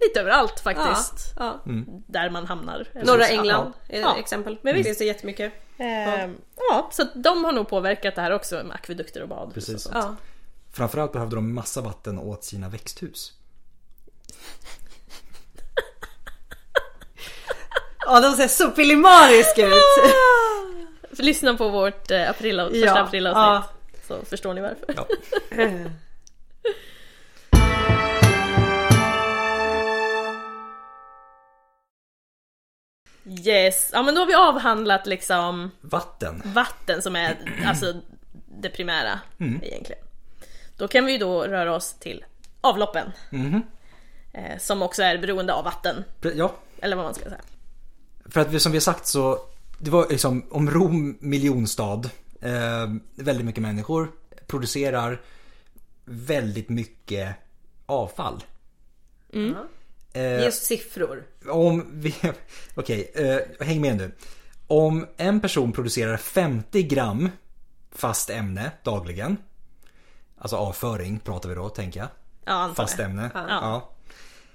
[SPEAKER 3] lite överallt faktiskt.
[SPEAKER 2] Ja.
[SPEAKER 3] Där man hamnar.
[SPEAKER 2] Norra
[SPEAKER 3] Ja.
[SPEAKER 2] England är
[SPEAKER 3] Ja.
[SPEAKER 2] ett exempel.
[SPEAKER 3] Men
[SPEAKER 2] Men
[SPEAKER 3] visst.
[SPEAKER 2] visst. Finns det jättemycket.
[SPEAKER 3] Ehm, ja, så att de har nog påverkat det här också med akvedukter och badhus.
[SPEAKER 1] Precis.
[SPEAKER 3] Och så.
[SPEAKER 2] Ja.
[SPEAKER 1] Framförallt behövde de massa vatten åt sina växthus.
[SPEAKER 2] ja, de ser så pillemariska ut.
[SPEAKER 3] För lyssna på vårt eh, april, Eh. första
[SPEAKER 2] Ja,
[SPEAKER 3] aprilavsnitt. Så förstår ni varför.
[SPEAKER 1] Ja.
[SPEAKER 3] Yes, ja men då har vi avhandlat liksom
[SPEAKER 1] Vatten.
[SPEAKER 3] vatten som är alltså det primära
[SPEAKER 1] Mm.
[SPEAKER 3] egentligen. Då kan vi ju då röra oss till avloppen.
[SPEAKER 1] Mm-hmm.
[SPEAKER 3] Eh, som också är beroende av vatten,
[SPEAKER 1] Pre- Ja,
[SPEAKER 3] eller vad man ska säga.
[SPEAKER 1] För att vi- som vi har sagt så, det var liksom om Rom miljonstad, eh, väldigt mycket människor, producerar väldigt mycket avfall.
[SPEAKER 2] Ge oss siffror.
[SPEAKER 1] Om vi, okej, eh, häng med nu. Om en person producerar 50 gram fast ämne dagligen, alltså avföring pratar vi då tänker jag,
[SPEAKER 3] Ja, antar
[SPEAKER 1] fast
[SPEAKER 3] jag.
[SPEAKER 1] ämne. Ja.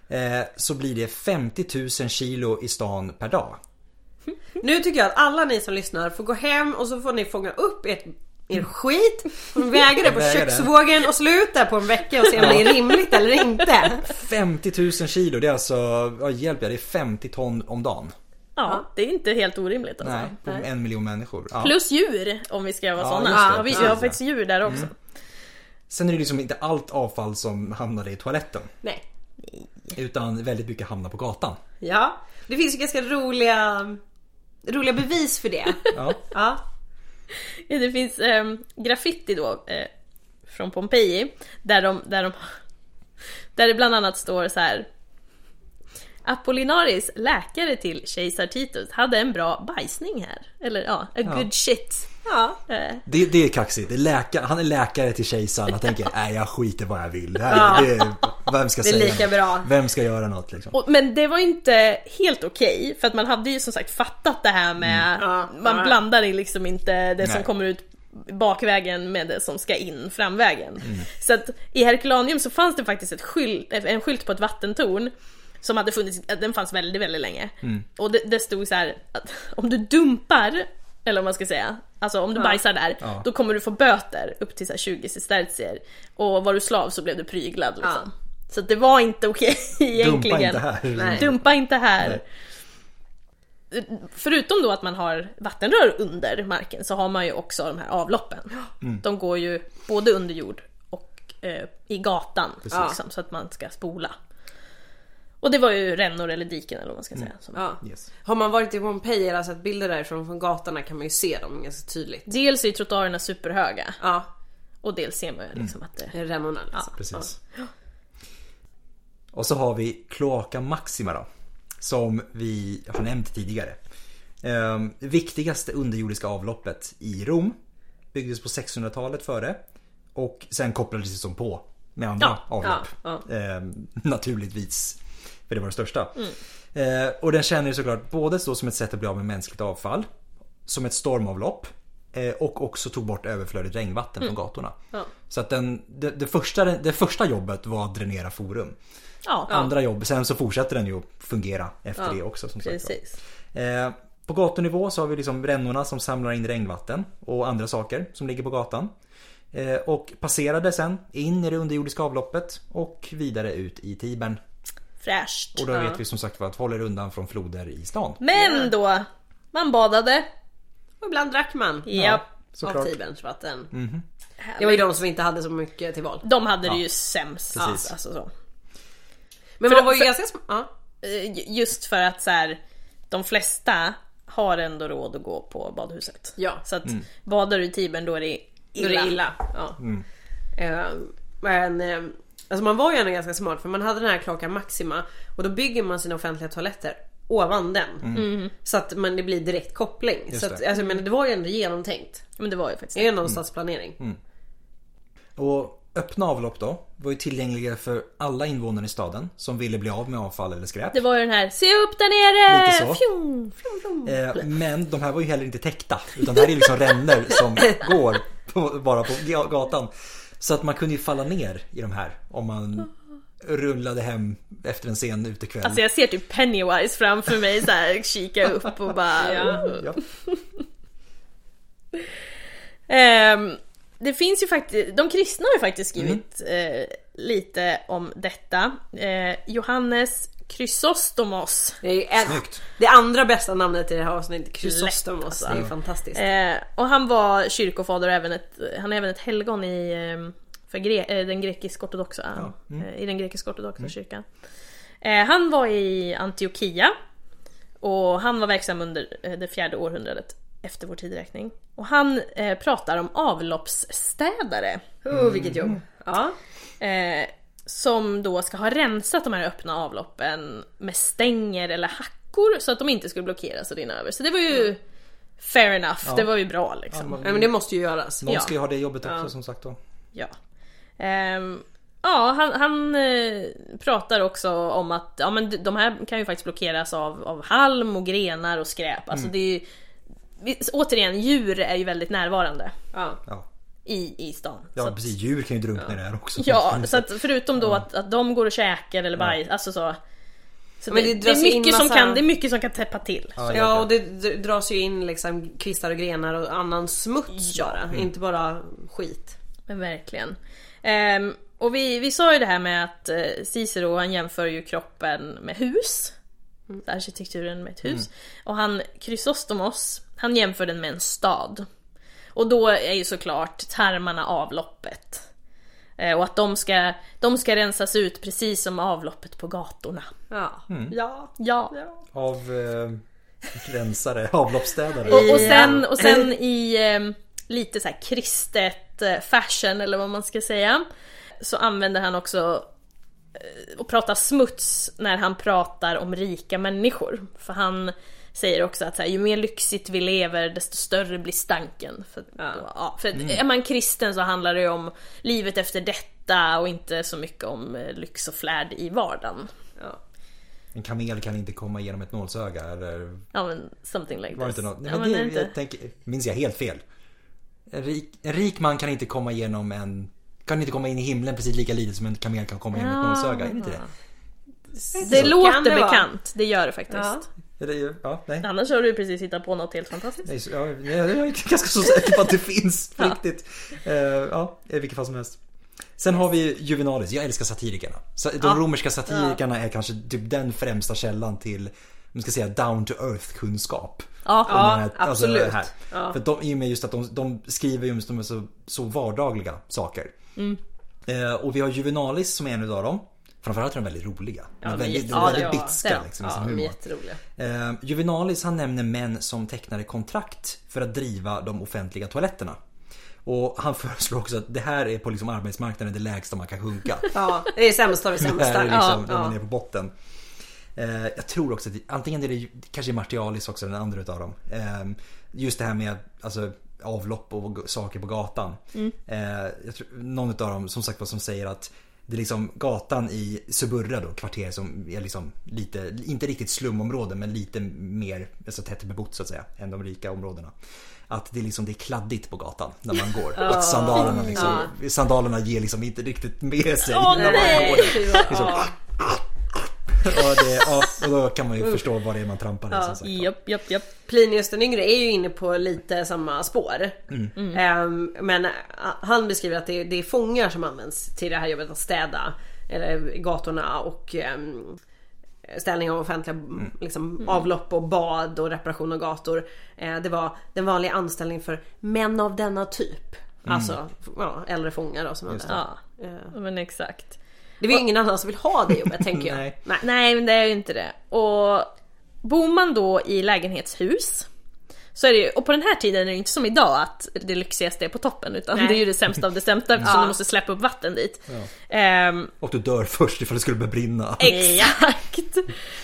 [SPEAKER 1] Eh, så blir det 50 000 kilo i stan per dag.
[SPEAKER 2] Nu tycker jag att alla ni som lyssnar får gå hem och så får ni fånga upp ert er skit, får ni väga det på
[SPEAKER 1] Väga det.
[SPEAKER 2] köksvågen och sluta på en vecka och se om det är rimligt eller inte.
[SPEAKER 1] 50 000 kilo, det är alltså, ja, hjälp jag, det är 50 ton om dagen.
[SPEAKER 3] Ja, det är inte helt orimligt alltså.
[SPEAKER 1] Nej, på en miljon människor. Ja.
[SPEAKER 3] Plus djur om vi ska vara
[SPEAKER 1] Ja,
[SPEAKER 3] sådana.
[SPEAKER 1] just det.
[SPEAKER 3] Ja, vi, vi
[SPEAKER 1] Precis,
[SPEAKER 3] har
[SPEAKER 1] ja. Mm.
[SPEAKER 3] faktiskt djur där också.
[SPEAKER 1] Sen är det liksom inte allt avfall som hamnade i toaletten.
[SPEAKER 2] Nej.
[SPEAKER 1] Utan väldigt mycket hamnar på gatan.
[SPEAKER 2] Ja. Det finns ju ganska roliga, roliga bevis för det.
[SPEAKER 1] Ja,
[SPEAKER 2] Ja.
[SPEAKER 3] Ja, Det finns ehm, graffiti då eh, från Pompeji där de, där de där det bland annat står så här Apollinaris, läkare till kejsar Titus, hade en bra bajsning här. Eller ja, a good shit.
[SPEAKER 2] ja.
[SPEAKER 3] Eh,
[SPEAKER 1] det, det är kaxigt. Det är läka, han är läkare till kejsaren. Han tänker, nej jag skiter vad jag vill. Det här, det, är- vem ska
[SPEAKER 2] Det är
[SPEAKER 1] säga
[SPEAKER 2] lika bra.
[SPEAKER 1] Vem ska göra något liksom?
[SPEAKER 3] Och, men det var ju inte helt okej, för att man hade ju som sagt fattat det här med...
[SPEAKER 2] Ja,
[SPEAKER 3] man
[SPEAKER 2] ja.
[SPEAKER 3] blandar i liksom inte det som
[SPEAKER 1] Nej.
[SPEAKER 3] kommer ut bakvägen med det som ska in framvägen. Så att i Herculaneum så fanns det faktiskt ett skylt, en skylt på ett vattentorn som hade funnits, den fanns väldigt, väldigt länge. Och det, det stod så här att om du dumpar, eller vad man ska säga, alltså om du bajsar där,
[SPEAKER 1] Ja.
[SPEAKER 3] då kommer du få böter upp till så här 20 sestertier. Och var du slav så blev du pryglad liksom.
[SPEAKER 2] Ja.
[SPEAKER 3] Så att det var inte okej egentligen.
[SPEAKER 1] Dumpa inte här.
[SPEAKER 2] Nej.
[SPEAKER 3] Dumpa inte här. Förutom då att man har vattenrör under marken så har man ju också de här avloppen.
[SPEAKER 1] Mm.
[SPEAKER 3] De går ju både under jord och eh, i gatan liksom, så att man ska spola. Och det var ju rännor eller diken eller vad man ska
[SPEAKER 1] Mm.
[SPEAKER 3] säga. som-
[SPEAKER 2] ja.
[SPEAKER 1] Yes.
[SPEAKER 2] Har man varit i Pompeji eller sett bilder därifrån från gatorna kan man ju se dem ganska tydligt.
[SPEAKER 3] Dels är ju trottoarerna superhöga
[SPEAKER 2] Ja,
[SPEAKER 3] och dels ser man ju liksom
[SPEAKER 1] Mm.
[SPEAKER 3] att det...
[SPEAKER 2] rännorna liksom.
[SPEAKER 1] Precis. Och så har vi Cloaca Maxima då. Som vi har nämnt tidigare. Ehm, Det viktigaste underjordiska avloppet i Rom. Byggdes på 600-talet före. Och sen kopplades det som på med andra
[SPEAKER 3] Ja,
[SPEAKER 1] avlopp.
[SPEAKER 2] ja,
[SPEAKER 1] Ehm, naturligtvis. För det var det största. Ehm, och den känner ju såklart både så som ett sätt att bli av med mänskligt avfall. Som ett stormavlopp. Eh, Och också tog bort överflödigt regnvatten från gatorna.
[SPEAKER 2] Ja.
[SPEAKER 1] Så att den, det, det, första, det första jobbet var att dränera forum.
[SPEAKER 3] Ja,
[SPEAKER 1] Andra jobb, sen så fortsätter den ju att fungera efter det också. Som sagt. var.
[SPEAKER 3] precis.
[SPEAKER 1] Eh, På gatunivå så har vi liksom rännorna som samlar in regnvatten och andra saker som ligger på gatan. Eh, Och passerade sen in i det underjordiska avloppet och vidare ut i Tibern.
[SPEAKER 3] Fräscht.
[SPEAKER 1] Och då vet vi som sagt var att hålla er undan från floder i stan.
[SPEAKER 3] Men då, man badade.
[SPEAKER 2] Och ibland drack man.
[SPEAKER 3] Ja.
[SPEAKER 1] såklart.
[SPEAKER 2] Av Tiberns vatten. Det var ju de som inte hade så mycket till val.
[SPEAKER 3] De hade det ju sämst.
[SPEAKER 1] Precis.
[SPEAKER 3] Alltså, så.
[SPEAKER 2] Men
[SPEAKER 3] För-
[SPEAKER 2] man var ju
[SPEAKER 3] för-
[SPEAKER 2] ganska sm- ja.
[SPEAKER 3] Eh, ju- Just för att så här, de flesta har ändå råd att gå på badhuset.
[SPEAKER 2] Ja.
[SPEAKER 3] Så att
[SPEAKER 1] Mm.
[SPEAKER 3] badar du i Tibern då är det
[SPEAKER 2] Då
[SPEAKER 3] illa.
[SPEAKER 2] är det illa. Ja. Eh, men eh, alltså man var ju ändå ganska smart för man hade den här Klaka Maxima och då bygger man sina offentliga toaletter ovan den. Så att man, det blir direkt koppling. så att,
[SPEAKER 1] det.
[SPEAKER 2] alltså, men det var ju ändå genomtänkt.
[SPEAKER 3] Men det var ju faktiskt
[SPEAKER 2] Det är ju någon stadsplanering.
[SPEAKER 1] Och öppna avlopp då var ju tillgängliga för alla invånare i staden som ville bli av med avfall eller skräp.
[SPEAKER 3] Det var ju den här “Se upp där nere!”
[SPEAKER 1] Lite så.
[SPEAKER 3] Fjong, fjong, fjong.
[SPEAKER 1] Eh, Men de här var ju heller inte täckta utan det här är liksom rännor som går på, bara på ga- gatan. Så att man kunde ju falla ner i de här om man rullade hem efter en sen utekväll.
[SPEAKER 3] Alltså jag ser typ Pennywise framför mig så här, kika upp och bara...
[SPEAKER 1] ja.
[SPEAKER 3] Ehm, det finns ju faktiskt, de kristna har ju faktiskt
[SPEAKER 1] Mm.
[SPEAKER 3] skrivit eh, lite om detta. Eh, Johannes Chrysostomos
[SPEAKER 2] Det är ju en,
[SPEAKER 1] Snyggt.
[SPEAKER 2] det andra bästa namnet i det här avsnittet, Chrysostomos. Alltså.
[SPEAKER 3] Lätt,
[SPEAKER 2] Det är ju fantastiskt.
[SPEAKER 3] Eh, och han var kyrkofader och även ett, han är även ett helgon i eh, för gre- eh, den grekisk-ortodoxa eh, i den grekisk-ortodoxa kyrkan. Eh, han var i Antiochia och han var verksam under eh, det fjärde århundradet efter vår tideräkning. Och han eh, pratar om avloppsstädare
[SPEAKER 2] Oh, vilket jobb. Ja.
[SPEAKER 3] eh, som då ska ha rensat de här öppna avloppen med stänger eller hackor så att de inte skulle blockeras och rinna över. Så det var ju fair enough, det var ju bra liksom.
[SPEAKER 2] Nej, men det måste ju göras.
[SPEAKER 1] Någon
[SPEAKER 3] Ja.
[SPEAKER 1] ska ju ha det jobbet också som sagt då.
[SPEAKER 3] Ja. Ehm, ja, han, han eh, pratar också om att ja, men d- de här kan ju faktiskt blockeras av, av halm och grenar och skräp. Alltså
[SPEAKER 1] Mm.
[SPEAKER 3] det är ju, vi- återigen, djur är ju väldigt närvarande
[SPEAKER 2] Ja.
[SPEAKER 1] Ja,
[SPEAKER 3] i, i stan. så
[SPEAKER 1] ja
[SPEAKER 3] att,
[SPEAKER 1] precis. Djur kan ju drunkna i det här också.
[SPEAKER 3] ja, så att förutom då att, att de går och käker eller bajs, alltså så. så
[SPEAKER 2] Men
[SPEAKER 3] det,
[SPEAKER 2] det
[SPEAKER 3] det,
[SPEAKER 2] dras
[SPEAKER 3] är
[SPEAKER 2] in
[SPEAKER 3] mycket som
[SPEAKER 2] massa-
[SPEAKER 3] kan, det är mycket som kan täppa till.
[SPEAKER 1] Ja,
[SPEAKER 2] Ja och det d- dras ju in liksom kvistar och grenar och annan smuts bara.
[SPEAKER 1] Mm.
[SPEAKER 2] Inte bara skit.
[SPEAKER 3] Men verkligen. Ehm, och vi, vi sa ju det här med att eh, Cicero han jämför ju kroppen med hus. Arkitekturen med ett hus. Och han, Chrysostomos, han jämför den med en stad. Och då är ju såklart tarmarna avloppet. Eh, och att de ska, de ska rensas ut precis som avloppet på gatorna.
[SPEAKER 2] Ja.
[SPEAKER 1] Mm.
[SPEAKER 3] Ja. ja.
[SPEAKER 1] Av eh, rensare, avloppsstädare.
[SPEAKER 3] Och, och sen, och sen i eh, lite så här kristet eh, fashion eller vad man ska säga så använder han också eh, och pratar smuts när han pratar om rika människor. För han säger också att så här, ju mer lyxigt vi lever desto större blir stanken. För, ja. för att är man kristen så handlar det ju om livet efter detta och inte så mycket om eh, lyx och flärd i vardagen.
[SPEAKER 2] Ja.
[SPEAKER 1] En kamel kan inte komma igenom ett nålsöga eller
[SPEAKER 3] Ja men something like
[SPEAKER 1] Var det
[SPEAKER 3] this.
[SPEAKER 1] inte något? Nej,
[SPEAKER 3] ja,
[SPEAKER 1] men
[SPEAKER 3] men
[SPEAKER 1] det,
[SPEAKER 3] är det inte?
[SPEAKER 1] Jag tänker, minns jag helt fel? En rik, en rik man kan inte komma igenom en... Kan inte komma in i himlen precis lika lite som en kamel kan komma igenom ett
[SPEAKER 3] Ja.
[SPEAKER 1] nålsöga. Är det inte det?
[SPEAKER 3] Det
[SPEAKER 1] Så.
[SPEAKER 3] låter
[SPEAKER 2] Kan det vara?
[SPEAKER 3] bekant, det gör det faktiskt.
[SPEAKER 2] Ja.
[SPEAKER 1] Är det ju- ja, nej.
[SPEAKER 3] Annars har du ju precis hittat på något helt fantastiskt.
[SPEAKER 1] Nej, så- ja, nej, jag är ganska så säker på att det finns på riktigt. Eh, ja, i vilket fall som helst. Sen har vi Juvenalis. Jag älskar satirikerna. Så De romerska satirikerna är kanske typ den främsta källan till, man ska säga down to earth kunskap.
[SPEAKER 3] Ja.
[SPEAKER 1] om den här-
[SPEAKER 2] Ja, absolut.
[SPEAKER 1] det här. För de, I och med just att de, de skriver ju om så, så vardagliga saker. Eh, och vi har Juvenalis som är en utav dem. Framförallt är de väldigt roliga. De är
[SPEAKER 3] de är
[SPEAKER 1] väldigt,
[SPEAKER 3] jätte- ja,
[SPEAKER 1] väldigt
[SPEAKER 3] det- ja,
[SPEAKER 1] bitska
[SPEAKER 3] det-
[SPEAKER 1] liksom, i
[SPEAKER 2] Ja,
[SPEAKER 1] sin
[SPEAKER 2] de är
[SPEAKER 1] humor.
[SPEAKER 2] jätteroliga.
[SPEAKER 1] Eh, Juvenalis han nämner män som tecknade kontrakt för att driva de offentliga toaletterna. Och han föreslår också att det här är på liksom arbetsmarknaden det lägsta man kan sjunka.
[SPEAKER 2] Ja, det är sämst av det
[SPEAKER 1] Det här
[SPEAKER 2] sämsta.
[SPEAKER 1] är liksom
[SPEAKER 2] Ja,
[SPEAKER 1] när man är
[SPEAKER 2] ja.
[SPEAKER 1] på botten. Eh, jag tror också att det- antingen är det ju- det kanske är Martialis också den andra utav dem. Eh, just det här med alltså, avlopp och g- saker på gatan.
[SPEAKER 2] Mm.
[SPEAKER 1] Eh, jag tror, någon utav dem som sagt var som säger att det är liksom gatan i Suburra då, kvarter som är liksom lite, inte riktigt slumområden men lite mer alltså, tätt bebott så att säga än de rika områdena. Att det är, liksom, det är kladdigt på gatan när man går. Att sandalerna, liksom, sandalerna ger liksom inte riktigt med sig.
[SPEAKER 3] Åh,
[SPEAKER 1] när man
[SPEAKER 3] nej.
[SPEAKER 1] går.
[SPEAKER 2] Fy vad- ja.
[SPEAKER 1] Ja, det, ja, och då kan man ju förstå vad det är man trampar i. som sagt.
[SPEAKER 3] Japp, japp, japp.
[SPEAKER 2] Plinius den yngre är ju inne på lite samma spår. Ehm, men eh, han beskriver att det är, det är fångar som används till det här jobbet att städa eller gatorna och ehm, ställning av offentliga liksom, avlopp och bad och reparation av gator. Eh, det var den vanliga anställningen för män av denna typ. Alltså ja, äldre fångar då, som hade. Det.
[SPEAKER 3] Ja, men exakt.
[SPEAKER 2] Ehm, det var ju ingen annan som vill ha det jobbet tänker jag.
[SPEAKER 1] Nej.
[SPEAKER 2] Nej.
[SPEAKER 3] Nej, men det är ju inte det. Och bor man då i lägenhetshus så är det ju, och på den här tiden är det ju inte som idag att det lyxigaste är på toppen utan
[SPEAKER 2] Nej.
[SPEAKER 3] det är ju det sämsta av det sämsta eftersom
[SPEAKER 2] Ja.
[SPEAKER 3] du måste släppa upp vatten dit. Ehm,
[SPEAKER 1] Och du dör först ifall det skulle börja brinna.
[SPEAKER 3] Exakt!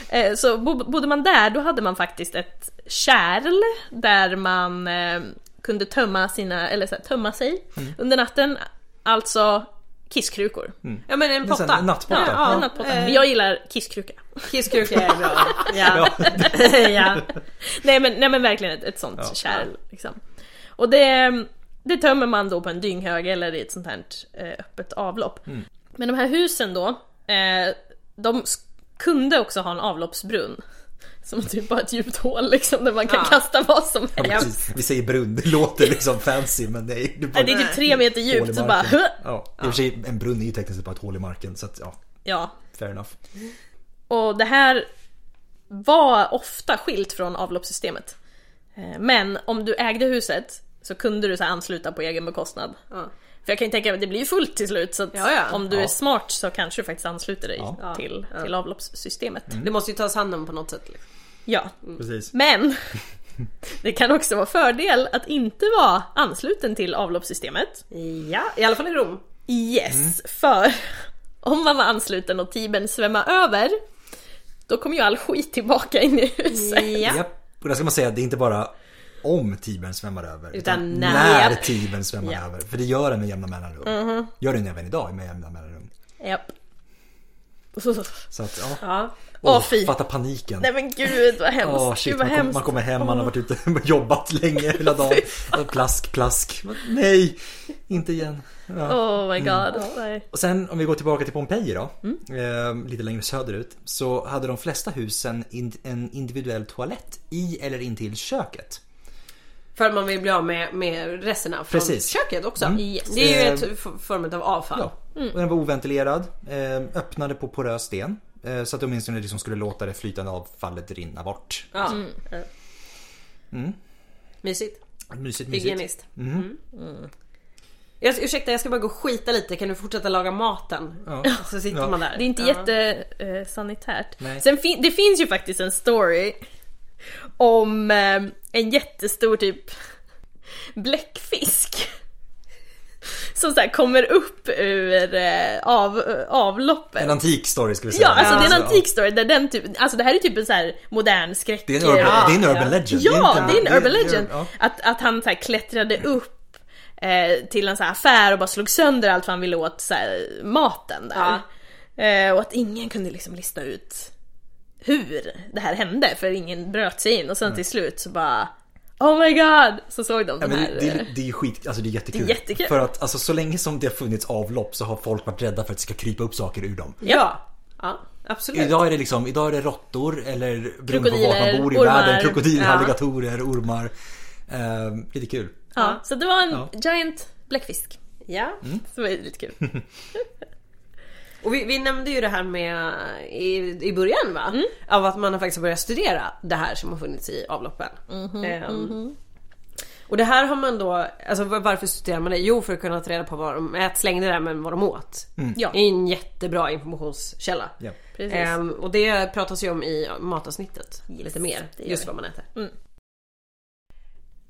[SPEAKER 3] Eh, Så bo- bodde man där då hade man faktiskt ett kärl där man eh, kunde tömma, sina, eller så här, tömma sig under natten. Alltså kisskrukor.
[SPEAKER 2] Ja men en
[SPEAKER 1] Men sen
[SPEAKER 2] potta.
[SPEAKER 1] en nattpotta.
[SPEAKER 2] Ja, eh,
[SPEAKER 3] Ja,
[SPEAKER 2] ja.
[SPEAKER 3] en nattpotta. Jag gillar kisskruka.
[SPEAKER 2] Kisskrukor är bra. Ja.
[SPEAKER 3] ja. nej, men, nej men verkligen ett, ett sånt kärl. Liksom. Och det, det tömmer man då på en dynghög eller i ett sånt här eh, öppet avlopp.
[SPEAKER 1] Mm.
[SPEAKER 3] Men de här husen då, eh, de sk- kunde också ha en avloppsbrunn. Som typ bara ett djupt hål liksom, där man kan
[SPEAKER 2] Ja.
[SPEAKER 3] kasta vad som
[SPEAKER 1] Ja,
[SPEAKER 3] helst.
[SPEAKER 1] precis. Vi säger brunn, det låter liksom fancy men det är, det är bara
[SPEAKER 3] Nej, Det är typ tre meter
[SPEAKER 1] ett hål i
[SPEAKER 3] djupt så bara
[SPEAKER 1] marken. Ja. I och för sig, en brunn är ju tekniskt sett bara ett hål i marken så att ja,
[SPEAKER 3] Ja,
[SPEAKER 1] fair enough.
[SPEAKER 3] Mm. Och det här var ofta skilt från avloppssystemet. Eh, Men om du ägde huset så kunde du så här ansluta på egen bekostnad.
[SPEAKER 2] Ja.
[SPEAKER 3] För jag kan ju tänka mig att det blir ju fullt till slut så att
[SPEAKER 2] Ja, ja.
[SPEAKER 3] om du
[SPEAKER 1] Ja.
[SPEAKER 3] är smart så kanske du faktiskt ansluter dig
[SPEAKER 1] Ja. Mm.
[SPEAKER 3] till, till avloppssystemet.
[SPEAKER 2] Det måste ju tas hand om på något sätt. liksom.
[SPEAKER 3] Ja.
[SPEAKER 1] Precis.
[SPEAKER 3] Men det kan också vara fördel att inte vara ansluten till avloppssystemet.
[SPEAKER 2] Ja, i alla fall i Rom.
[SPEAKER 3] Yes,
[SPEAKER 1] Mm.
[SPEAKER 3] för om man var ansluten och tibern svämmar över då kommer ju all skit tillbaka in i huset.
[SPEAKER 2] Ja.
[SPEAKER 1] Japp. Och där ska man säga att det är inte bara om tibern svämmar över.
[SPEAKER 2] Utan när.
[SPEAKER 1] när tibern svämmar
[SPEAKER 3] Japp. Mm-hmm.
[SPEAKER 1] över. För det gör den med jämna mellanrum. Gör den även idag med jämna mellanrum.
[SPEAKER 3] Japp.
[SPEAKER 1] Så att ja.
[SPEAKER 2] Ja.
[SPEAKER 1] Åh,
[SPEAKER 3] Åh, fy.
[SPEAKER 1] fatta paniken.
[SPEAKER 3] Nej men gud vad hemskt.
[SPEAKER 1] Åh shit,
[SPEAKER 3] gud vad
[SPEAKER 1] man, kom,
[SPEAKER 3] hemskt.
[SPEAKER 1] man kommer hem, man har varit ute och jobbat länge hela dagen. Plask, plask. Nej, inte igen. Ja.
[SPEAKER 3] Oh my god. Nej.
[SPEAKER 1] Och sen om vi går tillbaka till Pompeji då,
[SPEAKER 3] Mm.
[SPEAKER 1] eh, lite längre söderut, så hade de flesta husen in, en individuell toalett i eller intill köket.
[SPEAKER 2] För man vill bli av med, med resterna från
[SPEAKER 1] Precis.
[SPEAKER 2] köket också.
[SPEAKER 1] Mm.
[SPEAKER 3] Yes.
[SPEAKER 2] Det är ju
[SPEAKER 1] Eh,
[SPEAKER 2] ett f- form av avfall.
[SPEAKER 1] Ja.
[SPEAKER 3] Mm.
[SPEAKER 1] Och den var oventilerad, eh, öppnade på porös sten. Eh, så att de åtminstone liksom skulle låta det flytande avfallet rinna bort.
[SPEAKER 2] Ja. Mm. Mysigt.
[SPEAKER 1] Mm. Mysigt, mysigt.
[SPEAKER 2] Hygieniskt. Mm. Jag, ursäkta jag ska bara gå och skita lite, kan du fortsätta laga maten?
[SPEAKER 1] Ja.
[SPEAKER 2] Så sitter
[SPEAKER 1] Ja.
[SPEAKER 2] man där.
[SPEAKER 3] Det är inte
[SPEAKER 2] Ja.
[SPEAKER 3] jättesanitärt. Eh, sanitärt.
[SPEAKER 1] Nej.
[SPEAKER 3] Sen fin- det finns ju faktiskt en story om eh, en jättestor typ bläckfisk. Som så här kommer upp ur eh, av, avloppet.
[SPEAKER 1] En antik story ska vi säga.
[SPEAKER 3] Ja, alltså det är en
[SPEAKER 1] ja.
[SPEAKER 3] antik story där den typ, alltså det här är typ en så här modern skräck...
[SPEAKER 1] Det är en urban,
[SPEAKER 3] Ja.
[SPEAKER 1] det är en urban legend.
[SPEAKER 3] Ja,
[SPEAKER 1] inte
[SPEAKER 3] det är en urban legend.
[SPEAKER 1] ja.
[SPEAKER 3] Att, att han så här klättrade upp eh, till en så här affär och bara slog sönder allt vad han ville åt så här, maten där. Eh, och att ingen kunde liksom lista ut hur det här hände för ingen bröt sig in och sen till slut så bara Oh my god! Så såg de
[SPEAKER 1] Mm. Ja, men
[SPEAKER 3] den här...
[SPEAKER 1] det,
[SPEAKER 3] eh,
[SPEAKER 1] det, är- det är ju skit, alltså det är jättekul.
[SPEAKER 3] Det är jättekul.
[SPEAKER 1] För att alltså, så länge som det har funnits avlopp så har folk varit rädda för att det ska krypa upp saker ur dem.
[SPEAKER 2] Ja. ja, absolut.
[SPEAKER 1] Idag är det liksom, idag är det råttor eller beroende på vart
[SPEAKER 3] Krokodiler,
[SPEAKER 1] man bor i
[SPEAKER 3] ormar.
[SPEAKER 1] världen, krokodiler,
[SPEAKER 2] Ja.
[SPEAKER 1] alligatorer, ormar. Ehm, lite kul.
[SPEAKER 3] ja, så det var en
[SPEAKER 1] Ja.
[SPEAKER 3] giant bläckfisk.
[SPEAKER 2] Ja.
[SPEAKER 3] Så det var lite kul.
[SPEAKER 2] Och vi, vi nämnde ju det här med i, i början va?
[SPEAKER 3] Mm.
[SPEAKER 2] Av att man har faktiskt börjat studera det här som har funnits i avloppen.
[SPEAKER 3] Mm-hmm,
[SPEAKER 2] Ehm, Och det här har man då, alltså var- varför studerar man det? Jo för att kunna ta reda på vad de ät, slängde där men vad de åt.
[SPEAKER 3] Ja,
[SPEAKER 2] Det är en jättebra informationskälla.
[SPEAKER 1] Ja.
[SPEAKER 3] Mm. precis.
[SPEAKER 2] Ehm, och det pratas ju om i matavsnittet lite mer.
[SPEAKER 3] det gör
[SPEAKER 2] Just
[SPEAKER 3] vi.
[SPEAKER 2] vad man äter.
[SPEAKER 3] Mm.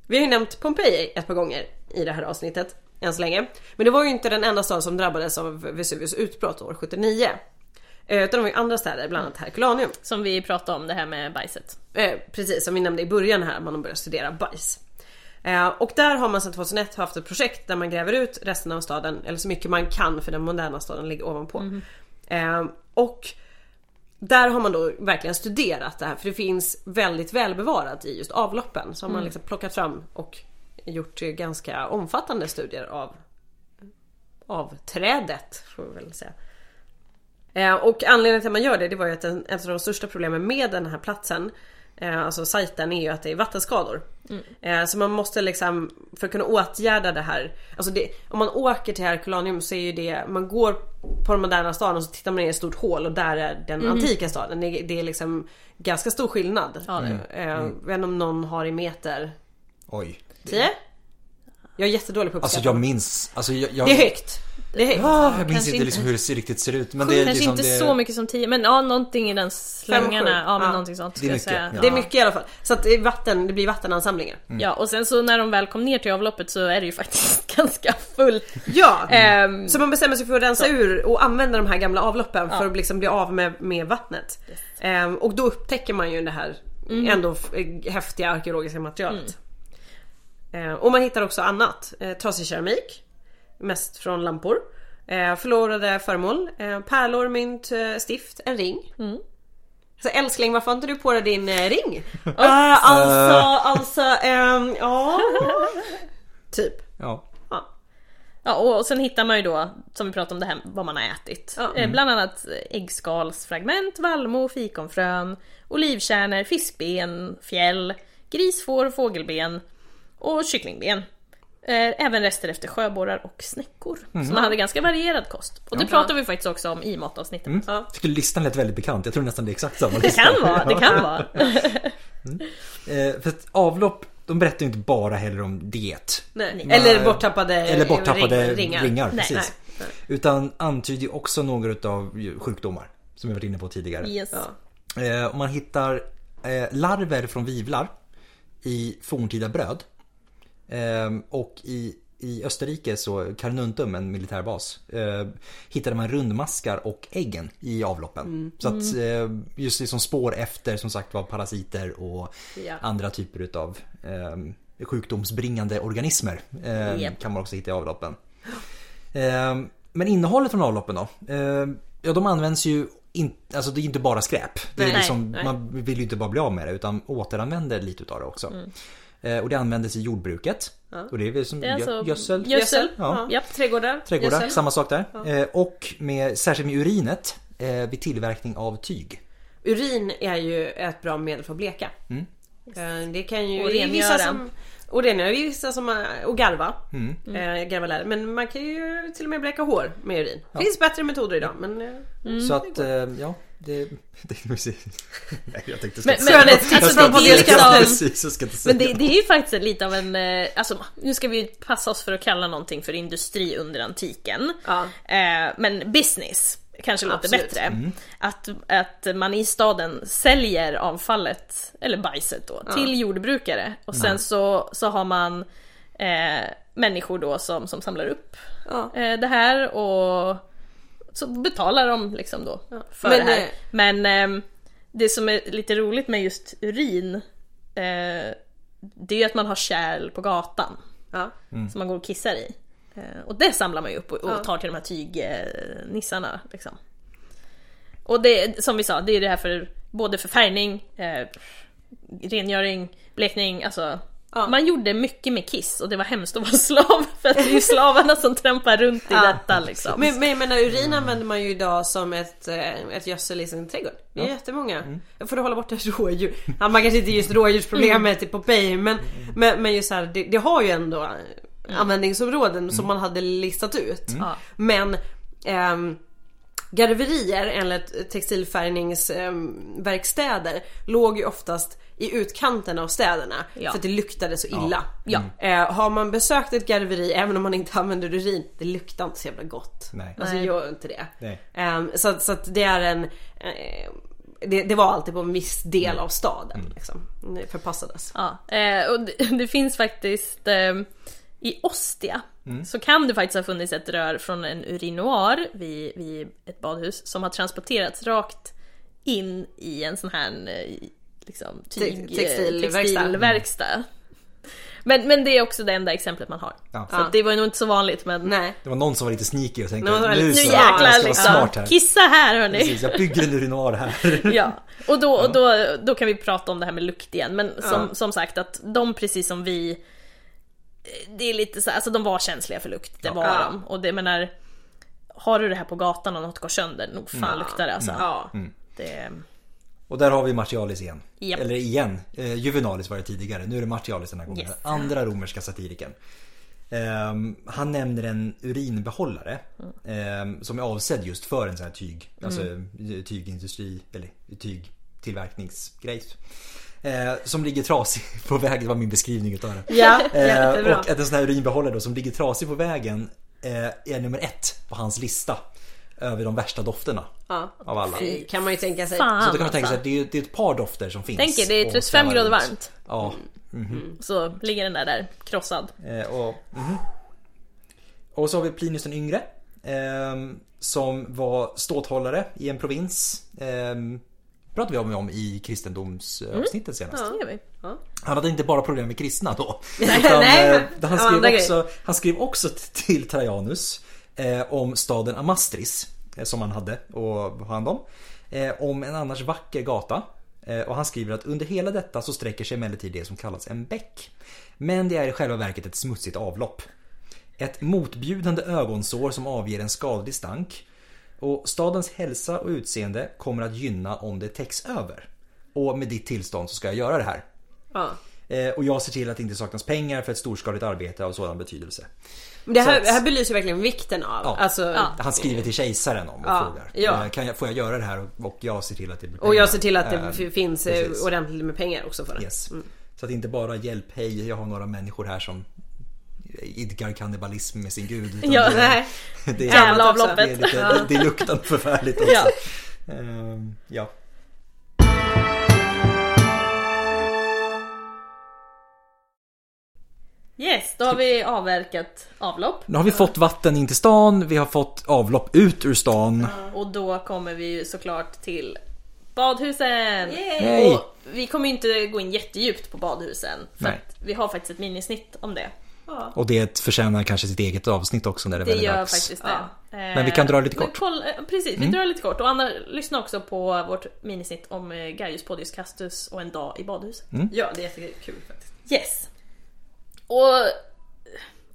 [SPEAKER 2] Vi har ju nämnt Pompeji ett par gånger i det här avsnittet än så länge. Men det var ju inte den enda stad som drabbades av Vesuvius utbrott år 79. Eh, Utan det var ju andra städer, bland annat Herculaneum.
[SPEAKER 3] Som vi pratade om, det här med bajset.
[SPEAKER 2] Eh, precis som vi nämnde i början här, man har börjat studera bajs. Eh, och där har man sedan 2001 haft ett projekt där man gräver ut resten av staden, eller så mycket man kan för den moderna staden ligger ovanpå. Eh, och där har man då verkligen studerat det här för det finns väldigt välbevarat i just avloppen. Så har man liksom plockat fram och gjort eh, ganska omfattande studier av, av trädet. Får vi väl säga. Eh, Och anledningen till att man gör det, det var ju att en, ett av de största problemen med den här platsen eh, Alltså sajten är ju att det är vattenskador.
[SPEAKER 3] Mm.
[SPEAKER 2] Eh, Så man måste liksom, för att kunna åtgärda det här. Alltså det, om man åker till Herculaneum så är ju det, man går på den moderna staden och så tittar man i ett stort hål och där är den
[SPEAKER 3] Mm.
[SPEAKER 2] antika staden. Det, det är liksom ganska stor skillnad.
[SPEAKER 3] Ja, det är
[SPEAKER 1] Mm.
[SPEAKER 2] Eh, Jag vet inte om någon har i meter.
[SPEAKER 1] Oj.
[SPEAKER 2] 10? Jag är jättedålig på
[SPEAKER 1] Alltså
[SPEAKER 2] uppskattning.
[SPEAKER 1] jag minns. Alltså jag, jag,
[SPEAKER 2] Det är högt. Det är högt.
[SPEAKER 1] Ah, jag minns
[SPEAKER 3] Kanske
[SPEAKER 1] inte liksom
[SPEAKER 3] inte-
[SPEAKER 1] hur det ser- riktigt ser ut. Men det är
[SPEAKER 3] Kanske
[SPEAKER 1] liksom
[SPEAKER 3] inte
[SPEAKER 1] det...
[SPEAKER 3] så mycket som 10 men ja någonting i den
[SPEAKER 2] Fem,
[SPEAKER 3] slängarna.
[SPEAKER 2] sju.
[SPEAKER 3] Ja men
[SPEAKER 2] Ja.
[SPEAKER 3] någonting sånt
[SPEAKER 1] Det är
[SPEAKER 3] skulle jag
[SPEAKER 1] mycket,
[SPEAKER 3] säga.
[SPEAKER 1] ja.
[SPEAKER 2] Det är mycket i alla fall. Så att det, är vatten, det blir vattenansamlingar.
[SPEAKER 3] Ja och sen så när de väl kom ner till avloppet så är det ju faktiskt ganska fullt.
[SPEAKER 2] Ja!
[SPEAKER 3] Ehm,
[SPEAKER 2] Så man bestämmer sig för att rensa ur och använda de här gamla avloppen för att liksom bli av med, med vattnet. Ehm, och då upptäcker man ju det här ändå f- eh, häftiga arkeologiska materialet. Ehm, och man hittar också annat. Eh, trasig keramik. Mest från lampor. Eh, förlorade föremål. Eh, pärlor, mynt, eh, stift, en ring. Så älskling varför har inte du på dig din eh, ring? Eh, alltså, alltså, ehm, ja. typ.
[SPEAKER 1] Ja.
[SPEAKER 2] Ja.
[SPEAKER 3] Ja, och sen hittar man ju då, som vi pratade om det här, vad man har ätit.
[SPEAKER 2] Ja.
[SPEAKER 3] Eh, Bland annat äggskalsfragment, vallmo, fikonfrön, olivkärnor, fiskben, fjäll, grisfår och fågelben och kycklingben. Eh, Även rester efter sjöborrar och snäckor.
[SPEAKER 2] Mm.
[SPEAKER 3] Så man hade ganska varierad kost. Och det pratar vi faktiskt också om i matavsnittet.
[SPEAKER 2] Ja.
[SPEAKER 1] Jag tycker listan lät väldigt bekant. Jag tror nästan det är exakt samma
[SPEAKER 3] Det
[SPEAKER 1] lista.
[SPEAKER 3] kan vara, det kan vara.
[SPEAKER 1] Eh, för att avlopp, de berättar ju inte bara heller om diet.
[SPEAKER 2] Nej.
[SPEAKER 1] Nej.
[SPEAKER 2] Eller borttappade,
[SPEAKER 1] Eller borttappade
[SPEAKER 2] ring-
[SPEAKER 1] ringar.
[SPEAKER 2] Nej,
[SPEAKER 1] precis.
[SPEAKER 2] nej.
[SPEAKER 1] Utan antyder ju också några av sjukdomar. Som vi varit inne på tidigare.
[SPEAKER 3] Yes.
[SPEAKER 2] Ja.
[SPEAKER 1] Eh, och man hittar eh, larver från vivlar i forntida bröd. Eh, och i, i Österrike, så Carnuntum, en militärbas, eh, hittade man rundmaskar och äggen i avloppen.
[SPEAKER 3] Mm.
[SPEAKER 1] Så att eh, just liksom spår efter som sagt var parasiter och
[SPEAKER 2] Ja.
[SPEAKER 1] andra typer utav eh, sjukdomsbringande organismer eh,
[SPEAKER 3] Japp.
[SPEAKER 1] kan man också hitta i avloppen. Eh, Men innehållet från avloppen då? Eh, Ja, de används ju in, alltså det är inte bara skräp. Det är
[SPEAKER 3] Nej,
[SPEAKER 1] liksom,
[SPEAKER 3] nej.
[SPEAKER 1] Man vill ju inte bara bli av med det utan återanvänder lite utav det också.
[SPEAKER 3] Mm.
[SPEAKER 1] Eh, Och det användes i jordbruket. Och det är väl som
[SPEAKER 3] Det är alltså
[SPEAKER 1] gö- gödsel,
[SPEAKER 3] gödsel.
[SPEAKER 1] Ja.
[SPEAKER 2] Ja.
[SPEAKER 3] Japp.
[SPEAKER 2] Trädgårdar.
[SPEAKER 1] trädgårdar,
[SPEAKER 2] gödsel.
[SPEAKER 1] samma sak där. Eh, Och med, särskilt med urinet eh, vid tillverkning av tyg.
[SPEAKER 2] Urin är ju ett bra medel för att bleka.
[SPEAKER 1] Mm.
[SPEAKER 2] Eh, Det kan ju...
[SPEAKER 3] Och
[SPEAKER 2] det är
[SPEAKER 3] rengöra.
[SPEAKER 2] vissa som, och rengöra. Det är vissa som... eh, Och garva.
[SPEAKER 1] Mm.
[SPEAKER 2] Eh, garva läder. Men man kan ju till och med bleka hår med urin. Det finns bättre metoder idag men... eh,
[SPEAKER 3] Mm.
[SPEAKER 1] Så att, eh, ja. Det, det, nej, jag tänkte
[SPEAKER 3] Men-
[SPEAKER 1] inte
[SPEAKER 3] men-
[SPEAKER 1] säga något.
[SPEAKER 3] alltså,
[SPEAKER 1] Jag ska
[SPEAKER 3] det
[SPEAKER 1] inte säga
[SPEAKER 3] är liksom-
[SPEAKER 1] något. Precis, jag ska inte säga
[SPEAKER 3] Men det, det är ju faktiskt lite av en, eh, alltså nu ska vi ju passa oss för att kalla någonting för industri under antiken.
[SPEAKER 2] Ja.
[SPEAKER 3] Eh, men business kanske låter
[SPEAKER 2] Absolut.
[SPEAKER 3] bättre. Att, att man i staden säljer avfallet, eller bajset då, till jordbrukare. Och sen så, så har man eh, människor då som, som samlar upp
[SPEAKER 2] Ja.
[SPEAKER 3] eh, det här och så betalar de liksom då för
[SPEAKER 2] Men,
[SPEAKER 3] det här.
[SPEAKER 2] eh,
[SPEAKER 3] Men ehm, det som är lite roligt med just urin eh, det är ju att man har kärl på gatan
[SPEAKER 2] Ja.
[SPEAKER 3] som man går och kissar i. Eh, och det samlar man ju upp och, och tar till de här tygnissarna. Liksom. Och det som vi sa, det är ju det här för både för färgning, eh, rengöring, blekning, alltså
[SPEAKER 2] Ja.
[SPEAKER 3] Man gjorde mycket med kiss och det var hemskt att vara slav för att det är ju slavarna som trampar runt i
[SPEAKER 2] Ja.
[SPEAKER 3] detta liksom.
[SPEAKER 2] Men, men jag menar urin använder man ju idag som ett, eh, ett gödsel i sin trädgård. Det är jättemånga. För att hålla borta rådjur. Ja, man kanske inte just rådjursproblemet typ på Popeye men, men, men just så här, det, det har ju ändå eh, användningsområden som man hade listat ut.
[SPEAKER 3] Ja.
[SPEAKER 2] Men ehm, garverier eller textilfärgningsverkstäder låg ju oftast i utkanten av städerna
[SPEAKER 3] Ja.
[SPEAKER 2] för att det luktade så illa.
[SPEAKER 3] Ja.
[SPEAKER 2] Eh, har man besökt ett garveri även om man inte använder urin, det luktar inte så jävla gott.
[SPEAKER 1] Nej.
[SPEAKER 2] Alltså
[SPEAKER 3] Nej.
[SPEAKER 2] gör inte det.
[SPEAKER 1] Nej.
[SPEAKER 2] Eh, så att- så att det är en... Eh, det, det var alltid på en viss del av staden. Liksom. Det Förpassades.
[SPEAKER 3] Ja, eh, och det, det finns faktiskt eh, i Ostia
[SPEAKER 1] Mm.
[SPEAKER 3] så kan det faktiskt ha funnits ett rör från en urinoar vid, vid ett badhus som har transporterats rakt in i en sån här eh, liksom, tyg,
[SPEAKER 2] Te- textilverkstad.
[SPEAKER 3] textilverkstad. Men, men det är också det enda exemplet man har.
[SPEAKER 1] Ja.
[SPEAKER 3] Så att det var ju nog inte så vanligt men
[SPEAKER 2] Nej.
[SPEAKER 1] Det var någon som var lite sneaky och tänkte
[SPEAKER 2] Någon som var
[SPEAKER 1] nu
[SPEAKER 2] lite-
[SPEAKER 3] nu
[SPEAKER 1] så,
[SPEAKER 2] Ja,
[SPEAKER 1] jag ska
[SPEAKER 3] jäklar
[SPEAKER 1] vara
[SPEAKER 3] liksom.
[SPEAKER 1] smart här.
[SPEAKER 3] Kissa här hörni!
[SPEAKER 1] Precis, jag bygger en urinoar här.
[SPEAKER 3] Ja, och, då, och då, då kan vi prata om det här med lukt igen. Men som, som sagt att de precis som vi det är lite så här, alltså de var känsliga för lukt, det
[SPEAKER 1] Ja.
[SPEAKER 3] var
[SPEAKER 2] Ja.
[SPEAKER 3] de. Och det, jag menar, har du det här på gatan och något går sönder, nog fan luktar det alltså.
[SPEAKER 2] Ja.
[SPEAKER 1] Mm.
[SPEAKER 3] Det,
[SPEAKER 1] Och där har vi Martialis igen.
[SPEAKER 3] Japp.
[SPEAKER 1] Eller igen, eh, Juvenalis var det tidigare. Nu är det Martialis den här gången.
[SPEAKER 3] Yes.
[SPEAKER 1] Den andra romerska satiriken. Ehm, han nämner en urinbehållare ehm, som är avsedd just för en sån här tyg, alltså eh, tygindustri eller tygtillverkningsgrej. Eh, som ligger trasig på vägen, det var min beskrivning utav det.
[SPEAKER 2] Ja,
[SPEAKER 1] Eh,
[SPEAKER 2] jättebra.
[SPEAKER 1] och att en sån här urinbehållare då, som ligger trasig på vägen eh, är nummer ett på hans lista över de värsta dofterna
[SPEAKER 2] Ja.
[SPEAKER 1] av alla.
[SPEAKER 2] Fy, kan man ju tänka sig.
[SPEAKER 3] fan
[SPEAKER 1] Så då kan man tänka sig
[SPEAKER 3] alltså.
[SPEAKER 1] att det är, det är ett par dofter som finns.
[SPEAKER 3] Tänk er, det är
[SPEAKER 1] och
[SPEAKER 3] 35
[SPEAKER 1] svävar
[SPEAKER 3] grader
[SPEAKER 1] runt.
[SPEAKER 3] varmt.
[SPEAKER 1] Ja.
[SPEAKER 3] Så ligger den där där, krossad.
[SPEAKER 1] eh, Och, mhm. och så har vi Plinius den yngre. ehm, Som var ståthållare i en provins. ehm, pratade vi om, om i kristendomsavsnittet
[SPEAKER 3] Mm.
[SPEAKER 1] senast.
[SPEAKER 3] Det gör vi.
[SPEAKER 2] Ja.
[SPEAKER 1] Han hade inte bara problem med kristna då.
[SPEAKER 2] nej,
[SPEAKER 1] eh,
[SPEAKER 2] men-
[SPEAKER 1] han,
[SPEAKER 2] av andra
[SPEAKER 1] skrev också, han skrev också t- till Trajanus eh, om staden Amastris eh, som han hade och hand om. Eh, om en annars vacker gata. Eh, och han skriver att under hela detta så sträcker sig emellertid det som kallas en bäck. Men det är i själva verket ett smutsigt avlopp. Ett motbjudande ögonsår som avger en skadlig stank. Och stadens hälsa och utseende kommer att gynna om det täcks över. Och med ditt tillstånd så ska jag göra det här.
[SPEAKER 2] Ja.
[SPEAKER 1] Eh, Och jag ser till att det inte saknas pengar för ett storskaligt arbete av sådan betydelse.
[SPEAKER 2] Men det, här,
[SPEAKER 1] Så att-
[SPEAKER 2] det här belyser verkligen vikten av.
[SPEAKER 1] Ja.
[SPEAKER 2] Alltså,
[SPEAKER 3] Ja.
[SPEAKER 1] Han skriver till kejsaren om och
[SPEAKER 2] Ja,
[SPEAKER 1] frågar.
[SPEAKER 2] ja.
[SPEAKER 1] eh, Kan jag, får jag göra det här? Och- Och jag ser till att det blir
[SPEAKER 2] Och jag ser till att det
[SPEAKER 1] Eh,
[SPEAKER 2] f- finns eh,
[SPEAKER 1] precis.
[SPEAKER 2] ordentligt med pengar också för det. Mm.
[SPEAKER 1] Yes. Så att inte bara hjälp, hej, jag har några människor här som idkar kannibalism med sin gud. utan
[SPEAKER 3] Ja,
[SPEAKER 1] det-
[SPEAKER 2] Nej.
[SPEAKER 1] det är-
[SPEAKER 3] Jävla
[SPEAKER 2] annat också.
[SPEAKER 1] Det, är
[SPEAKER 3] avloppet.
[SPEAKER 1] lite, det, det luktar förfärligt också. Ehm, ja.
[SPEAKER 3] Yes, då har
[SPEAKER 1] Typ.
[SPEAKER 3] vi avverkat avlopp.
[SPEAKER 1] Nu har vi fått vatten in till stan, vi har fått avlopp ut ur stan.
[SPEAKER 3] Och då kommer vi ju såklart till badhusen!
[SPEAKER 1] Yay!
[SPEAKER 3] Och vi kommer ju inte gå in jättedjupt på badhusen. För
[SPEAKER 1] Nej.
[SPEAKER 3] att vi har faktiskt ett minisnitt om det.
[SPEAKER 1] Och det förtjänar kanske sitt eget avsnitt också när det
[SPEAKER 3] Det
[SPEAKER 1] väl är
[SPEAKER 3] gör
[SPEAKER 1] dags.
[SPEAKER 3] faktiskt det.
[SPEAKER 2] Ja.
[SPEAKER 1] Men vi kan dra lite
[SPEAKER 3] Men
[SPEAKER 1] kort. Mm.
[SPEAKER 3] kolla- eh, precis, vi drar lite kort. Och Anna, lyssna också på vårt minisnitt om eh, Gaius Podius Castus och en dag i badhuset.
[SPEAKER 1] Mm.
[SPEAKER 2] Ja, det är jättekul faktiskt.
[SPEAKER 3] Yes. Och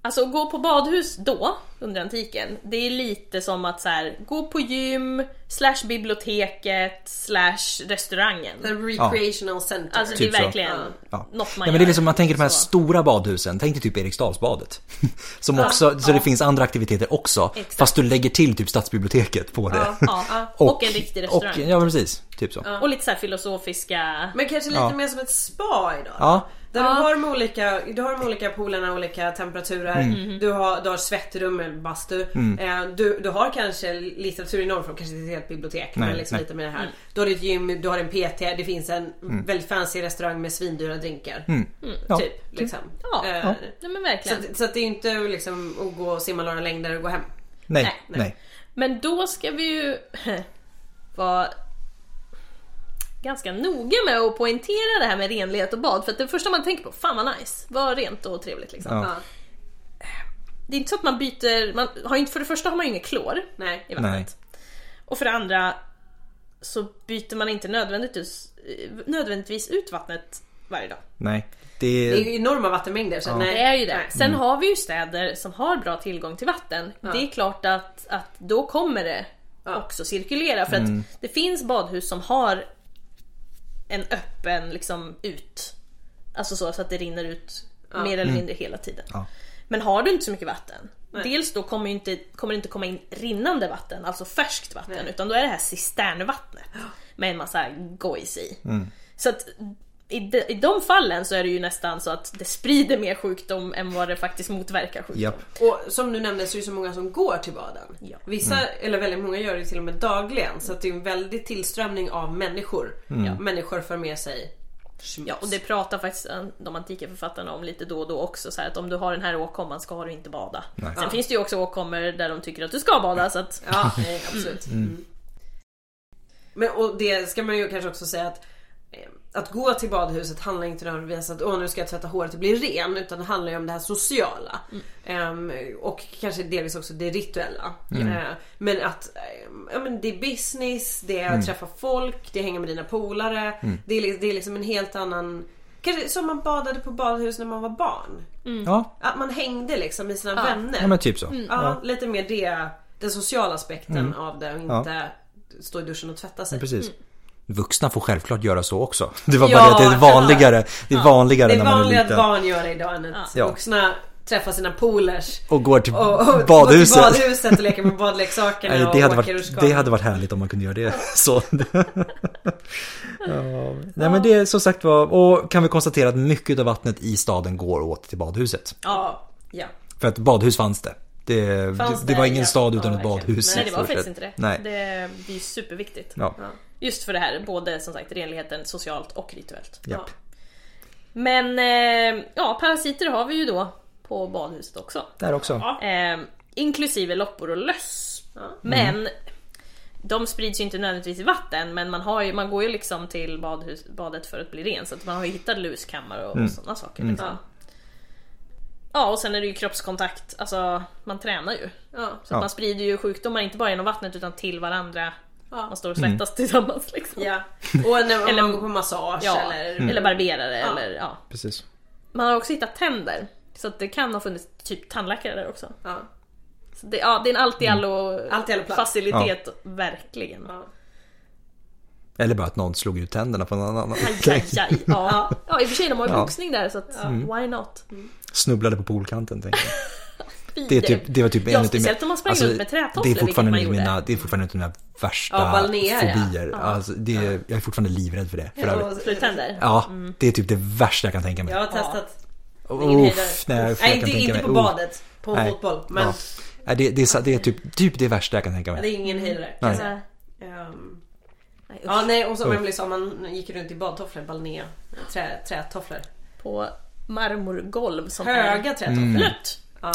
[SPEAKER 3] alltså att gå på badhus då, under antiken, det är lite som att så här, gå på gym, slash biblioteket, slash restaurangen.
[SPEAKER 2] The recreational center.
[SPEAKER 3] Alltså
[SPEAKER 1] Typ
[SPEAKER 3] det är
[SPEAKER 1] så.
[SPEAKER 3] verkligen
[SPEAKER 1] Ja.
[SPEAKER 3] något man
[SPEAKER 1] ja, men det är
[SPEAKER 3] gör.
[SPEAKER 1] liksom, man tänker de här
[SPEAKER 3] Så.
[SPEAKER 1] stora badhusen, tänk dig typ Eriksdalsbadet. Som också, så det finns andra aktiviteter också.
[SPEAKER 3] Exakt.
[SPEAKER 1] Fast du lägger till typ stadsbiblioteket på det.
[SPEAKER 3] Ja, och, en riktig restaurang.
[SPEAKER 1] Och, ja men precis, typ så.
[SPEAKER 3] Och lite så här filosofiska...
[SPEAKER 2] Men kanske lite
[SPEAKER 1] Ja.
[SPEAKER 2] mer som ett spa idag.
[SPEAKER 1] Ja.
[SPEAKER 2] Där du har de olika, du har de olika poolerna, olika temperaturer.
[SPEAKER 1] Mm.
[SPEAKER 2] Du, har, du har svettrum eller bastu. Eh, Du, du har kanske litteratur i någon form, kanske inte ett helt bibliotek.
[SPEAKER 1] Nej,
[SPEAKER 2] men liksom
[SPEAKER 1] nej.
[SPEAKER 2] lite med det här. Du har ditt gym, du har en PT, det finns en väldigt fancy restaurang med svindyra drinkar.
[SPEAKER 1] Mm. Ja.
[SPEAKER 2] Typ. Liksom.
[SPEAKER 3] Ja,
[SPEAKER 2] Eh,
[SPEAKER 3] ja. Nej, men
[SPEAKER 2] Så,
[SPEAKER 3] verkligen.
[SPEAKER 2] att- så att det är inte liksom att gå och simma några längder och gå hem.
[SPEAKER 1] Nej,
[SPEAKER 3] Nej,
[SPEAKER 1] nej.
[SPEAKER 3] Men då ska vi ju vara ganska noga med att poängtera det här med renlighet och bad. För att det första man tänker på, fan vad nice, vad rent och trevligt liksom.
[SPEAKER 1] Ja.
[SPEAKER 2] Ja.
[SPEAKER 3] Det är inte så att man byter, man har ju inte, för det första har man ju inget klor
[SPEAKER 2] Nej.
[SPEAKER 3] i
[SPEAKER 1] Nej.
[SPEAKER 3] vattnet. Och för det andra så byter man inte nödvändigtvis, nödvändigtvis ut vattnet varje dag.
[SPEAKER 1] nej.
[SPEAKER 2] Det är
[SPEAKER 1] Det,
[SPEAKER 2] ju enorma vattenmängder. Så nej,
[SPEAKER 3] Det är ju det.
[SPEAKER 2] Nej.
[SPEAKER 3] Sen har vi ju städer som har bra tillgång till vatten. Det är klart att, att då kommer det också cirkulera. För att det finns badhus som har en öppen liksom ut. Alltså så, så att det rinner ut mer eller mindre hela tiden.
[SPEAKER 1] Ja.
[SPEAKER 3] Men har du inte så mycket vatten. Dels då kommer, ju inte, kommer det inte komma in rinnande vatten, alltså färskt vatten. Utan då är det här cisternvattnet. Med en massa gojs i.
[SPEAKER 1] Mm.
[SPEAKER 3] Så att i de, i de fallen så är det ju nästan så att det sprider mer sjukdom än vad det faktiskt motverkar sjukdom.
[SPEAKER 1] japp.
[SPEAKER 2] Och som du nämnde så är det så många som går till baden.
[SPEAKER 3] Ja.
[SPEAKER 2] Vissa, eller väldigt många gör det till och med dagligen. Så att det är en väldig tillströmning av människor. Människor för med sig smuts.
[SPEAKER 3] Ja, och det pratar faktiskt eh, de antika författarna om lite då och då också. Så här att om du har den här åkomman ska du inte bada. Sen
[SPEAKER 1] Ja.
[SPEAKER 3] finns det ju också åkommor där de tycker att du ska bada. Så att,
[SPEAKER 2] Ja, nej, absolut. Mm. Men och det ska man ju kanske också säga att eh, att gå till badhuset handlar inte nödvändigtvis om att åh nu ska jag tvätta håret och bli ren utan det handlar ju om det här sociala. Ehm, och kanske delvis också det rituella. Eh, men att ehm, ja, men det är business, det är att träffa folk, det är att hänga med dina polare. Det, är, li- det är liksom en helt annan Kanske som man badade på badhus när man var barn.
[SPEAKER 1] Ja,
[SPEAKER 2] Att man hängde liksom med sina
[SPEAKER 3] Ja.
[SPEAKER 2] vänner.
[SPEAKER 1] ja men typ så.
[SPEAKER 2] Ja, lite mer det, den sociala aspekten av det och inte stå i duschen och tvätta sig.
[SPEAKER 1] Precis. Vuxna får självklart göra så också. Det var bara
[SPEAKER 2] Ja,
[SPEAKER 1] det att det är vanligare, det är vanligare
[SPEAKER 2] Det är
[SPEAKER 1] när man är
[SPEAKER 2] vanligt att
[SPEAKER 1] liten.
[SPEAKER 2] barn gör det idag än att
[SPEAKER 1] Ja.
[SPEAKER 2] vuxna träffar sina polers
[SPEAKER 1] Och går till
[SPEAKER 2] och, och
[SPEAKER 1] badhuset.
[SPEAKER 2] går till badhuset och leker med badleksakerna
[SPEAKER 1] Nej,
[SPEAKER 2] och
[SPEAKER 1] det, hade
[SPEAKER 2] åker ur
[SPEAKER 1] varit,
[SPEAKER 2] skalet.
[SPEAKER 1] det hade varit härligt om man kunde göra det så. ja. Nej men det är som sagt var, och kan vi konstatera att mycket av vattnet i staden går åt till badhuset.
[SPEAKER 2] Ja, ja.
[SPEAKER 1] För att badhus fanns det. Det,
[SPEAKER 2] Fanns
[SPEAKER 1] det, det var
[SPEAKER 2] det,
[SPEAKER 1] ingen
[SPEAKER 2] ja.
[SPEAKER 1] stad utan
[SPEAKER 2] Ja,
[SPEAKER 1] ett
[SPEAKER 2] verkligen.
[SPEAKER 1] badhus.
[SPEAKER 3] Nej
[SPEAKER 1] i
[SPEAKER 3] det var
[SPEAKER 1] stort
[SPEAKER 3] faktiskt
[SPEAKER 1] sett.
[SPEAKER 3] inte det.
[SPEAKER 1] Nej.
[SPEAKER 3] Det, det är ju superviktigt.
[SPEAKER 1] Ja.
[SPEAKER 2] Ja.
[SPEAKER 3] Just för det här, både som sagt renligheten socialt och rituellt.
[SPEAKER 1] Japp.
[SPEAKER 3] Men eh, ja, parasiter har vi ju då på badhuset också.
[SPEAKER 1] Där också.
[SPEAKER 3] Eh, inklusive loppor och löss. Men de sprids ju inte nödvändigtvis i vatten men man, har ju, man går ju liksom till badhus, badet för att bli ren så att man har ju hittat luskammare och, sådana saker. Liksom.
[SPEAKER 2] Ja.
[SPEAKER 3] Ja och sen är det ju kroppskontakt, alltså man tränar ju.
[SPEAKER 2] Ja.
[SPEAKER 1] Ja.
[SPEAKER 3] Så att man sprider ju sjukdomar inte bara genom vattnet utan till varandra.
[SPEAKER 2] Ja.
[SPEAKER 3] Man står och svettas tillsammans liksom.
[SPEAKER 2] ja. Och när
[SPEAKER 3] Eller-
[SPEAKER 2] eller, man går på massage
[SPEAKER 3] Ja,
[SPEAKER 2] eller...
[SPEAKER 3] eller, barberare
[SPEAKER 2] Mm. Ja.
[SPEAKER 3] eller ja.
[SPEAKER 1] Precis.
[SPEAKER 3] Man har också hittat tänder. Så att det kan ha funnits typ tandläkare där också.
[SPEAKER 2] Ja.
[SPEAKER 3] Så det, ja, det är en allt i allo
[SPEAKER 2] Mm. Allt i allo plats.
[SPEAKER 3] facilitet, verkligen.
[SPEAKER 2] Ja.
[SPEAKER 1] Eller bara att någon slog ut tänderna på någon annan.
[SPEAKER 3] Aj, aj, aj. Ja. ja, i och för sig de har ju
[SPEAKER 1] Ja.
[SPEAKER 3] boxning där så att
[SPEAKER 2] Mm.
[SPEAKER 3] why not?
[SPEAKER 1] Snubblade på poolkanten tänker jag.
[SPEAKER 3] Fy,
[SPEAKER 1] Det, är typ, det var typ
[SPEAKER 3] Ja,
[SPEAKER 1] utav
[SPEAKER 3] speciellt
[SPEAKER 1] mina-
[SPEAKER 3] om man sprang runt med trätofflor,
[SPEAKER 1] det är
[SPEAKER 3] vilket
[SPEAKER 1] fortfarande
[SPEAKER 3] man
[SPEAKER 1] en av
[SPEAKER 3] gjorde.
[SPEAKER 1] mina, Det är fortfarande en av mina värsta
[SPEAKER 2] Ja, balnea, ja.
[SPEAKER 1] fobier. Alltså, det, är- Jag är fortfarande livrädd för det. För övrigt.
[SPEAKER 2] Och-
[SPEAKER 3] Flutänder.
[SPEAKER 1] Ja,
[SPEAKER 2] Mm.
[SPEAKER 1] det är typ det värsta jag kan tänka mig.
[SPEAKER 2] Jag har testat. ingen hejdare.
[SPEAKER 1] Uff, nej, uff, jag
[SPEAKER 2] Nej,
[SPEAKER 1] kan
[SPEAKER 2] inte,
[SPEAKER 1] tänka
[SPEAKER 2] inte
[SPEAKER 1] mig.
[SPEAKER 2] på
[SPEAKER 1] Uff.
[SPEAKER 2] badet. På
[SPEAKER 1] Nej.
[SPEAKER 2] fotboll. Men
[SPEAKER 1] Ja. Nej, det, det, är, sa- det är typ, typ det värsta jag kan tänka
[SPEAKER 2] det
[SPEAKER 1] mig.
[SPEAKER 2] är ingen höjdare.
[SPEAKER 1] Nej.
[SPEAKER 2] kan jag säga. Ehm, Ja, nej, och som Emelie sa, man gick runt i badtofflor, balnea, trä, trätofflor.
[SPEAKER 3] På marmorgolv som
[SPEAKER 1] Mm.
[SPEAKER 3] är
[SPEAKER 2] Höga trätofflor.
[SPEAKER 3] blött.
[SPEAKER 2] Ja.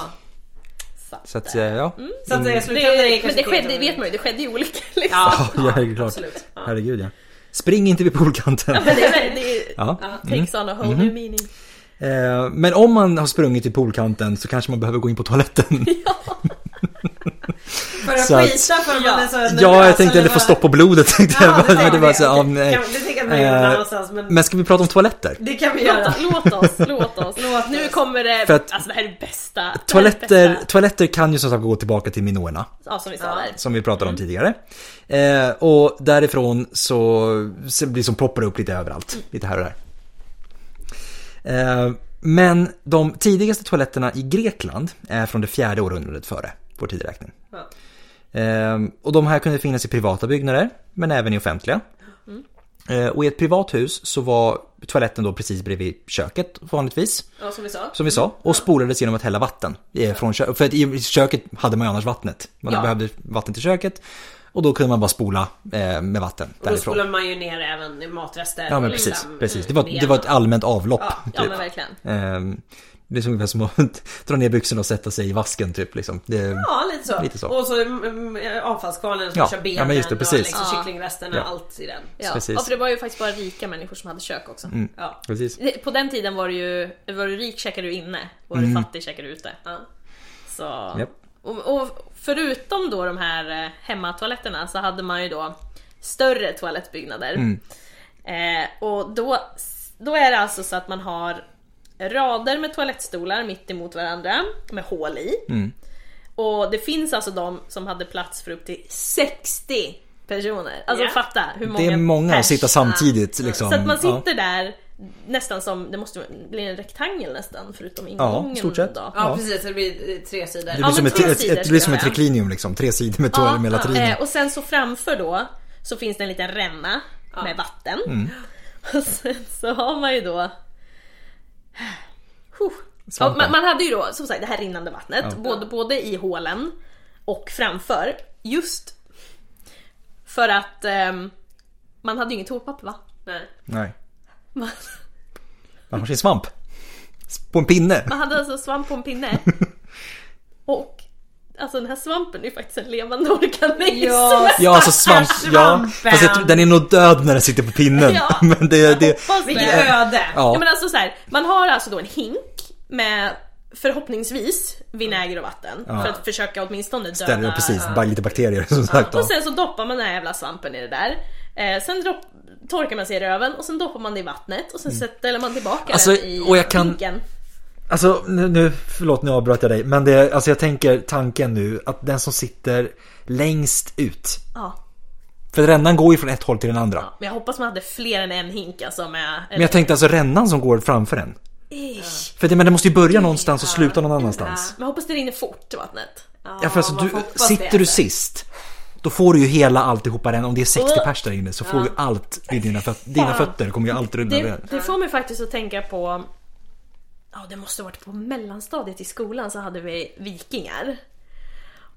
[SPEAKER 1] Så att, eh, ja.
[SPEAKER 2] Så att det
[SPEAKER 3] Det,
[SPEAKER 2] slutade
[SPEAKER 3] men det skedde, vet man ju, det skedde ju olika liksom.
[SPEAKER 2] Ja,
[SPEAKER 1] ja, det är klart.
[SPEAKER 2] absolut. Ja.
[SPEAKER 1] Herregud ja. Spring inte vid poolkanten.
[SPEAKER 3] Men det, är- det är-
[SPEAKER 1] Ja.
[SPEAKER 2] Mm.
[SPEAKER 3] takes on a whole
[SPEAKER 2] Mm-hmm.
[SPEAKER 3] new meaning.
[SPEAKER 1] Eh, Men om man har sprungit till poolkanten så kanske man behöver gå in på toaletten.
[SPEAKER 2] För att
[SPEAKER 1] Så att-
[SPEAKER 2] skita för man är så nervös,
[SPEAKER 1] Ja, jag tänkte
[SPEAKER 2] eller
[SPEAKER 1] eller få
[SPEAKER 2] vad-
[SPEAKER 1] stopp på blodet tänkte jag.
[SPEAKER 2] det
[SPEAKER 1] bara, Men det
[SPEAKER 2] tänkte
[SPEAKER 1] var
[SPEAKER 2] jag.
[SPEAKER 1] så, ja,
[SPEAKER 2] Okej.
[SPEAKER 1] nej.
[SPEAKER 2] Ja, men det tänker jag att man gör någon
[SPEAKER 1] Eh,
[SPEAKER 2] annanstans, men-
[SPEAKER 1] Men ska vi prata om toaletter?
[SPEAKER 2] Det kan vi göra.
[SPEAKER 3] Låt, låt oss, låt oss.
[SPEAKER 2] Låt oss.
[SPEAKER 3] nu kommer det,
[SPEAKER 1] För att-
[SPEAKER 3] alltså det här är det bästa. det här är det
[SPEAKER 1] Toaletter,
[SPEAKER 3] bästa.
[SPEAKER 1] toaletter kan ju som sagt gå tillbaka till minoerna.
[SPEAKER 3] Ja, som vi sa
[SPEAKER 2] Ja.
[SPEAKER 3] där.
[SPEAKER 1] som vi pratade om tidigare. Eh, och därifrån så, så liksom poppar det upp lite överallt, lite här och där. Eh, men de tidigaste toaletterna i Grekland är från det fjärde århundradet före vår tideräkning.
[SPEAKER 2] Ja.
[SPEAKER 1] Eh, och de här kunde finnas i privata byggnader, men även i offentliga. Eh, och i ett privat hus så var toaletten då precis bredvid köket vanligtvis.
[SPEAKER 2] Ja, som vi sa.
[SPEAKER 1] Som vi sa, och spolades genom att hälla vatten eh, från köket. För att i köket hade man ju annars vattnet. Man
[SPEAKER 3] Ja.
[SPEAKER 1] behövde vatten till köket. Och då kunde man bara spola eh, med vatten
[SPEAKER 2] Då
[SPEAKER 1] därifrån.
[SPEAKER 2] spolar man ju ner även matrester.
[SPEAKER 1] Ja men
[SPEAKER 2] och
[SPEAKER 1] precis,
[SPEAKER 2] liksom,
[SPEAKER 1] precis. Det
[SPEAKER 2] mm,
[SPEAKER 1] var,
[SPEAKER 2] ner.
[SPEAKER 1] det var ett allmänt avlopp.
[SPEAKER 3] Ja
[SPEAKER 1] typ.
[SPEAKER 3] men verkligen.
[SPEAKER 1] Ehm, det är ungefär som att dra ner byxorna och sätta sig i vasken typ. Liksom. Det,
[SPEAKER 2] Ja, lite så.
[SPEAKER 1] Lite så.
[SPEAKER 2] Och så mm, mm, avfallskvarnen som
[SPEAKER 1] Ja,
[SPEAKER 2] kör
[SPEAKER 1] ja,
[SPEAKER 2] benen
[SPEAKER 1] men just det,
[SPEAKER 2] och
[SPEAKER 1] precis.
[SPEAKER 2] liksom
[SPEAKER 3] Ja.
[SPEAKER 2] kycklingresterna
[SPEAKER 1] Ja.
[SPEAKER 2] och allt i den.
[SPEAKER 3] Ja.
[SPEAKER 1] Precis. Mm.
[SPEAKER 3] ja, för det var ju faktiskt bara rika människor som hade kök också.
[SPEAKER 2] Ja.
[SPEAKER 1] Precis.
[SPEAKER 3] Det- På den tiden var du ju, var du rik käkade du inne, var du fattig käkade du ute.
[SPEAKER 2] Ja.
[SPEAKER 3] Så,
[SPEAKER 1] Mm. Japp.
[SPEAKER 3] och, och förutom då de här eh, hemmatoaletterna så hade man ju då större toalettbyggnader.
[SPEAKER 1] Mm.
[SPEAKER 3] Eh, och då, då är det alltså så att man har rader med toalettstolar mitt emot varandra med hål i.
[SPEAKER 1] Mm.
[SPEAKER 3] Och det finns alltså de som hade plats för upp till 60 personer. Alltså
[SPEAKER 2] Ja.
[SPEAKER 3] fatta hur många
[SPEAKER 1] Det är många att
[SPEAKER 3] pers.
[SPEAKER 1] sitta samtidigt. Liksom.
[SPEAKER 3] Så att man
[SPEAKER 1] Ja.
[SPEAKER 3] sitter där nästan som, det måste bli en rektangel nästan förutom ingången.
[SPEAKER 1] stort sett.
[SPEAKER 3] Då.
[SPEAKER 2] Ja,
[SPEAKER 1] Ja.
[SPEAKER 2] precis. Det blir eh, tre sidor.
[SPEAKER 1] Det
[SPEAKER 3] Ja,
[SPEAKER 1] blir som
[SPEAKER 3] men
[SPEAKER 1] ett,
[SPEAKER 3] tre
[SPEAKER 1] ett,
[SPEAKER 3] sidor
[SPEAKER 1] ett, det
[SPEAKER 3] skulle
[SPEAKER 1] blir
[SPEAKER 3] jag
[SPEAKER 1] som ett
[SPEAKER 3] säga.
[SPEAKER 1] triklinium liksom. Tre sidor med, ja, med latriner.
[SPEAKER 3] eh, och sen så framför då så finns det en liten ränna med vatten.
[SPEAKER 1] Mm.
[SPEAKER 3] Och sen så har man ju då... Huh. Ja,
[SPEAKER 1] Svampen.
[SPEAKER 3] man, man hade ju då som sagt det här rinnande vattnet både, både i hålen och framför. Just för att ehm, man hade ju inget toapapper va?
[SPEAKER 2] Nej.
[SPEAKER 1] Nej,
[SPEAKER 3] Man,
[SPEAKER 1] man har sin svamp. På en pinne.
[SPEAKER 3] man hade alltså svamp på en pinne. Och alltså den här svampen är ju faktiskt en levande organism.
[SPEAKER 2] Ja,
[SPEAKER 1] Ja, alltså svamp.
[SPEAKER 2] Stackars
[SPEAKER 1] Ja,
[SPEAKER 2] svampen.
[SPEAKER 1] fast jag tror, den är nog död när den sitter på pinnen.
[SPEAKER 3] Ja,
[SPEAKER 1] men det,
[SPEAKER 3] jag
[SPEAKER 1] det,
[SPEAKER 3] hoppas det.
[SPEAKER 2] Vilket öde!
[SPEAKER 1] Ja.
[SPEAKER 3] Ja. men alltså så här, man har alltså då en hink med förhoppningsvis vinäger och vatten.
[SPEAKER 1] Ja.
[SPEAKER 3] För att försöka åtminstone döda...
[SPEAKER 1] Ställer precis, bara lite bakterier som sagt.
[SPEAKER 3] Och sen så doppar man den här jävla svampen i det där. Eh, sen dropp, torkar man sig i röven och sen doppar man det i vattnet och sen ställer man tillbaka
[SPEAKER 1] Mm. Alltså,
[SPEAKER 3] den i
[SPEAKER 1] och jag kan-
[SPEAKER 3] hinken.
[SPEAKER 1] Alltså nu, nu, förlåt nu avbröt jag dig. Men det, alltså jag tänker tanken nu att den som sitter längst ut.
[SPEAKER 3] Ja.
[SPEAKER 1] För rännan går ju från ett håll till den andra.
[SPEAKER 3] Men jag hoppas man hade fler än en hink alltså med...
[SPEAKER 1] Men jag tänkte alltså rännan som går framför en.
[SPEAKER 3] Ish.
[SPEAKER 1] För det, men det måste ju börja någonstans och sluta någon annanstans.
[SPEAKER 3] Men jag hoppas det rinner fort vattnet.
[SPEAKER 1] Ja, för alltså,
[SPEAKER 2] man
[SPEAKER 1] du,
[SPEAKER 2] får hoppas det.
[SPEAKER 1] sitter du sist, då får du ju hela alltihopa den. Om det är 60 pers där inne så får du allt vid dina, föt- dina fötter. kommer ju allt rulla
[SPEAKER 3] Det,
[SPEAKER 1] över.
[SPEAKER 3] det får mig faktiskt att tänka på... Ja, det måste ha varit på mellanstadiet i skolan så hade vi vikingar.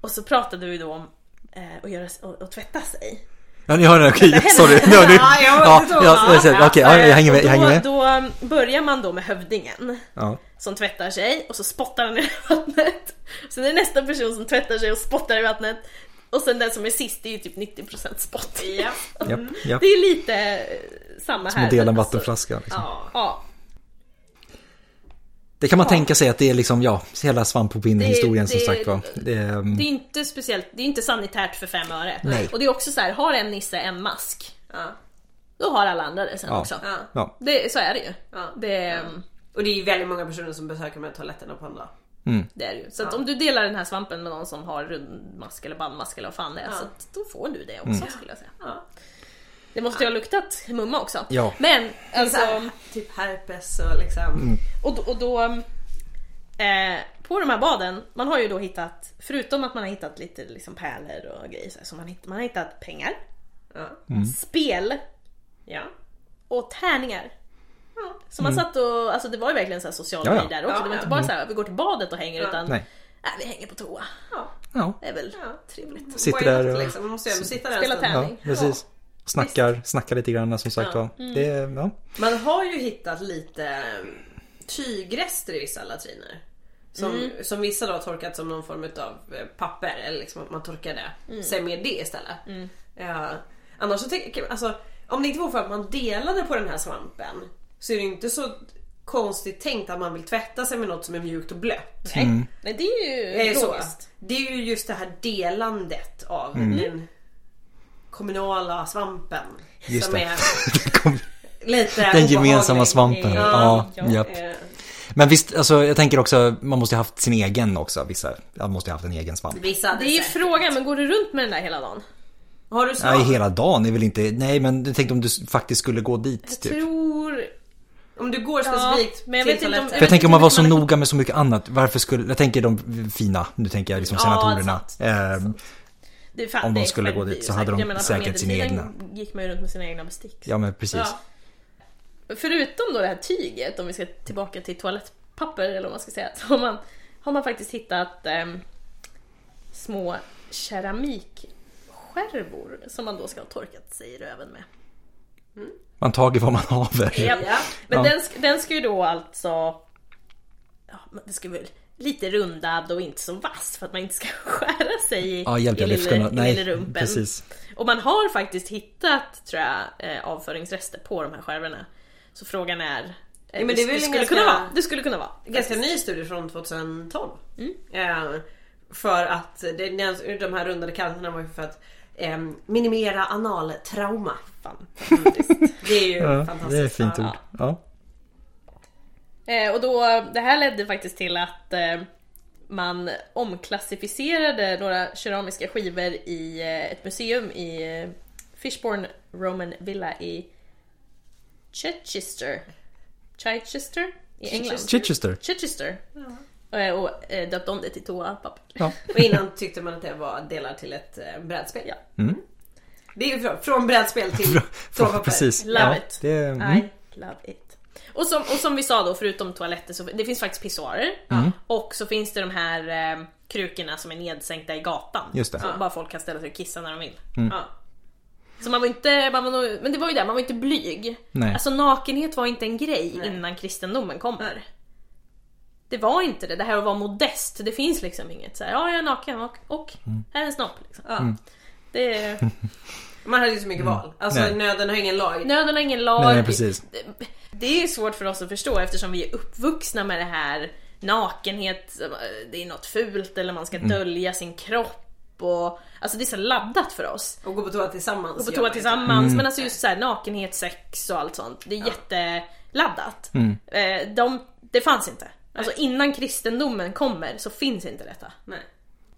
[SPEAKER 3] Och så pratade vi då om eh, att göra, och, och tvätta sig.
[SPEAKER 1] Ja, ni hör den. Okej, sorry. Ja, nu,
[SPEAKER 2] Ja, jag var
[SPEAKER 1] ja,
[SPEAKER 2] inte så-
[SPEAKER 1] ja, jag- okej, ja, jag hänger med. Jag hänger med.
[SPEAKER 3] Då, då börjar man då med hövdingen.
[SPEAKER 1] Ja.
[SPEAKER 3] som tvättar sig och så spottar han i vattnet. Sen är det nästa person som tvättar sig och spottar i vattnet. Och sen den som är sist, det är ju typ 90% spott.
[SPEAKER 2] Ja.
[SPEAKER 1] Japp, japp.
[SPEAKER 3] Det är lite eh, samma
[SPEAKER 1] Som
[SPEAKER 3] här.
[SPEAKER 1] att dela en
[SPEAKER 3] men
[SPEAKER 1] vattenflaska. Liksom.
[SPEAKER 3] Alltså, ja,
[SPEAKER 1] Det kan man tänka sig att det är liksom, ja, hela svamp på pinnen-historien
[SPEAKER 3] Det-
[SPEAKER 1] som
[SPEAKER 3] det-
[SPEAKER 1] sagt var. Det, ehm,
[SPEAKER 3] det är inte speciellt, det är inte sanitärt för fem öre.
[SPEAKER 1] Nej.
[SPEAKER 3] Och det är också så här, har en nisse en mask,
[SPEAKER 2] Ja.
[SPEAKER 3] då har alla andra det sen
[SPEAKER 1] Ja.
[SPEAKER 3] också.
[SPEAKER 2] Ja.
[SPEAKER 1] ja.
[SPEAKER 3] Det, så är det ju.
[SPEAKER 2] Ja.
[SPEAKER 3] Det, ehm,
[SPEAKER 2] Och det är ju väldigt många personer som besöker de här toaletterna på en dag.
[SPEAKER 3] det är det ju. Så att om du delar den här svampen med någon som har rundmask eller bandmask eller vad fan det är, så att då får du det också
[SPEAKER 1] Mm.
[SPEAKER 3] skulle jag säga.
[SPEAKER 2] Ja.
[SPEAKER 3] Det måste ju ha luktat mumma också.
[SPEAKER 1] Ja.
[SPEAKER 3] Men alltså,
[SPEAKER 2] Så här, typ herpes och liksom...
[SPEAKER 1] Mm.
[SPEAKER 3] och då, och då eh, på de här baden, man har ju då hittat, förutom att man har hittat lite liksom pärlor och grejer så här, så man, hitt- man har hittat pengar,
[SPEAKER 2] Ja.
[SPEAKER 1] Mm.
[SPEAKER 3] spel
[SPEAKER 2] ja.
[SPEAKER 3] och tärningar. Ja, så man satt och, alltså det var ju verkligen så här social
[SPEAKER 1] Mm. Ja, ja.
[SPEAKER 3] grej där också.
[SPEAKER 2] Ja,
[SPEAKER 3] det var inte
[SPEAKER 2] ja.
[SPEAKER 3] bara så här, vi går till badet och hänger utan,
[SPEAKER 1] Nej.
[SPEAKER 3] "Äh, vi hänger på toa.
[SPEAKER 2] ja.
[SPEAKER 1] Ja,
[SPEAKER 3] Det är väl
[SPEAKER 2] Ja.
[SPEAKER 3] trevligt.
[SPEAKER 1] Sitter
[SPEAKER 2] Why not,
[SPEAKER 1] där och-
[SPEAKER 2] liksom. Man måste ju ändå sitta där en
[SPEAKER 3] Spela
[SPEAKER 2] stund.
[SPEAKER 1] ja
[SPEAKER 3] tärning.
[SPEAKER 1] precis. Snackar, snackar lite grann som sagt var. Det, ja.
[SPEAKER 2] Man har ju hittat lite eh, tygrester i vissa latriner. Som,
[SPEAKER 3] Mm.
[SPEAKER 2] som vissa då har torkat som någon form av papper eller liksom att man torkar det.
[SPEAKER 3] Mm.
[SPEAKER 2] Sen med det istället. Ja, annars så tänker alltså om det inte var för att man delade på den här svampen så är det ju inte så konstigt tänkt att man vill tvätta sig med något som är mjukt och blött.
[SPEAKER 3] Nej,
[SPEAKER 1] Mm.
[SPEAKER 3] Nej, det är ju
[SPEAKER 2] Det är, Eh, så.
[SPEAKER 3] logiskt.
[SPEAKER 2] det är ju just det här delandet av
[SPEAKER 1] Mm.
[SPEAKER 2] den kommunala svampen.
[SPEAKER 1] Just
[SPEAKER 2] som
[SPEAKER 1] det.
[SPEAKER 2] är
[SPEAKER 1] Det kom-
[SPEAKER 2] lite
[SPEAKER 1] Den
[SPEAKER 2] obehaglig.
[SPEAKER 1] gemensamma svampen. Ja,
[SPEAKER 3] Ja,
[SPEAKER 1] japp.
[SPEAKER 2] Eh,
[SPEAKER 1] Men visst, alltså, jag tänker också, man måste ju haft sin egen också. Vissa man måste ju haft en egen svamp.
[SPEAKER 2] Vissa hade
[SPEAKER 3] Det är ju
[SPEAKER 2] säkert-
[SPEAKER 3] frågan, men går du runt med den där hela dagen?
[SPEAKER 2] Har du svamp?
[SPEAKER 1] Nej, hela dagen är väl inte... Nej, men jag tänkte om du s- faktiskt skulle gå dit. Typ. För
[SPEAKER 3] Tror
[SPEAKER 2] Om du går specifikt
[SPEAKER 3] men jag
[SPEAKER 2] till
[SPEAKER 3] vet inte om-
[SPEAKER 2] toaletten.
[SPEAKER 1] jag
[SPEAKER 3] vet
[SPEAKER 1] tänker
[SPEAKER 3] inte
[SPEAKER 1] om man
[SPEAKER 3] hur
[SPEAKER 1] var så
[SPEAKER 3] man-
[SPEAKER 1] noga med så mycket annat. Varför skulle... Jag tänker de fina, nu tänker jag liksom senatorerna.
[SPEAKER 3] sant,
[SPEAKER 1] Ehm,
[SPEAKER 3] Det är fan,
[SPEAKER 1] Om de
[SPEAKER 3] det är
[SPEAKER 1] skulle gå
[SPEAKER 3] självdyr
[SPEAKER 1] dit så hade de
[SPEAKER 3] Jag menar, på
[SPEAKER 1] säkert sina
[SPEAKER 3] medeltiden gick man ju runt med sina egna bestick.
[SPEAKER 1] Ja, men precis.
[SPEAKER 3] Ja. Förutom då det här tyget, om vi ska tillbaka till toalettpapper eller vad man ska säga, så har man, har man faktiskt hittat ehm, små keramikskärvor som man då ska ha torkat sig i röven med.
[SPEAKER 1] Man tar vad man haver.
[SPEAKER 3] Ja.
[SPEAKER 2] Ja.
[SPEAKER 1] Ja.
[SPEAKER 3] Men Den, sk- den ska ju då alltså... Ja, men det ska väl lite rundad och inte så vass för att man inte ska skära sig i,
[SPEAKER 1] Ja, hjälp
[SPEAKER 3] i,
[SPEAKER 1] jag lyfter
[SPEAKER 3] lille,
[SPEAKER 1] nå-
[SPEAKER 3] i
[SPEAKER 1] Nej,
[SPEAKER 3] lille rumpen.
[SPEAKER 1] precis.
[SPEAKER 3] Och man har faktiskt hittat, tror jag, eh, avföringsrester på de här skärvorna. Så frågan är... eh,
[SPEAKER 2] men det är väl en
[SPEAKER 3] skulle
[SPEAKER 2] ganska-
[SPEAKER 3] kunna vara. Det skulle kunna vara.
[SPEAKER 2] Ganska ny studie från 2012.
[SPEAKER 3] Mm.
[SPEAKER 2] Eh, för att det, de här rundade kanterna var ju för att eh, minimera analtrauma.
[SPEAKER 3] Fantastiskt.
[SPEAKER 2] Det är ju
[SPEAKER 1] Ja,
[SPEAKER 2] fantastiskt.
[SPEAKER 1] det är ett fint
[SPEAKER 2] Ja.
[SPEAKER 1] ord. Ja.
[SPEAKER 3] Eh, och då, det här ledde faktiskt till att eh, man omklassificerade några keramiska skivor i eh, ett museum i eh, Fishbourne Roman Villa i Chichester. Chichester? I England.
[SPEAKER 1] Chichester.
[SPEAKER 3] Chichester. Eh, Och eh, döpte om det till toapapper.
[SPEAKER 1] Ja.
[SPEAKER 2] Och innan tyckte man att det var delar till ett eh, brädspel.
[SPEAKER 3] Ja.
[SPEAKER 1] Mm.
[SPEAKER 2] Det är ju från, från brädspel till toapapper.
[SPEAKER 1] Precis.
[SPEAKER 3] Love
[SPEAKER 1] ja,
[SPEAKER 3] it.
[SPEAKER 1] Det, mm.
[SPEAKER 3] I love it. Och som, och som vi sa då, förutom toaletter, så det finns faktiskt pissoarer.
[SPEAKER 1] Mm.
[SPEAKER 3] Och så finns det de här eh, krukorna som är nedsänkta i gatan.
[SPEAKER 1] Just det.
[SPEAKER 3] Så bara folk kan ställa sig och kissa när de vill.
[SPEAKER 1] Mm.
[SPEAKER 2] Ja.
[SPEAKER 3] Så man var inte, man var nog, men det var ju det, man var inte blyg.
[SPEAKER 1] Nej.
[SPEAKER 3] Alltså nakenhet var inte en grej innan kristendomen kommer. Det var inte det, det här att vara modest, det finns liksom inget så här, ja jag är naken och, och
[SPEAKER 1] Mm.
[SPEAKER 3] här är en snopp. Liksom.
[SPEAKER 2] Ja.
[SPEAKER 3] Det,
[SPEAKER 2] Man hade ju så mycket val. Alltså
[SPEAKER 1] Mm. Nej.
[SPEAKER 2] nöden har ingen lag.
[SPEAKER 3] nöden har ingen lag.
[SPEAKER 1] Nej, nej, precis.
[SPEAKER 3] Det- Det är svårare för oss att förstå eftersom vi är uppvuxna med det här nakenhet, eh, det är något fult eller man ska
[SPEAKER 1] Mm.
[SPEAKER 3] dölja sin kropp. Och, alltså det är så laddat för oss.
[SPEAKER 2] Och gå på toa tillsammans.
[SPEAKER 3] Gå på
[SPEAKER 2] gör
[SPEAKER 3] toa
[SPEAKER 2] man inte.
[SPEAKER 3] tillsammans,
[SPEAKER 1] Mm.
[SPEAKER 3] men alltså just så här, nakenhet, sex och allt sånt. Det är jätteladdat.
[SPEAKER 1] Mm.
[SPEAKER 3] Eh, de, det fanns inte. Alltså innan kristendomen kommer så finns inte detta.
[SPEAKER 2] Nej.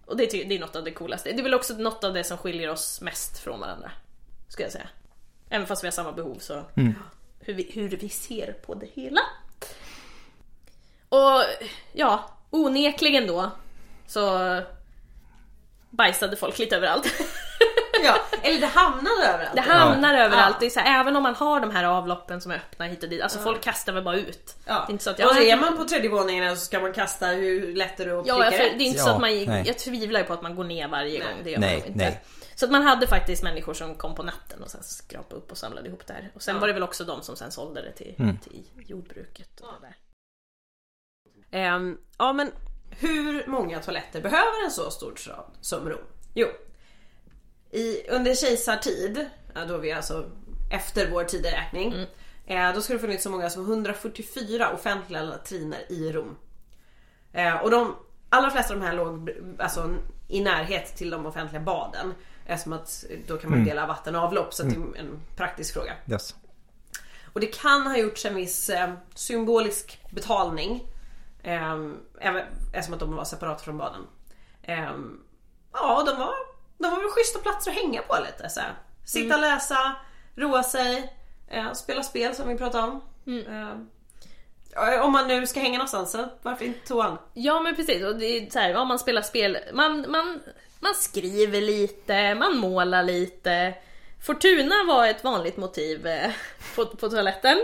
[SPEAKER 3] Och det, ty- det är något av det coolaste. Det är väl också något av det som skiljer oss mest från varandra. Skulle jag säga. Även fast vi har samma behov så... Hur, vi, hur vi ser på det hela. Och ja, onekligen då så bajsade folk lite överallt.
[SPEAKER 2] Ja, eller det hamnade överallt.
[SPEAKER 3] Det hamnar
[SPEAKER 1] Ja.
[SPEAKER 3] överallt. Det är så här, även om man har de här avloppen som är öppna hit och dit. Alltså folk kastar väl bara ut.
[SPEAKER 2] Ja.
[SPEAKER 3] Det är inte så att
[SPEAKER 2] och
[SPEAKER 3] jag...
[SPEAKER 2] är man på tredje våningen så ska man kasta, hur lätt är det att
[SPEAKER 3] Ja,
[SPEAKER 2] pricka
[SPEAKER 3] jag, det är
[SPEAKER 2] rätt?
[SPEAKER 3] inte så
[SPEAKER 1] Ja,
[SPEAKER 3] att man
[SPEAKER 1] nej.
[SPEAKER 3] Jag tvivlar ju på att man går ner varje gång. Det gör man
[SPEAKER 1] Nej,
[SPEAKER 3] nog inte.
[SPEAKER 1] nej.
[SPEAKER 3] Så att man hade faktiskt människor som kom på natten och sen skrapade upp och samlade ihop det här. Och sen var det väl också de som sen sålde det till,
[SPEAKER 1] Mm.
[SPEAKER 3] till jordbruket. Och det där.
[SPEAKER 2] Ehm, ja men hur många toaletter behöver en så stor stad som Rom? Jo, i, under kejsartid, ja, då vi alltså efter vår tideräkning, eh, då skulle det funnits så många som 144 offentliga latriner i Rom. Eh, och de allra flesta av de här låg alltså, i närhet till de offentliga baden. Eftersom att då kan man dela vatten och avlopp så att det är en praktisk fråga.
[SPEAKER 1] Yes.
[SPEAKER 2] Och det kan ha gjorts en viss eh, symbolisk betalning. ehm, även, eftersom att de var separat från barnen. Ehm, ja, de var, de var väl schyssta platser att hänga på lite. Så här. Sitta,
[SPEAKER 3] Mm.
[SPEAKER 2] läsa, roa sig, eh, spela spel som vi pratade om.
[SPEAKER 3] Mm.
[SPEAKER 2] Ehm, ja, om man nu ska hänga någonstans, så varför inte toan?
[SPEAKER 3] Ja men precis, och det är så här, ja, man spelar spel, man, man, man skriver lite, man målar lite. Fortuna var ett vanligt motiv eh, på, på toaletten.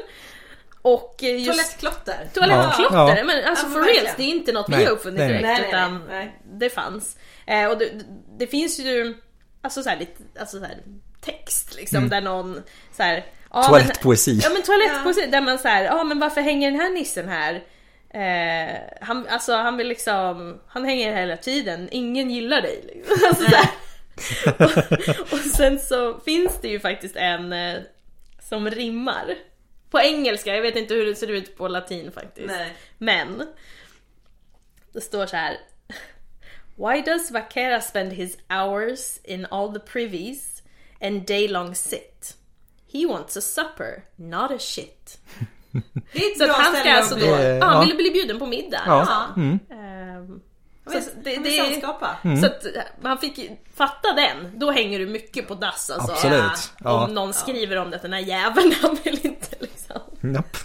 [SPEAKER 3] Och eh, just
[SPEAKER 2] Toalettklotter.
[SPEAKER 3] toalettklotter,
[SPEAKER 1] Ja.
[SPEAKER 3] men alltså
[SPEAKER 2] Ja,
[SPEAKER 3] for
[SPEAKER 2] verkligen.
[SPEAKER 3] reals, det är inte något vi
[SPEAKER 1] Nej,
[SPEAKER 3] har uppfunnit
[SPEAKER 1] nej, nej.
[SPEAKER 3] direkt
[SPEAKER 2] Nej, nej,
[SPEAKER 3] utan
[SPEAKER 2] nej.
[SPEAKER 3] det fanns. Eh, och det, det finns ju alltså så här, lite, alltså så här, text liksom där någon så här, ja,
[SPEAKER 1] Toalettpoesi.
[SPEAKER 3] Men, ja men toalettpoesi där man så här, ja men varför hänger den här nissen här? Eh, han, alltså han vill liksom, han hänger här hela tiden, ingen gillar dig. Liksom. Alltså, så här. och, och sen så finns det ju faktiskt en eh, som rimmar. På engelska, jag vet inte hur det ser ut på latin faktiskt.
[SPEAKER 2] Nej.
[SPEAKER 3] Men det står så här. Why does Vaquera spend his hours in all the privies and day long sit? He wants a supper, not a shit.
[SPEAKER 2] Det är ett
[SPEAKER 3] Så
[SPEAKER 2] bra
[SPEAKER 3] att han ska
[SPEAKER 2] ställe
[SPEAKER 3] alltså
[SPEAKER 2] att
[SPEAKER 3] då,
[SPEAKER 2] bli.
[SPEAKER 3] ja, han
[SPEAKER 1] ja.
[SPEAKER 3] ville bli bjuden på middag.
[SPEAKER 1] Ja.
[SPEAKER 3] Ehm,
[SPEAKER 2] Ja,
[SPEAKER 3] så
[SPEAKER 2] men-
[SPEAKER 3] att
[SPEAKER 2] ja,
[SPEAKER 3] det,
[SPEAKER 2] men
[SPEAKER 3] det,
[SPEAKER 2] sällskapa.
[SPEAKER 1] Mm.
[SPEAKER 3] så att man fick ju- fatta den, då hänger du mycket på dass alltså.
[SPEAKER 1] Absolut. Ja.
[SPEAKER 3] Om någon skriver om det, den här jäveln han vill inte liksom.
[SPEAKER 1] Japp.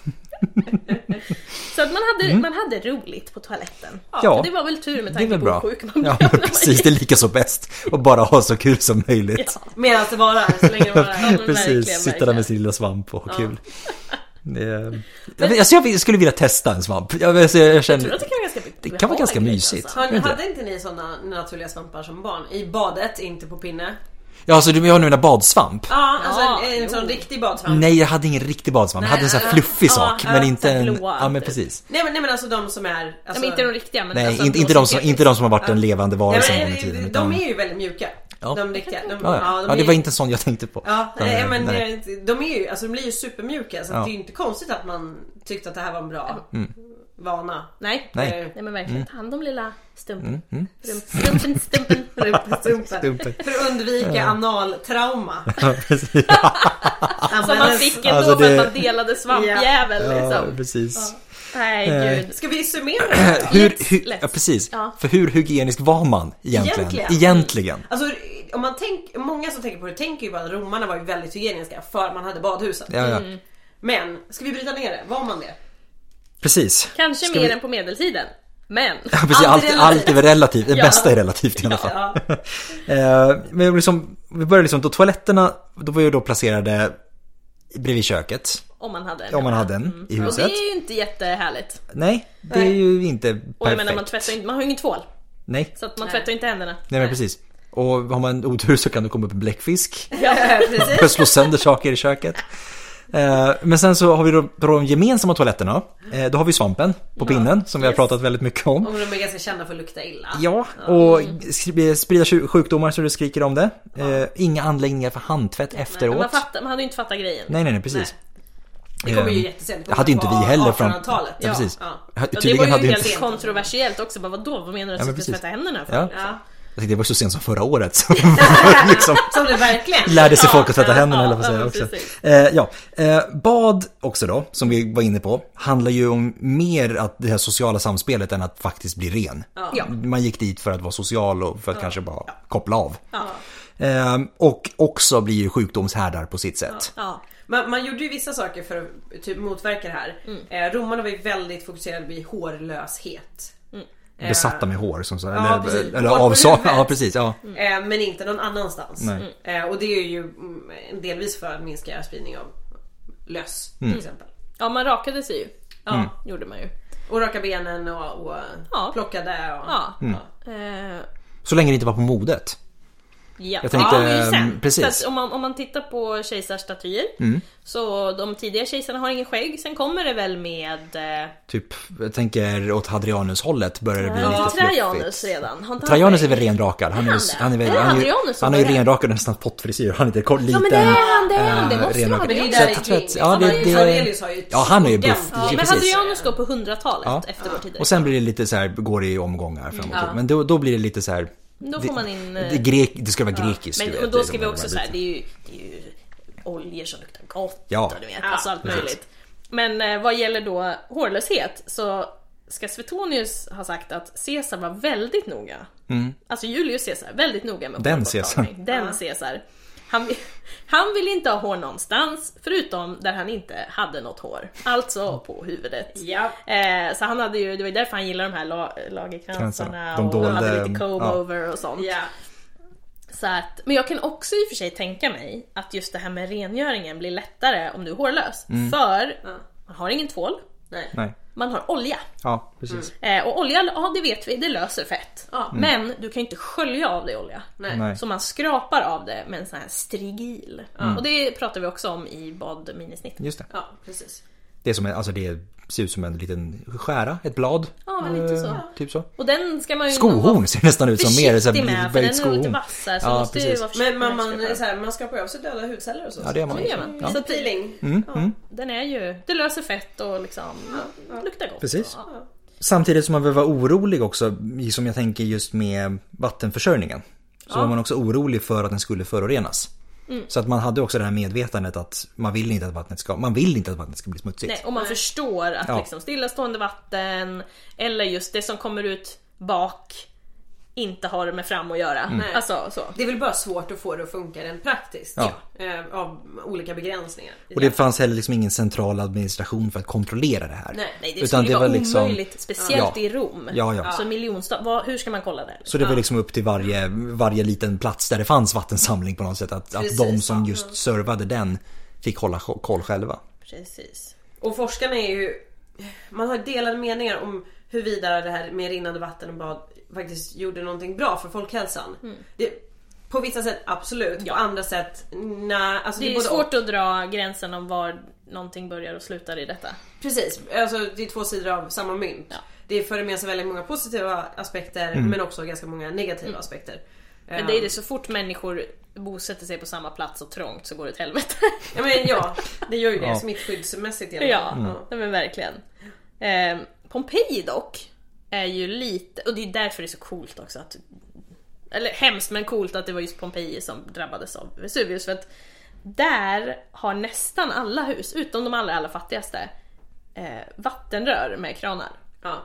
[SPEAKER 3] Så att man hade, man hade roligt på toaletten.
[SPEAKER 1] Mm. Ja.
[SPEAKER 3] Det var väl tur med
[SPEAKER 1] Det är
[SPEAKER 3] tanke
[SPEAKER 1] väl
[SPEAKER 3] på
[SPEAKER 1] bra.
[SPEAKER 3] hur sjuk man
[SPEAKER 1] Ja,
[SPEAKER 3] blev.
[SPEAKER 1] men
[SPEAKER 3] när man
[SPEAKER 1] precis. Det är lika så bäst. Och bara ha så kul som möjligt.
[SPEAKER 2] Medan det varar, så länge det varar.
[SPEAKER 3] men verkligen,
[SPEAKER 1] Precis, sitta där
[SPEAKER 3] verkligen.
[SPEAKER 1] med sin lilla svamp och ha kul. Det är- Jag vet- Alltså jag skulle vilja testa en svamp. Jag, alltså jag
[SPEAKER 3] Jag tror att
[SPEAKER 1] känner...
[SPEAKER 3] det kan vara ganska
[SPEAKER 1] Det kan vara ganska
[SPEAKER 3] behagligt,
[SPEAKER 1] mysigt.
[SPEAKER 3] alltså.
[SPEAKER 2] Har ni-
[SPEAKER 1] Inte.
[SPEAKER 2] Hade inte ni sådana naturliga svampar som barn? I badet, inte på pinne?
[SPEAKER 1] Ja, alltså du jag menar badsvamp?
[SPEAKER 2] Ja, alltså
[SPEAKER 3] Ja,
[SPEAKER 2] en, en sån
[SPEAKER 3] jo.
[SPEAKER 2] riktig badsvamp. Nej.
[SPEAKER 1] Nej, jag hade ingen riktig badsvamp. Jag hade en sån här
[SPEAKER 2] Nej,
[SPEAKER 1] fluffig
[SPEAKER 3] ja,
[SPEAKER 1] sak,
[SPEAKER 3] ja,
[SPEAKER 1] men
[SPEAKER 3] så
[SPEAKER 1] inte
[SPEAKER 3] här
[SPEAKER 1] en...
[SPEAKER 3] blåa,
[SPEAKER 1] Ja, men
[SPEAKER 3] typ.
[SPEAKER 1] precis.
[SPEAKER 2] men, nej men alltså de som är... Alltså,
[SPEAKER 3] Ja, men inte de riktiga men
[SPEAKER 1] Nej,
[SPEAKER 3] alltså,
[SPEAKER 1] inte, inte, de som, inte de som har varit den levande
[SPEAKER 2] nej,
[SPEAKER 1] varelsen en gång i
[SPEAKER 2] men,
[SPEAKER 1] tiden.
[SPEAKER 2] de,
[SPEAKER 1] Utan,
[SPEAKER 2] de
[SPEAKER 1] ja,
[SPEAKER 2] är ju väldigt mjuka.
[SPEAKER 1] Ja.
[SPEAKER 2] De riktiga. De,
[SPEAKER 1] ja.
[SPEAKER 2] de
[SPEAKER 1] ja,
[SPEAKER 2] är
[SPEAKER 1] det
[SPEAKER 2] ju-
[SPEAKER 1] var inte en sån jag tänkte på.
[SPEAKER 2] Ja, nej, men
[SPEAKER 1] nej.
[SPEAKER 2] eh, de är ju, alltså de blir ju supermjuka så
[SPEAKER 1] Ja.
[SPEAKER 2] det är ju inte konstigt att man tyckte att det här var en bra vana. Eh,
[SPEAKER 3] Nej. Nej.
[SPEAKER 1] Nej. Mm.
[SPEAKER 3] men verkligen. Ta hand om lilla stumpen. Rump- Stumpen, stumpen, rumpen.
[SPEAKER 2] Stumpen.
[SPEAKER 1] Dumt.
[SPEAKER 2] För att undvika analtrauma.
[SPEAKER 1] Ja, precis.
[SPEAKER 3] Som man fick ändå
[SPEAKER 1] Alltså,
[SPEAKER 3] för
[SPEAKER 1] det-
[SPEAKER 3] att man delade svampjävel
[SPEAKER 1] Ja,
[SPEAKER 3] liksom.
[SPEAKER 1] precis.
[SPEAKER 3] Nej
[SPEAKER 1] Eh.
[SPEAKER 3] gud.
[SPEAKER 2] Ska vi summera det här?
[SPEAKER 1] Hur,
[SPEAKER 3] Lätt,
[SPEAKER 1] hur,
[SPEAKER 3] lätt.
[SPEAKER 1] ja, precis.
[SPEAKER 3] Ja.
[SPEAKER 1] För hur hygienisk var man egentligen?
[SPEAKER 2] Egentligen.
[SPEAKER 1] Egentligen.
[SPEAKER 2] Alltså om man tänker, många som tänker på det tänker ju bara att romarna var ju väldigt hygieniska för man hade badhusen.
[SPEAKER 1] Ja, ja.
[SPEAKER 3] Mm.
[SPEAKER 2] Men, ska vi bryta ner det? Var man det?
[SPEAKER 1] Precis.
[SPEAKER 3] Kanske
[SPEAKER 1] Ska
[SPEAKER 3] mer
[SPEAKER 1] vi-
[SPEAKER 3] än på medeltiden. Men.
[SPEAKER 1] Ja, precis.
[SPEAKER 2] Allt
[SPEAKER 1] Allt,
[SPEAKER 2] är
[SPEAKER 1] allt är väl relativt. Det
[SPEAKER 3] Ja.
[SPEAKER 1] bästa är relativt i alla fall.
[SPEAKER 2] Ja.
[SPEAKER 1] Eh, Men liksom, vi började liksom då toaletterna, då var ju då placerade bredvid köket.
[SPEAKER 3] Om man hade en. Mm.
[SPEAKER 1] Om man hade en i
[SPEAKER 3] Och det
[SPEAKER 1] huset.
[SPEAKER 3] är ju inte jättehärligt.
[SPEAKER 1] Nej, det är
[SPEAKER 2] Nej.
[SPEAKER 1] ju inte
[SPEAKER 3] Och jag menar man
[SPEAKER 1] perfekt.
[SPEAKER 3] tvättar ju inte, man har ju ingen tvål.
[SPEAKER 1] Nej,
[SPEAKER 3] Så att man
[SPEAKER 2] Nej.
[SPEAKER 3] tvättar ju inte händerna.
[SPEAKER 1] nej men precis. Och har man otur så kan det komma upp en bläckfisk.
[SPEAKER 2] Ja, Eh, precis.
[SPEAKER 1] Börja slå sönder saker i köket. Eh, Men sen så har vi då då de gemensamma toaletterna. Eh, Då har vi svampen på pinnen som vi har pratat väldigt mycket om.
[SPEAKER 2] Och de är ganska kända för att lukta illa.
[SPEAKER 1] Ja, och skri- sprida sju- sjukdomar så det skriker om det. Eh, Inga anläggningar för handtvätt
[SPEAKER 3] Men
[SPEAKER 1] efteråt.
[SPEAKER 3] Man, fattar, man hade ju inte fattat grejen.
[SPEAKER 1] Nej, nej, nej, precis.
[SPEAKER 2] Det kommer ju
[SPEAKER 1] Ehm,
[SPEAKER 2] jättesent.
[SPEAKER 1] det hade ju inte vi heller från...
[SPEAKER 2] 1800-talet.
[SPEAKER 1] Ja, precis.
[SPEAKER 2] Ja.
[SPEAKER 1] Ha-
[SPEAKER 3] Ja, det
[SPEAKER 1] Tydligen
[SPEAKER 3] var
[SPEAKER 1] hade
[SPEAKER 3] ju
[SPEAKER 1] ju
[SPEAKER 3] helt
[SPEAKER 1] inte...
[SPEAKER 3] kontroversiellt också. Bara, vadå, vad menar du?
[SPEAKER 1] Ja, men
[SPEAKER 3] att jag ska
[SPEAKER 1] precis.
[SPEAKER 3] tvätta händerna för?
[SPEAKER 1] Ja. Jag
[SPEAKER 2] Ja.
[SPEAKER 1] tänkte, Alltså, Det var så sent som förra året som var liksom
[SPEAKER 2] Som det verkligen.
[SPEAKER 1] lärde sig
[SPEAKER 3] Ja,
[SPEAKER 1] folk att tvätta
[SPEAKER 3] ja,
[SPEAKER 1] händerna
[SPEAKER 3] ja,
[SPEAKER 1] eller vad
[SPEAKER 3] ja,
[SPEAKER 1] säga
[SPEAKER 3] men
[SPEAKER 1] också.
[SPEAKER 3] precis.
[SPEAKER 1] Eh, ja. eh, bad också då, som vi var inne på, handlar ju om mer att det här sociala samspelet än att faktiskt bli ren.
[SPEAKER 2] Ja.
[SPEAKER 1] Man gick dit för att vara social och för att kanske bara koppla av.
[SPEAKER 3] Ja.
[SPEAKER 1] Eh, och också blir ju sjukdomshärdar på sitt sätt.
[SPEAKER 3] Ja.
[SPEAKER 2] Man, man gjorde ju vissa saker för att typ, motverka det här.
[SPEAKER 1] Mm.
[SPEAKER 2] Eh, romarna var ju väldigt fokuserade vid hårlöshet. Eh,
[SPEAKER 1] Besatta med hår som så,
[SPEAKER 2] precis.
[SPEAKER 1] eller, eller
[SPEAKER 2] Hår på
[SPEAKER 1] avsaknad.
[SPEAKER 2] huvudet.
[SPEAKER 1] Ja, precis. Ja.
[SPEAKER 2] eh, men inte någon annanstans.
[SPEAKER 1] Mm. Nej.
[SPEAKER 2] Eh, och det är ju mm, delvis för att minska spridning av löss
[SPEAKER 1] Mm.
[SPEAKER 2] till exempel.
[SPEAKER 3] ja, man rakade sig ju. Ja, gjorde man ju.
[SPEAKER 2] Och raka benen och, och
[SPEAKER 3] Ja.
[SPEAKER 2] plockade. Och,
[SPEAKER 3] Ja.
[SPEAKER 1] Mm.
[SPEAKER 2] ja.
[SPEAKER 3] Eh,
[SPEAKER 1] Så länge det inte var på modet.
[SPEAKER 3] Ja.
[SPEAKER 1] Jag tänkte,
[SPEAKER 3] ja, det är ju sant.
[SPEAKER 1] ehm, precis. Mm.
[SPEAKER 3] Så att om, man, om man tittar på kejsarstatyer så de tidiga kejsarna har ingen skägg. Sen kommer det väl med eh,
[SPEAKER 1] Typ, jag tänker åt Hadrianus-hållet börjar det bli lite
[SPEAKER 3] Trajanus
[SPEAKER 1] fluffigt.
[SPEAKER 3] redan. Har inte han
[SPEAKER 1] Trajanus är
[SPEAKER 3] skägg?
[SPEAKER 1] väl renrakad? Han är,
[SPEAKER 3] han
[SPEAKER 1] han
[SPEAKER 3] det?
[SPEAKER 1] han är, väl,
[SPEAKER 3] Är det
[SPEAKER 1] han är, ju-
[SPEAKER 3] Adrianus som
[SPEAKER 1] han är ju
[SPEAKER 3] är det?
[SPEAKER 1] renrakad och nästan pottfrisyr. Han är lite eh, kort, liten.
[SPEAKER 3] Ja men det är han, det är han. Det måste vara
[SPEAKER 1] renrakad.
[SPEAKER 2] Men det är ju
[SPEAKER 3] Hadrianus.
[SPEAKER 1] Så jag
[SPEAKER 2] där
[SPEAKER 1] tror att-
[SPEAKER 2] kring.
[SPEAKER 1] ja,
[SPEAKER 2] Alltså,
[SPEAKER 1] det- det-
[SPEAKER 2] Aurelius har ju
[SPEAKER 1] Ja, han är ju
[SPEAKER 2] jämt-
[SPEAKER 1] buff.
[SPEAKER 3] Ja, men
[SPEAKER 1] precis.
[SPEAKER 3] Hadrianus går på 100-talet efter vår tid.
[SPEAKER 1] Och sen blir det lite så här, går det i omgångar framåt. Men då, då blir det lite så här.
[SPEAKER 3] Då
[SPEAKER 1] det,
[SPEAKER 3] får man in, eh,
[SPEAKER 1] Det, grek, det ska vara grekiskt.
[SPEAKER 3] men,
[SPEAKER 1] du vet,
[SPEAKER 3] men då
[SPEAKER 1] liksom,
[SPEAKER 3] ska vi
[SPEAKER 1] de här
[SPEAKER 3] också säga,
[SPEAKER 1] bitarna.
[SPEAKER 3] det är ju, det är ju oljor som luktar gott
[SPEAKER 1] Ja.
[SPEAKER 3] och du vet,
[SPEAKER 2] Ja,
[SPEAKER 3] alltså allt
[SPEAKER 1] precis.
[SPEAKER 3] möjligt. Men eh, vad gäller då hårlöshet så ska Svetonius ha sagt att Caesar var väldigt noga. Alltså Julius Caesar, väldigt noga med
[SPEAKER 1] Mm. Den
[SPEAKER 3] hårborttagning.
[SPEAKER 1] Caesar.
[SPEAKER 3] Den Caesar. Han, vill- han vill inte ha hår någonstans förutom där han inte hade något hår. Alltså på huvudet.
[SPEAKER 2] Ja.
[SPEAKER 3] Eh, så han hade ju, det var ju därför han gillade de här la, lagerkransarna
[SPEAKER 1] De
[SPEAKER 3] och hade
[SPEAKER 1] dolde, mm,
[SPEAKER 3] lite
[SPEAKER 1] ja.
[SPEAKER 3] comb-over och sånt.
[SPEAKER 2] Ja.
[SPEAKER 3] Så att, men jag kan också i och för sig tänka mig att just det här med rengöringen blir lättare om du är hårlös.
[SPEAKER 1] Mm.
[SPEAKER 3] För man har ingen tvål,
[SPEAKER 2] Nej.
[SPEAKER 1] Nej.
[SPEAKER 3] man har olja.
[SPEAKER 1] Ja, precis.
[SPEAKER 3] Eh, och olja, ja det vet vi, det löser fett.
[SPEAKER 2] Ja.
[SPEAKER 3] Men du kan ju inte skölja av dig olja.
[SPEAKER 2] Nej.
[SPEAKER 1] Mm. Nej.
[SPEAKER 3] Mm. Så man skrapar av det med en sån här strigil. Och det pratar vi också om i badminisnitt.
[SPEAKER 1] Just det.
[SPEAKER 2] Ja, precis.
[SPEAKER 1] Det, är som, en- alltså det ser ut som en liten skära, ett blad.
[SPEAKER 3] Ja, men lite så.
[SPEAKER 1] Eh, Typ så.
[SPEAKER 3] Och den ska man ju
[SPEAKER 1] Skohorn ser nästan ut som mer så
[SPEAKER 3] försiktig
[SPEAKER 1] här
[SPEAKER 3] med för den
[SPEAKER 1] böjt
[SPEAKER 3] är nog lite
[SPEAKER 1] skohorn.
[SPEAKER 3] vassare så
[SPEAKER 1] Ja,
[SPEAKER 3] måste ju
[SPEAKER 1] precis.
[SPEAKER 3] vara försiktig
[SPEAKER 2] Men
[SPEAKER 3] med
[SPEAKER 2] man, man,
[SPEAKER 3] att
[SPEAKER 2] är
[SPEAKER 3] skrapa.
[SPEAKER 2] så här, man skapar ju av sig döda hudceller och så.
[SPEAKER 1] Ja, det gör man.
[SPEAKER 3] Ja, det gör man.
[SPEAKER 1] Ja. Mm.
[SPEAKER 2] Så peeling. ja.
[SPEAKER 3] Den är ju, det löser fett och liksom luktar gott.
[SPEAKER 1] Precis.
[SPEAKER 3] Ja.
[SPEAKER 1] Samtidigt som man behöver vara orolig också, som jag tänker just med vattenförsörjningen. Så var man också orolig för att den skulle förorenas.
[SPEAKER 3] Mm.
[SPEAKER 1] Så att man hade också det här medvetandet att man vill inte att vattnet ska, man vill inte att vattnet ska bli smutsigt.
[SPEAKER 3] Nej, och man förstår att
[SPEAKER 1] Ja.
[SPEAKER 3] liksom stillastående vatten eller just det som kommer ut bak inte har med fram att göra.
[SPEAKER 1] Mm.
[SPEAKER 3] Alltså så.
[SPEAKER 2] Det är väl bara svårt att få det att funka rent praktiskt.
[SPEAKER 1] Ja.
[SPEAKER 2] Eh, Av olika begränsningar.
[SPEAKER 1] Och det fanns heller liksom ingen central administration för att kontrollera det liksom- här.
[SPEAKER 2] Nej,
[SPEAKER 3] Nej, det skulle ju vara omöjligt, speciellt
[SPEAKER 1] Ja.
[SPEAKER 3] i Rom.
[SPEAKER 1] Ja, ja.
[SPEAKER 3] Så miljonstad, vad, hur ska man kolla det?
[SPEAKER 1] Så det var liksom upp till varje, varje liten plats där det fanns vattensamling på något sätt. Att,
[SPEAKER 2] Precis,
[SPEAKER 1] att de som
[SPEAKER 2] ja.
[SPEAKER 1] just servade den fick hålla koll själva.
[SPEAKER 3] Precis.
[SPEAKER 2] Och forskarna är ju... Man har delade meningar om huruvida det här med rinnande vatten och bad faktiskt gjorde någonting bra för folkhälsan. Det, på vissa sätt absolut, på andra sätt nej. Alltså
[SPEAKER 3] Det är,
[SPEAKER 2] både
[SPEAKER 3] svårt att dra gränsen om var någonting börjar och slutar i detta.
[SPEAKER 2] Precis, alltså det är två sidor av samma mynt. Det för med sig väldigt många positiva aspekter
[SPEAKER 1] Mm.
[SPEAKER 2] men också ganska många negativa aspekter.
[SPEAKER 3] Mm.
[SPEAKER 2] Eh,
[SPEAKER 3] Men det är det, så fort människor bosätter sig på samma plats och trångt så går det åt helvete.
[SPEAKER 2] Ja, men, ja det gör ju det
[SPEAKER 1] Ja. Mm.
[SPEAKER 2] smittskyddsmässigt. i alla
[SPEAKER 3] Ja,
[SPEAKER 2] fall. Ja.
[SPEAKER 3] nej men verkligen. Eh, Pompeji dock är ju lite, och det är därför det är så coolt också att... Eller hemskt men coolt att det var just Pompeji som drabbades av Vesuvius för att där har nästan alla hus, utom de allra, allra fattigaste, eh, vattenrör med kranar.
[SPEAKER 2] Ja.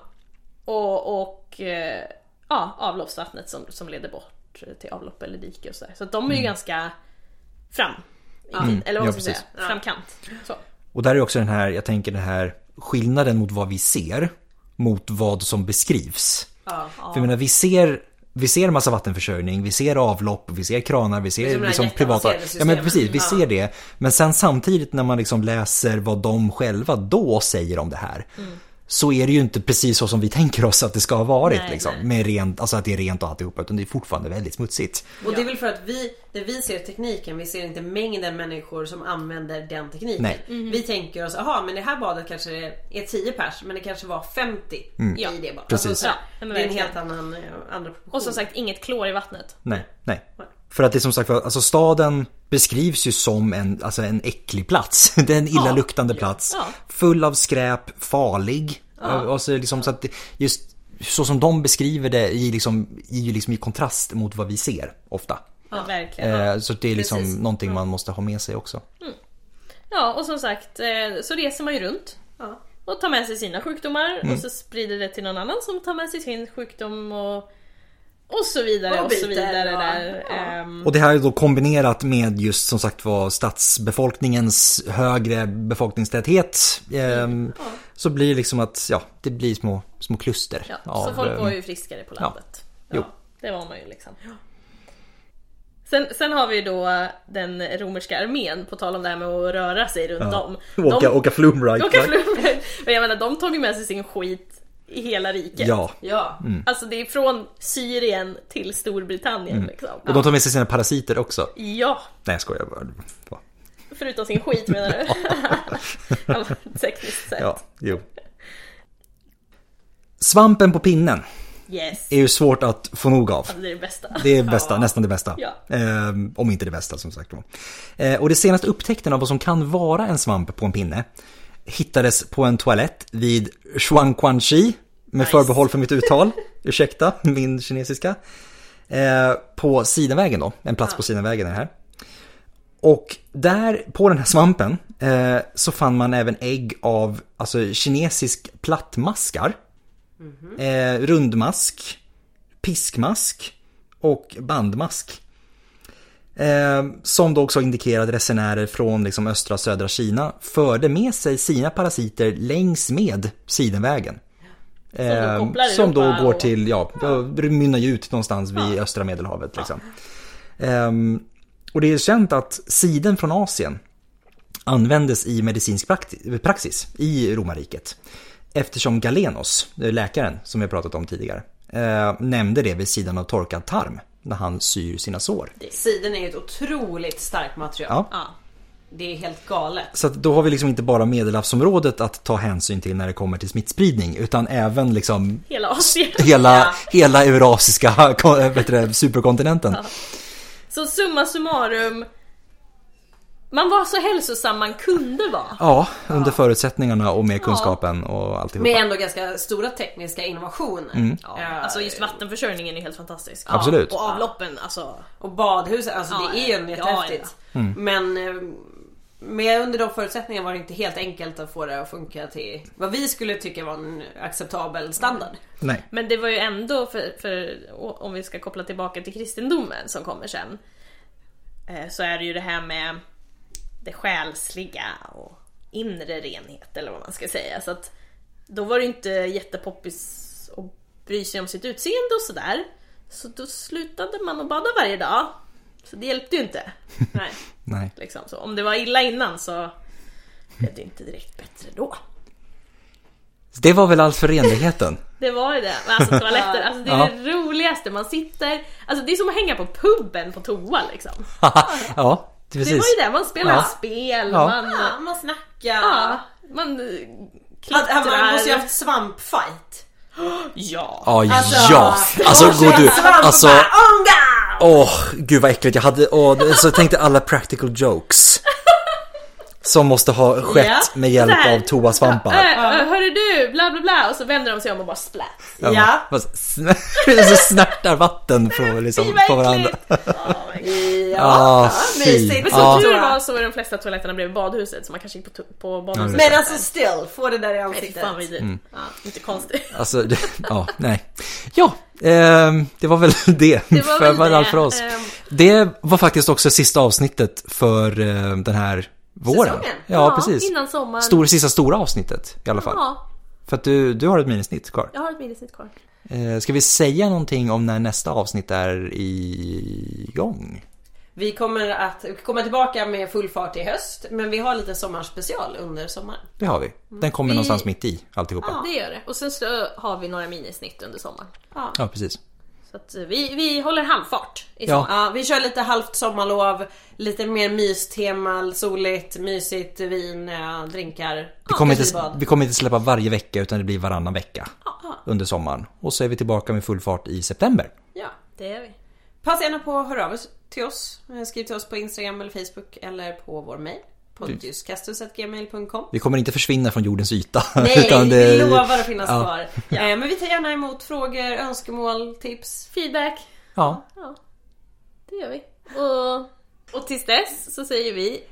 [SPEAKER 3] Och, och eh, ja, avloppsvattnet som, som leder bort till avlopp eller dike och sådär. Så att de är ju ganska fram. I tid, eller vad
[SPEAKER 1] Mm. ja,
[SPEAKER 3] man ska säga,
[SPEAKER 1] precis.
[SPEAKER 3] framkant. Så.
[SPEAKER 1] Och där är också den här, jag tänker den här skillnaden mot vad vi ser mot vad som beskrivs. För jag menar, vi ser vi ser massa vattenförsörjning, vi ser avlopp, vi ser kranar, vi
[SPEAKER 2] som
[SPEAKER 1] ser
[SPEAKER 2] det här
[SPEAKER 1] liksom privata...
[SPEAKER 2] jätteavancerade
[SPEAKER 1] Ja men
[SPEAKER 2] systemet.
[SPEAKER 1] precis, vi ser
[SPEAKER 2] Ja.
[SPEAKER 1] det. Men sen samtidigt när man liksom läser vad de själva då säger om det här.
[SPEAKER 2] Mm.
[SPEAKER 1] Så är det ju inte precis så som vi tänker oss att det ska ha varit.
[SPEAKER 3] Nej,
[SPEAKER 1] liksom,
[SPEAKER 3] nej.
[SPEAKER 1] Med rent, alltså att det är rent och alltihopa. Utan det är fortfarande väldigt smutsigt.
[SPEAKER 2] Och det är väl för att vi, det vi ser tekniken, vi ser inte mängden människor som använder den tekniken.
[SPEAKER 1] Nej.
[SPEAKER 3] Mm-hmm.
[SPEAKER 2] Vi tänker oss, jaha men det här badet kanske är- är 10 pers men det kanske var 50 i
[SPEAKER 3] Ja,
[SPEAKER 2] det badet.
[SPEAKER 1] Mm.
[SPEAKER 2] Alltså,
[SPEAKER 1] precis.
[SPEAKER 2] så här,
[SPEAKER 3] Ja, men
[SPEAKER 2] det är en
[SPEAKER 3] verkligen.
[SPEAKER 2] helt annan, eh, andra proportion.
[SPEAKER 3] Och som sagt, inget klor i vattnet.
[SPEAKER 1] Nej, nej. För att det är som sagt var, alltså staden beskrivs ju som en, alltså en äcklig plats. Det är en illaluktande plats.
[SPEAKER 3] Ja.
[SPEAKER 1] Full av skräp, farlig. Och så liksom, så att det- just så som de beskriver det är ju liksom, är ju liksom i kontrast mot vad vi ser ofta.
[SPEAKER 3] Ja, verkligen.
[SPEAKER 1] Eh, så det är liksom
[SPEAKER 2] precis.
[SPEAKER 1] någonting man måste ha med sig också.
[SPEAKER 3] Ja, och som sagt eh, så reser man ju runt
[SPEAKER 2] Ja.
[SPEAKER 3] och tar med sig sina sjukdomar
[SPEAKER 1] Mm.
[SPEAKER 3] och så sprider det till någon annan som tar med sig sin sjukdom och, och så vidare
[SPEAKER 2] Och
[SPEAKER 3] och, så
[SPEAKER 2] byter,
[SPEAKER 3] vidare
[SPEAKER 2] ja.
[SPEAKER 3] där.
[SPEAKER 2] Ja.
[SPEAKER 3] Ehm,
[SPEAKER 1] Och det här är då kombinerat med just som sagt var stadsbefolkningens högre befolkningstäthet. ehm, Så blir det liksom att, ja, det blir små, små kluster.
[SPEAKER 3] ja. så
[SPEAKER 1] av,
[SPEAKER 3] folk var
[SPEAKER 1] ehm,
[SPEAKER 3] ju friskare på landet. Ja,
[SPEAKER 1] Jo.
[SPEAKER 3] det var man ju liksom. Sen, sen har vi ju då den romerska armén, på tal om det här med att röra sig runt om.
[SPEAKER 1] Åka, åka flumride.
[SPEAKER 3] åka flugor. Men jag menar, de tog ju med sig sin skit i hela riket.
[SPEAKER 1] Ja.
[SPEAKER 2] Ja.
[SPEAKER 1] Mm.
[SPEAKER 3] Alltså det är från Syrien till Storbritannien liksom.
[SPEAKER 1] Mm. Och de tar med sig sina parasiter också.
[SPEAKER 3] Ja,
[SPEAKER 1] Nej jag skojar bara. Va?
[SPEAKER 3] förutom sin skit menar du? ja, tekniskt sett.
[SPEAKER 1] Ja, jo. Svampen på pinnen
[SPEAKER 3] Yes.
[SPEAKER 1] är ju svårt att få nog av.
[SPEAKER 3] Det är det bästa.
[SPEAKER 1] Det är bästa, nästan det bästa.
[SPEAKER 3] Ja.
[SPEAKER 1] Ehm, om inte det bästa som sagt var. Eh, och det senaste upptäckten av vad som kan vara en svamp på en pinne hittades på en toalett vid Shuangquanxi med förbehåll för mitt uttal. Ursäkta min kinesiska. Eh, på Sidenvägen då, en plats på Sidenvägen är det här. Och där på den här svampen eh, så fann man även ägg av alltså, kinesisk plattmaskar. Eh, rundmask, piskmask och bandmask. Eh, som då också indikerade resenärer från liksom östra och södra Kina förde med sig sina parasiter längs med Sidenvägen. Eh,
[SPEAKER 3] kopplar
[SPEAKER 1] som då
[SPEAKER 3] Europa
[SPEAKER 1] går
[SPEAKER 3] och-
[SPEAKER 1] till, ja, det mynnar ju ut någonstans vid östra medelhavet. Liksom. Ehm, och det är känt att siden från Asien användes i medicinsk prakti- praxis i romarriket. Eftersom Galenos, eh, läkaren som vi har pratat om tidigare, eh, nämnde det vid sidan av torkad tarm när han syr sina sår.
[SPEAKER 2] Siden är ju ett otroligt starkt material.
[SPEAKER 1] Ja.
[SPEAKER 3] Ja.
[SPEAKER 2] Det är helt galet.
[SPEAKER 1] Så att då har vi liksom inte bara medelhavsområdet att ta hänsyn till när det kommer till smittspridning utan även liksom
[SPEAKER 3] Hela Asien.
[SPEAKER 1] hela, hela eurasiska ko- eh, vet du det, superkontinenten.
[SPEAKER 3] Så summa summarum. Man var så hälsosam man kunde vara.
[SPEAKER 1] Ja, under förutsättningarna och med kunskapen och alltihopa.
[SPEAKER 2] Med ändå ganska stora tekniska innovationer.
[SPEAKER 1] Mm.
[SPEAKER 3] Ja,
[SPEAKER 2] Eh,
[SPEAKER 3] alltså just vattenförsörjningen är helt fantastisk.
[SPEAKER 1] Absolut.
[SPEAKER 3] Och avloppen, alltså.
[SPEAKER 2] Och badhuset, alltså
[SPEAKER 3] Ja,
[SPEAKER 2] det är ju
[SPEAKER 3] ja,
[SPEAKER 2] jättehäftigt.
[SPEAKER 1] Mm.
[SPEAKER 2] Men eh, med under de förutsättningarna var det inte helt enkelt att få det att funka till vad vi skulle tycka var en acceptabel standard.
[SPEAKER 1] Nej.
[SPEAKER 3] Men det var ju ändå, för, för, om vi ska koppla tillbaka till kristendomen som kommer sen, eh, så är det ju det här med det själsliga och inre renhet eller vad man ska säga. Så att då var det ju inte jättepoppis att bry sig om sitt utseende och sådär. Så då slutade man att bada varje dag. Så det hjälpte ju inte. Nej,
[SPEAKER 1] Nej.
[SPEAKER 3] liksom så. Om det var illa innan så blev det inte direkt bättre då.
[SPEAKER 1] Det var väl allt för renligheten.
[SPEAKER 3] Det var ju det. Men alltså toaletter, alltså det är
[SPEAKER 1] Ja.
[SPEAKER 3] det roligaste. Man sitter, alltså det är som att hänga på puben på toa liksom.
[SPEAKER 1] ja, precis.
[SPEAKER 3] Det var ju det, man spelar
[SPEAKER 1] Ja.
[SPEAKER 3] spel,
[SPEAKER 1] Ja.
[SPEAKER 3] man...
[SPEAKER 2] Ja, man snackar.
[SPEAKER 3] Ja, man eh,
[SPEAKER 2] Att, att man
[SPEAKER 3] Klittrar.
[SPEAKER 2] måste ju haft svampfight.
[SPEAKER 3] Ja.
[SPEAKER 1] Ja,
[SPEAKER 2] Alltså,
[SPEAKER 1] ja. Alltså går du,
[SPEAKER 2] Svamp
[SPEAKER 1] alltså,
[SPEAKER 2] och bara, "Onga!"
[SPEAKER 1] åh, gud vad äckligt. Jag hade, åh, det- så tänkte alla practical jokes. Som måste ha skett
[SPEAKER 2] Ja,
[SPEAKER 1] med hjälp
[SPEAKER 3] där.
[SPEAKER 1] av toasvampar.
[SPEAKER 3] Äh, äh, hörru du, bla bla bla och så vänder de sig om och bara splat.
[SPEAKER 2] Ja.
[SPEAKER 1] Fast sn- så snärtar vatten från, liksom, på varandra.
[SPEAKER 2] Ja.
[SPEAKER 1] Ah, fy.
[SPEAKER 2] mysigt.
[SPEAKER 3] Men som
[SPEAKER 1] Ja,
[SPEAKER 3] tur var så var de flesta toaletterna bredvid badhuset så man kanske gick på, to- på badhuset.
[SPEAKER 2] Men alltså still, få det där i
[SPEAKER 3] Fy
[SPEAKER 2] ansiktet.
[SPEAKER 3] fan vad
[SPEAKER 1] Mm.
[SPEAKER 3] vidrigt. Ja, inte konstigt.
[SPEAKER 1] alltså, det- ja, nej. Ja, ehm, det var väl det.
[SPEAKER 3] Det var
[SPEAKER 1] för,
[SPEAKER 3] väl
[SPEAKER 1] var
[SPEAKER 3] det.
[SPEAKER 1] allt för oss.
[SPEAKER 3] Ehm.
[SPEAKER 1] Det var faktiskt också sista avsnittet för eh, den här våren.
[SPEAKER 2] Säsongen?
[SPEAKER 1] Ja, precis.
[SPEAKER 3] Innan sommaren.
[SPEAKER 1] Stor, sista stora avsnittet i alla fall.
[SPEAKER 3] Ja,
[SPEAKER 1] För att du, du har ett minisnitt kvar.
[SPEAKER 3] jag har ett minnesnitt kvar.
[SPEAKER 1] Eh, ska vi säga någonting om när nästa avsnitt är igång?
[SPEAKER 2] Vi kommer att komma tillbaka med full fart i höst. Men vi har lite sommarspecial under sommaren.
[SPEAKER 1] Det har vi. Den kommer
[SPEAKER 3] Vi-
[SPEAKER 1] någonstans mitt i alltihopa. Ja,
[SPEAKER 3] Det gör det. Och sen så har vi några minisnitt under sommaren.
[SPEAKER 1] ja precis.
[SPEAKER 3] Så att eh, vi, vi håller halvfart i
[SPEAKER 1] Ja.
[SPEAKER 3] sommar.
[SPEAKER 2] Ja, vi kör lite halvt sommarlov, lite mer mystema, soligt, mysigt, vin, eh, drinkar.
[SPEAKER 1] Vi kommer, inte,
[SPEAKER 2] kanske
[SPEAKER 1] vi kommer inte släppa varje vecka utan det blir varannan vecka under sommaren. Och så är vi tillbaka med full fart i september.
[SPEAKER 2] Ja.
[SPEAKER 3] Det gör vi.
[SPEAKER 2] Passa gärna på att höra av er till oss. Eh, Skriv till oss på Instagram eller Facebook eller på vår mejl. Pontiuskastus.gmail.com
[SPEAKER 1] Vi kommer inte försvinna från jordens yta.
[SPEAKER 2] Nej,
[SPEAKER 1] utan
[SPEAKER 2] vi
[SPEAKER 1] det-
[SPEAKER 2] lovar att finnas
[SPEAKER 1] ja.
[SPEAKER 2] kvar. Eh, Men vi tar gärna emot frågor, önskemål, tips.
[SPEAKER 3] Feedback.
[SPEAKER 1] Ja,
[SPEAKER 3] Ja, det gör vi. Och, och tills dess så säger vi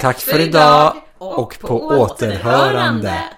[SPEAKER 1] tack för idag och på återhörande.